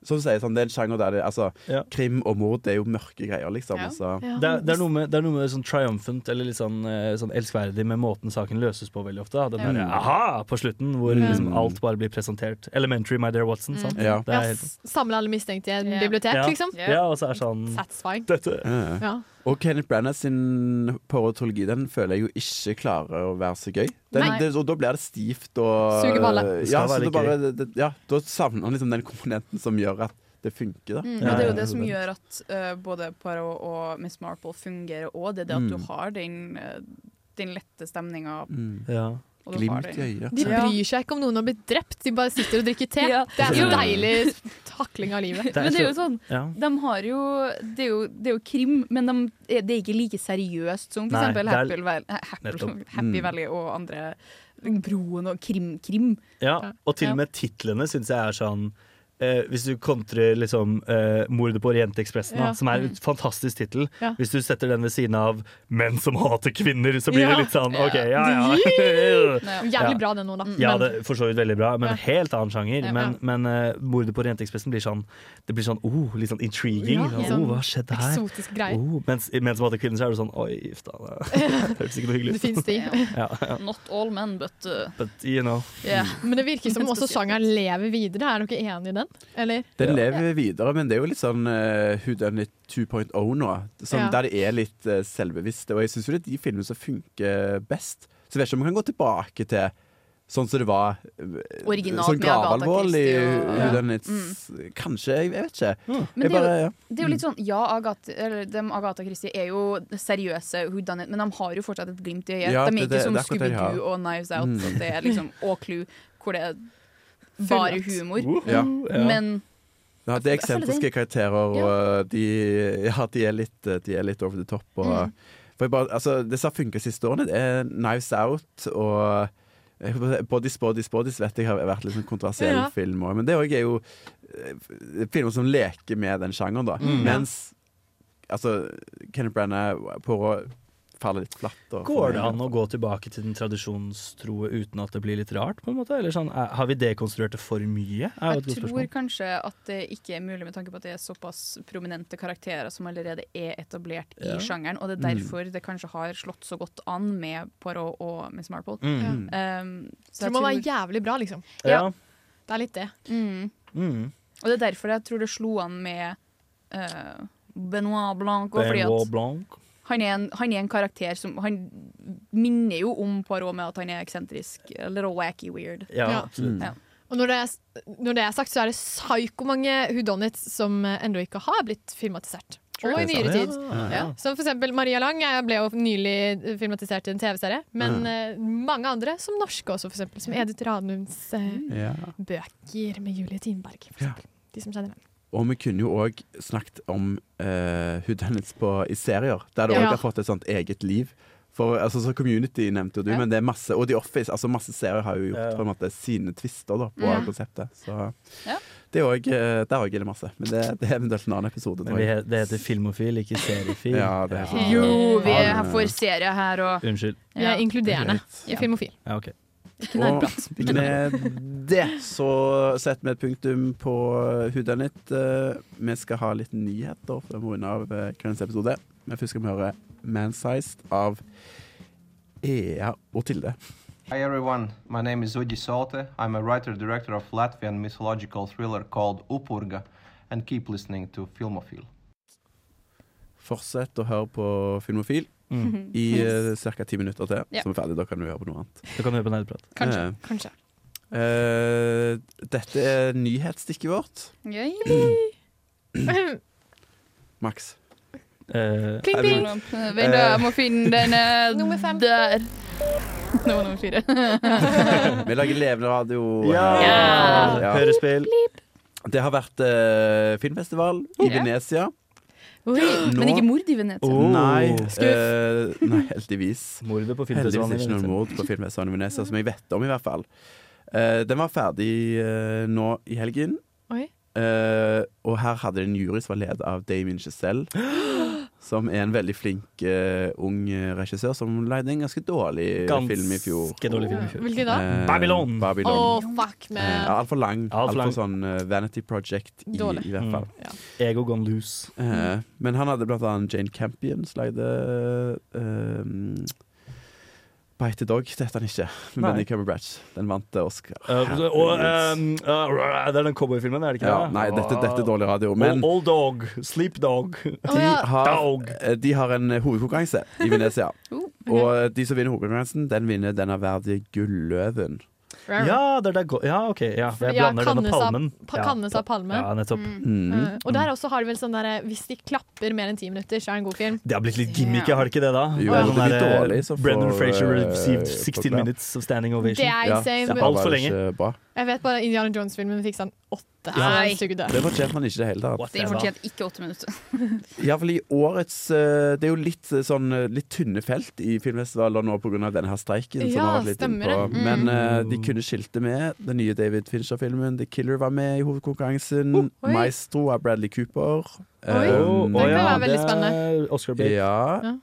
Speaker 7: Som du sier, sånn, det er en sjanger der det altså, Krim og mord det er jo mørke greier, liksom. Og så,
Speaker 1: Det, er, det, er noe med, det er noe med sånn triumphant eller litt sånn, eh, sånn elskverdig med måten saken løses på veldig ofte. da. Den
Speaker 7: Ja.
Speaker 1: der, aha på slutten, hvor
Speaker 8: Mm.
Speaker 1: liksom alt bare blir presentert. Elementary, my dear Watson.
Speaker 8: Mm.
Speaker 1: Sant?
Speaker 7: Ja.
Speaker 1: Det er
Speaker 8: Ja,
Speaker 1: helt,
Speaker 8: s- Samle alle mistenkte i et bibliotek,
Speaker 1: ja.
Speaker 8: liksom.
Speaker 1: ja, og så er sånn
Speaker 8: Satisfying.
Speaker 1: Dette
Speaker 7: Ja.
Speaker 8: Ja.
Speaker 7: Og Kenneth Branagh sin porotologi Den føler jeg jo ikke klarer å være så gøy. Den,
Speaker 8: Nei.
Speaker 7: det, og da blir det stivt og eh,
Speaker 8: Suger balle.
Speaker 1: Det
Speaker 7: Ja,
Speaker 1: skal
Speaker 7: så
Speaker 1: være
Speaker 7: det
Speaker 1: litt
Speaker 7: bare, det, det, ja, da savner han liksom den komponenten som gjør at det funker. Da.
Speaker 5: Mm, og det er jo det som gjør at eh, både Poirot og Miss Marple fungerer òg. Det er det at du
Speaker 7: Mm.
Speaker 5: har den, eh, den lette stemninga.
Speaker 7: Mm.
Speaker 1: Ja.
Speaker 5: og du har det.
Speaker 8: De bryr seg ikke om noen har blitt drept, de bare sitter og drikker te.
Speaker 5: Ja.
Speaker 8: Det er så
Speaker 5: Ja.
Speaker 8: deilig takling av livet.
Speaker 5: Men det er jo sånn,
Speaker 1: Ja.
Speaker 5: de har jo Det er jo, det er jo krim, men de er, det er ikke like seriøst som
Speaker 1: Nei,
Speaker 5: f.eks.
Speaker 1: det er-
Speaker 5: Happy, Val- eh, Happy,
Speaker 1: Nettopp.
Speaker 5: Happy
Speaker 1: Mm.
Speaker 5: Valley og andre Broen og Krim. krim.
Speaker 1: Ja, og til
Speaker 5: Ja.
Speaker 1: og med titlene syns jeg er sånn eh, hvis du kontrer liksom, eh, 'Mordet på Orientekspressen',
Speaker 5: Ja.
Speaker 1: da, som er en
Speaker 5: Mm.
Speaker 1: fantastisk tittel
Speaker 5: Ja.
Speaker 1: Hvis du setter den ved siden av 'Menn som hater kvinner', så blir
Speaker 8: Ja.
Speaker 1: det litt sånn OK, ja ja. Ja.
Speaker 8: Jævlig bra den nå, da.
Speaker 1: Ja,
Speaker 8: Mm, Men-
Speaker 1: det er for så vidt veldig bra, men
Speaker 8: Ja.
Speaker 1: helt annen sjanger.
Speaker 8: Ja,
Speaker 1: Men,
Speaker 8: ja.
Speaker 1: men eh, mordet på Orientekspressen blir sånn Det blir sånn oh, litt sånn intriguing.
Speaker 8: Ja,
Speaker 1: Sånn,
Speaker 8: sånn
Speaker 1: oh, hva skjedde her?
Speaker 8: eksotiske greier.
Speaker 1: Oh, mens i Menn som hater kvinner, så er det sånn oi, gifta deg. Det høres ikke noe hyggelig ut.
Speaker 8: Det finnes de.
Speaker 1: ja, ja.
Speaker 5: Not all men, but uh,
Speaker 1: But you know.
Speaker 5: yeah.
Speaker 1: Mm.
Speaker 8: Men det virker som også sjangeren lever videre. Er dere enig i den? Eller?
Speaker 7: Den lever videre, men det er jo litt sånn uh, Who Done It 2.0 nå. Sånn,
Speaker 8: Ja.
Speaker 7: Der det er litt eh, selvbevisst. Og jeg syns det er de filmene som funker best. Så jeg vet ikke om vi kan gå tilbake til sånn som det var eh,
Speaker 5: Originalt
Speaker 7: Sånn
Speaker 5: med Agatha
Speaker 7: Gravalvoll i
Speaker 5: Christie og-
Speaker 7: Who
Speaker 5: Ja.
Speaker 7: Done It Kanskje, jeg, jeg vet ikke.
Speaker 5: Men
Speaker 7: Jeg
Speaker 5: det er,
Speaker 7: bare,
Speaker 5: jo,
Speaker 7: ja.
Speaker 5: det er jo litt
Speaker 7: Mm.
Speaker 5: sånn Ja, Agatha, eller, dem Agatha Christie er jo seriøse whodunit, men de har jo fortsatt et glimt i øyet.
Speaker 7: Ja,
Speaker 5: de er
Speaker 7: det-
Speaker 5: ikke
Speaker 7: det-
Speaker 5: som
Speaker 7: det er akkurat det de har.
Speaker 5: Scooby-Doo og Knives Out,
Speaker 7: Mm.
Speaker 5: at det er liksom, og Clue, hvor det er bare
Speaker 8: Fullett.
Speaker 5: humor.
Speaker 1: Uh,
Speaker 7: Uhu, ja.
Speaker 5: Men
Speaker 7: Ja, det er
Speaker 5: Jeg føler det-
Speaker 7: eksentriske karakterer, og eh, de, ja, de, er litt, eh, de er litt over the top. Og,
Speaker 5: Mm.
Speaker 7: for jeg bare, altså, det som har funka siste årene, det er Knives Out og jeg holdt på å si, Bodies, Bodies, Bodies vet jeg har vært litt sånn kontroversiell
Speaker 8: Ja.
Speaker 7: film òg. Men det òg er jo eh, filmer som leker med den sjangeren, da.
Speaker 1: Mm.
Speaker 7: Mens altså, Kenneth Branagh på å falle litt flatt. og-
Speaker 1: Går det an å gå tilbake til den tradisjonstroe uten at det blir litt rart? på en måte? Eller sånn, er, Har vi dekonstruert det for mye? Er jo et
Speaker 5: jeg
Speaker 1: godt
Speaker 5: tror
Speaker 1: spørsmål.
Speaker 5: kanskje at det ikke er mulig med tanke på at det er såpass prominente karakterer som allerede er etablert i
Speaker 1: Ja.
Speaker 5: sjangeren, og det er
Speaker 1: Mm.
Speaker 5: derfor det kanskje har slått så godt an med Poirot og Miss Marple.
Speaker 1: Mm.
Speaker 5: Um,
Speaker 8: Det
Speaker 5: så jeg
Speaker 8: må være
Speaker 5: tror-
Speaker 8: jævlig bra, liksom.
Speaker 1: Ja.
Speaker 8: Det er litt det.
Speaker 5: Mm.
Speaker 1: Mm.
Speaker 5: Og det er derfor jeg tror det slo an med eh, Benoit Blanc. Og fordi
Speaker 1: Benoit
Speaker 5: at
Speaker 1: Blanc.
Speaker 5: han, er en, han er en karakter som Han minner jo om Poirot med at han er eksentrisk. A little wacky weird.
Speaker 1: Ja, Ja.
Speaker 7: Mm.
Speaker 1: absolutt.
Speaker 5: Ja.
Speaker 8: Og når det, er, når det er sagt, så er det psykomange whodunits som eh, ennå ikke har blitt filmatisert.
Speaker 5: Sure.
Speaker 8: Og i
Speaker 5: Det er
Speaker 8: nyere
Speaker 1: sånn,
Speaker 5: sant.
Speaker 8: tid.
Speaker 5: Ja.
Speaker 8: Ja. Som for eksempel Maria Lang eh, ble jo nylig eh, filmatisert i en TV-serie. Men
Speaker 7: Mm.
Speaker 8: eh, mange andre, som norske også, for eksempel. Som Edith Ranums eh,
Speaker 7: Ja.
Speaker 8: bøker med Julie Tinberg. For eksempel. De som kjenner den.
Speaker 7: Og vi kunne jo òg snakket om uh, Hudennets i serier, der det òg
Speaker 8: Ja.
Speaker 7: har fått et sånt eget liv. For altså, så Community nevnte jo du,
Speaker 8: Ja.
Speaker 7: men det er masse Og The Office, altså masse serier har jo gjort
Speaker 1: Ja, ja.
Speaker 7: på en måte sine twister da, på
Speaker 1: Ja.
Speaker 7: konseptet. Så
Speaker 5: Ja.
Speaker 7: det er òg eh, Der òg er det masse. Men det, det er eventuelt en annen episode.
Speaker 1: Men vi he- det heter filmofil, ikke seriefil.
Speaker 7: Ja, det heter
Speaker 5: Jo, vi er her for serie her, og
Speaker 1: Unnskyld.
Speaker 8: Vi er inkluderende
Speaker 5: Ah. Ja.
Speaker 8: i Filmofil.
Speaker 1: Ja, ok.
Speaker 7: Og med det så setter vi et punktum på Hudennett. vi skal ha litt nyheter før vi runder av eh, kveldens episode. Men først skal vi høre Mansized av Ea og Tilde.
Speaker 21: Hi everyone, my name is Udi Saute. I'm a writer director of Latvian mythological thriller called Upurga, and keep listening to Filmophile.
Speaker 7: Fortsett å høre på Filmofil
Speaker 1: Mm.
Speaker 7: i
Speaker 5: eh,
Speaker 1: Yes.
Speaker 7: ca. ti minutter til,
Speaker 8: Ja.
Speaker 7: så er vi ferdig. Da kan du høre på noe annet.
Speaker 1: Da kan du høre på nerdprat.
Speaker 8: Kanskje.
Speaker 7: Eh,
Speaker 8: kanskje.
Speaker 7: eh, dette er nyhetsstikket vårt.
Speaker 5: Mm.
Speaker 1: Mm.
Speaker 7: Max.
Speaker 5: Pling,
Speaker 7: er
Speaker 5: pling.
Speaker 7: det-
Speaker 5: Vent, da, jeg må finne den eh,
Speaker 8: Nummer fem.
Speaker 5: der. Nå var nummer fire.
Speaker 7: Vi lager levende radio.
Speaker 1: Ja!
Speaker 7: her.
Speaker 1: Ja. Hørespill.
Speaker 7: Det har vært eh, filmfestival i Venezia.
Speaker 5: Oi, Men
Speaker 7: Nå-
Speaker 5: ikke mord i Venezia.
Speaker 1: Oh.
Speaker 7: Nei,
Speaker 5: Skuff.
Speaker 7: eh, nei, heldigvis.
Speaker 1: Mordet på filmfestivalen
Speaker 7: Heldigvis
Speaker 1: i
Speaker 7: ikke noe
Speaker 1: Venezia.
Speaker 7: mord på filmfestivalen i Venezia, som jeg vet om i hvert fall. Eh, den var ferdig eh, nå i helgen,
Speaker 8: Oi.
Speaker 7: Eh, og her hadde de en jury som var ledet av Damien Giselle. Som er en veldig flink eh, ung regissør som lagde en ganske dårlig
Speaker 1: Ganske
Speaker 7: film i fjor.
Speaker 1: dårlig film i fjor.
Speaker 8: Hvilken da?
Speaker 7: Eh,
Speaker 1: Babylon.
Speaker 7: Babylon.
Speaker 8: Å, fuck
Speaker 7: Eh,
Speaker 8: man.
Speaker 7: Altfor lang.
Speaker 1: Alt for
Speaker 7: Altfor
Speaker 1: lang.
Speaker 7: sånn eh, Vanity Project i,
Speaker 8: Dårlig.
Speaker 7: i hvert fall.
Speaker 1: Mm. Ego gone loose.
Speaker 7: Eh, men han hadde blant annet Jane Campion som lagde eh, Bite the Dog. Det heter han ikke, men
Speaker 1: Nei.
Speaker 7: Benny Cumberbatch. Den vant eh, Oscar.
Speaker 1: Eh, og ehm, eh, Det er den cowboyfilmen, er det ikke
Speaker 7: Ja,
Speaker 1: det?
Speaker 7: nei, dette, dette er dårlig radio, men
Speaker 1: Old, old dog. Sleep dog.
Speaker 7: de har, eh, de har en
Speaker 5: Oh.
Speaker 7: eh, hovedkonkurranse i Venezia. Og de som vinner hovedkonkurransen, den vinner den ærverdige Gulløven.
Speaker 1: Ja, det er der gå- ja, OK. Ja, jeg
Speaker 8: Ja,
Speaker 1: blander den og
Speaker 8: kannes av-
Speaker 1: palmen.
Speaker 8: pa- kannes av palme.
Speaker 1: Ja, nettopp.
Speaker 8: Mm. Eh, og der også har de vel sånn derre Hvis de klapper mer enn ti minutter, så er det en god film.
Speaker 1: Det har blitt litt gimmick, har det ikke det, da?
Speaker 7: Jo,
Speaker 1: Sånn
Speaker 7: det blir
Speaker 1: der,
Speaker 7: dårlig, så får,
Speaker 1: Brendan Fraser
Speaker 7: eh,
Speaker 1: received
Speaker 7: folk
Speaker 1: 16
Speaker 7: bra.
Speaker 1: minutes of standing ovation.
Speaker 8: Det er Ja, insane. det var
Speaker 1: Altfor
Speaker 7: bare
Speaker 1: lenge.
Speaker 7: ikke bra.
Speaker 8: Jeg vet bare Indiana Jones-filmen fikk sånn åtte.
Speaker 7: Ja.
Speaker 8: Så sugde.
Speaker 7: Det fortjente man ikke i det hele tatt.
Speaker 5: Den fortjente ikke åtte minutter.
Speaker 7: Iallfall i årets eh, Det er jo litt eh, sånn eh, Litt tynne felt i filmfestivalen nå pga. denne her streiken. som
Speaker 8: Ja,
Speaker 7: har vært litt inne
Speaker 8: stemmer
Speaker 7: på.
Speaker 8: det. Mm.
Speaker 7: Men eh, de kunne skilte med. Den nye David Fincher-filmen The Killer var med i hovedkonkurransen.
Speaker 8: Oh, oi.
Speaker 7: Maestro av Bradley Cooper.
Speaker 8: Oi, den kan være veldig spennende.
Speaker 1: Oscar
Speaker 7: Bate. Eh, Ja.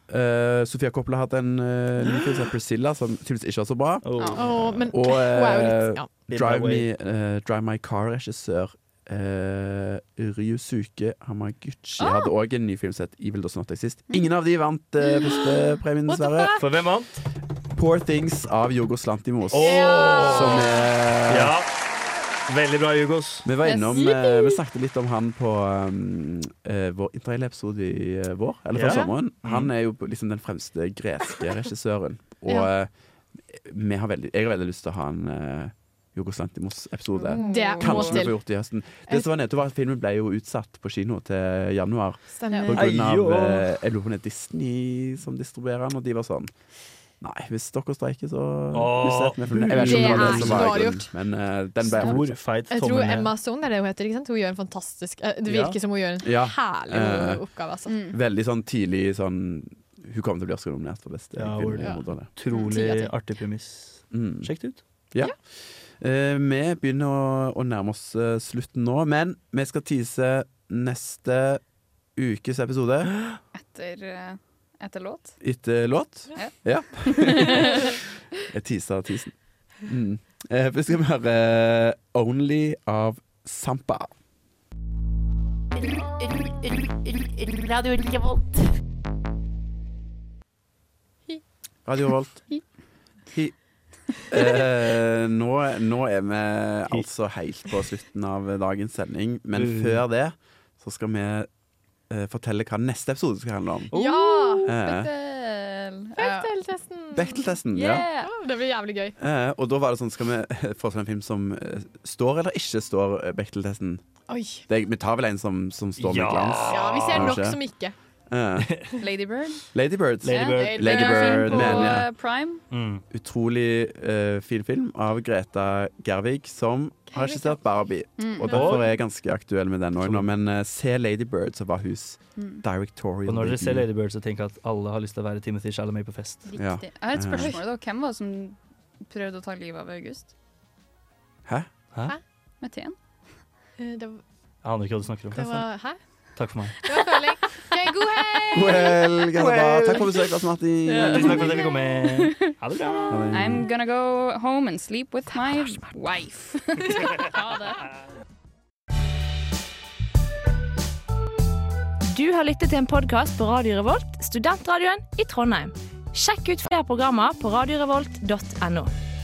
Speaker 7: Eh, Sofia Coppola har hatt en eh, ny film som heter Priscilla, som tydeligvis ikke var så bra.
Speaker 8: Åh, men
Speaker 7: Og
Speaker 8: hun er jo
Speaker 7: eh,
Speaker 8: litt ja.
Speaker 7: Drive, me, eh, Drive My Car-regissør eh, Ryusuke Hamaguchi
Speaker 1: Ah!
Speaker 7: hadde òg en ny film som het Evil Does Not Exist.
Speaker 1: Mm.
Speaker 7: Ingen av de vant eh, førstepremien, dessverre.
Speaker 1: For hvem vant?
Speaker 7: Poor Things av Jugos Lantimos.
Speaker 1: Åh!
Speaker 7: Som er
Speaker 1: Ja. Veldig bra, Jugos.
Speaker 7: Vi var innom
Speaker 1: Yes.
Speaker 7: eh, Vi snakket litt om han på um, eh, vår interrail episode i eh, vår, eller fra
Speaker 1: Ja.
Speaker 7: sommeren. Han
Speaker 1: Mm.
Speaker 7: er jo liksom den fremste greske regissøren. Og
Speaker 8: Ja.
Speaker 7: eh, vi har veldig, jeg har veldig lyst til å ha en uh, Jorgos Lantimos-episode.
Speaker 8: Det må
Speaker 7: Kanskje vi
Speaker 8: til.
Speaker 7: får gjort det i høsten. Det som var nedtur, var at filmen ble jo utsatt på kino til januar.
Speaker 8: Stemmer.
Speaker 7: På grunn av
Speaker 1: Eio.
Speaker 7: eh, Jeg lurer på om det er Disney som distribuerer den, og de var sånn Nei, hvis dere streiker, så
Speaker 1: Åh,
Speaker 7: utsetter vi filmen. Jeg vet ikke om det var
Speaker 8: Det
Speaker 7: det
Speaker 8: er
Speaker 7: som var
Speaker 8: ikke
Speaker 7: grunnen, men eh, den ble
Speaker 1: Stor, feit
Speaker 8: Jeg tror Emma Stone er det hun heter. ikke sant? Hun gjør en fantastisk eh, Det
Speaker 7: Ja.
Speaker 8: virker som hun gjør en
Speaker 7: Ja.
Speaker 8: herlig
Speaker 7: Eh,
Speaker 8: oppgave, altså.
Speaker 5: Mm.
Speaker 7: Veldig sånn tidlig sånn Hun kommer til å bli også nominert for beste
Speaker 1: Ja,
Speaker 7: film.
Speaker 1: word.
Speaker 7: i
Speaker 1: Ja.
Speaker 7: Moderne.
Speaker 1: Utrolig artig premiss.
Speaker 7: Mm.
Speaker 1: Sjekk det ut.
Speaker 7: Ja. Eh, vi begynner å, å nærme oss eh, slutten nå, men vi skal tease neste ukes episode
Speaker 5: Etter, eh, etter låt.
Speaker 7: etter eh, låt.
Speaker 5: Ja.
Speaker 7: Ja. Jeg teaser teasen. Mm. Eh, vi skal høre eh, Only av Sampa.
Speaker 2: Radio Revolt.
Speaker 7: Radio Volt. Hi. Eh, nå, nå er vi altså helt på slutten av dagens sending, men
Speaker 1: Mm.
Speaker 7: før det så skal vi eh, fortelle hva neste episode skal handle om.
Speaker 8: Ja!
Speaker 7: Eh,
Speaker 5: Del.
Speaker 8: Bechtel-testen.
Speaker 7: Bechteltesten, ja.
Speaker 8: Yeah. Det blir jævlig gøy.
Speaker 7: Eh, og da var det sånn, skal vi forestille en film som eh, står eller ikke står eh, Bechteltesten?
Speaker 8: Oi.
Speaker 7: Det, vi tar vel en som, som står
Speaker 1: Ja.
Speaker 7: med glans?
Speaker 8: Ja, vi ser nok
Speaker 7: Ah, Kanskje.
Speaker 8: som ikke.
Speaker 7: Eh,
Speaker 5: Lady Bird.
Speaker 7: Lady Bird.
Speaker 5: Ja, Lady Bird.
Speaker 7: Lady Bird,
Speaker 5: Film på
Speaker 7: mener jeg.
Speaker 5: eh, Prime.
Speaker 7: Utrolig eh, fin film av Greta Gervig, som har regissert Barbie.
Speaker 5: Mm.
Speaker 1: Mhm.
Speaker 7: Og derfor er jeg ganske aktuell med den òg nå. Men eh, se Lady Bird, så var hus
Speaker 5: Mm.
Speaker 7: directorial.
Speaker 1: Og når dere ser
Speaker 7: debut.
Speaker 1: Lady Bird, så tenk at alle har lyst til å være Timothy Chalamet på fest.
Speaker 5: Riktig.
Speaker 7: Ja.
Speaker 5: Jeg har et spørsmål, da. Hvem var det som prøvde å ta livet av August?
Speaker 7: Hæ?
Speaker 1: Hæ?
Speaker 5: Mathien?
Speaker 8: Eh, Det var,
Speaker 1: Jeg aner ikke hva du snakker om.
Speaker 8: det var Hæ?
Speaker 1: Takk for meg.
Speaker 8: Det var føling. Ok, god helg!
Speaker 7: God helg, Anna.
Speaker 1: Well.
Speaker 7: Takk for besøket, Lars Martin.
Speaker 1: Ja, Tusen takk for at jeg fikk komme. Ha det bra.
Speaker 7: Ha det.
Speaker 5: I'm gonna go home and sleep with my wife. ha det.
Speaker 19: Du har lyttet til en podkast på Radio Revolt, studentradioen i Trondheim. Sjekk ut flere programmer på radiorevolt.no.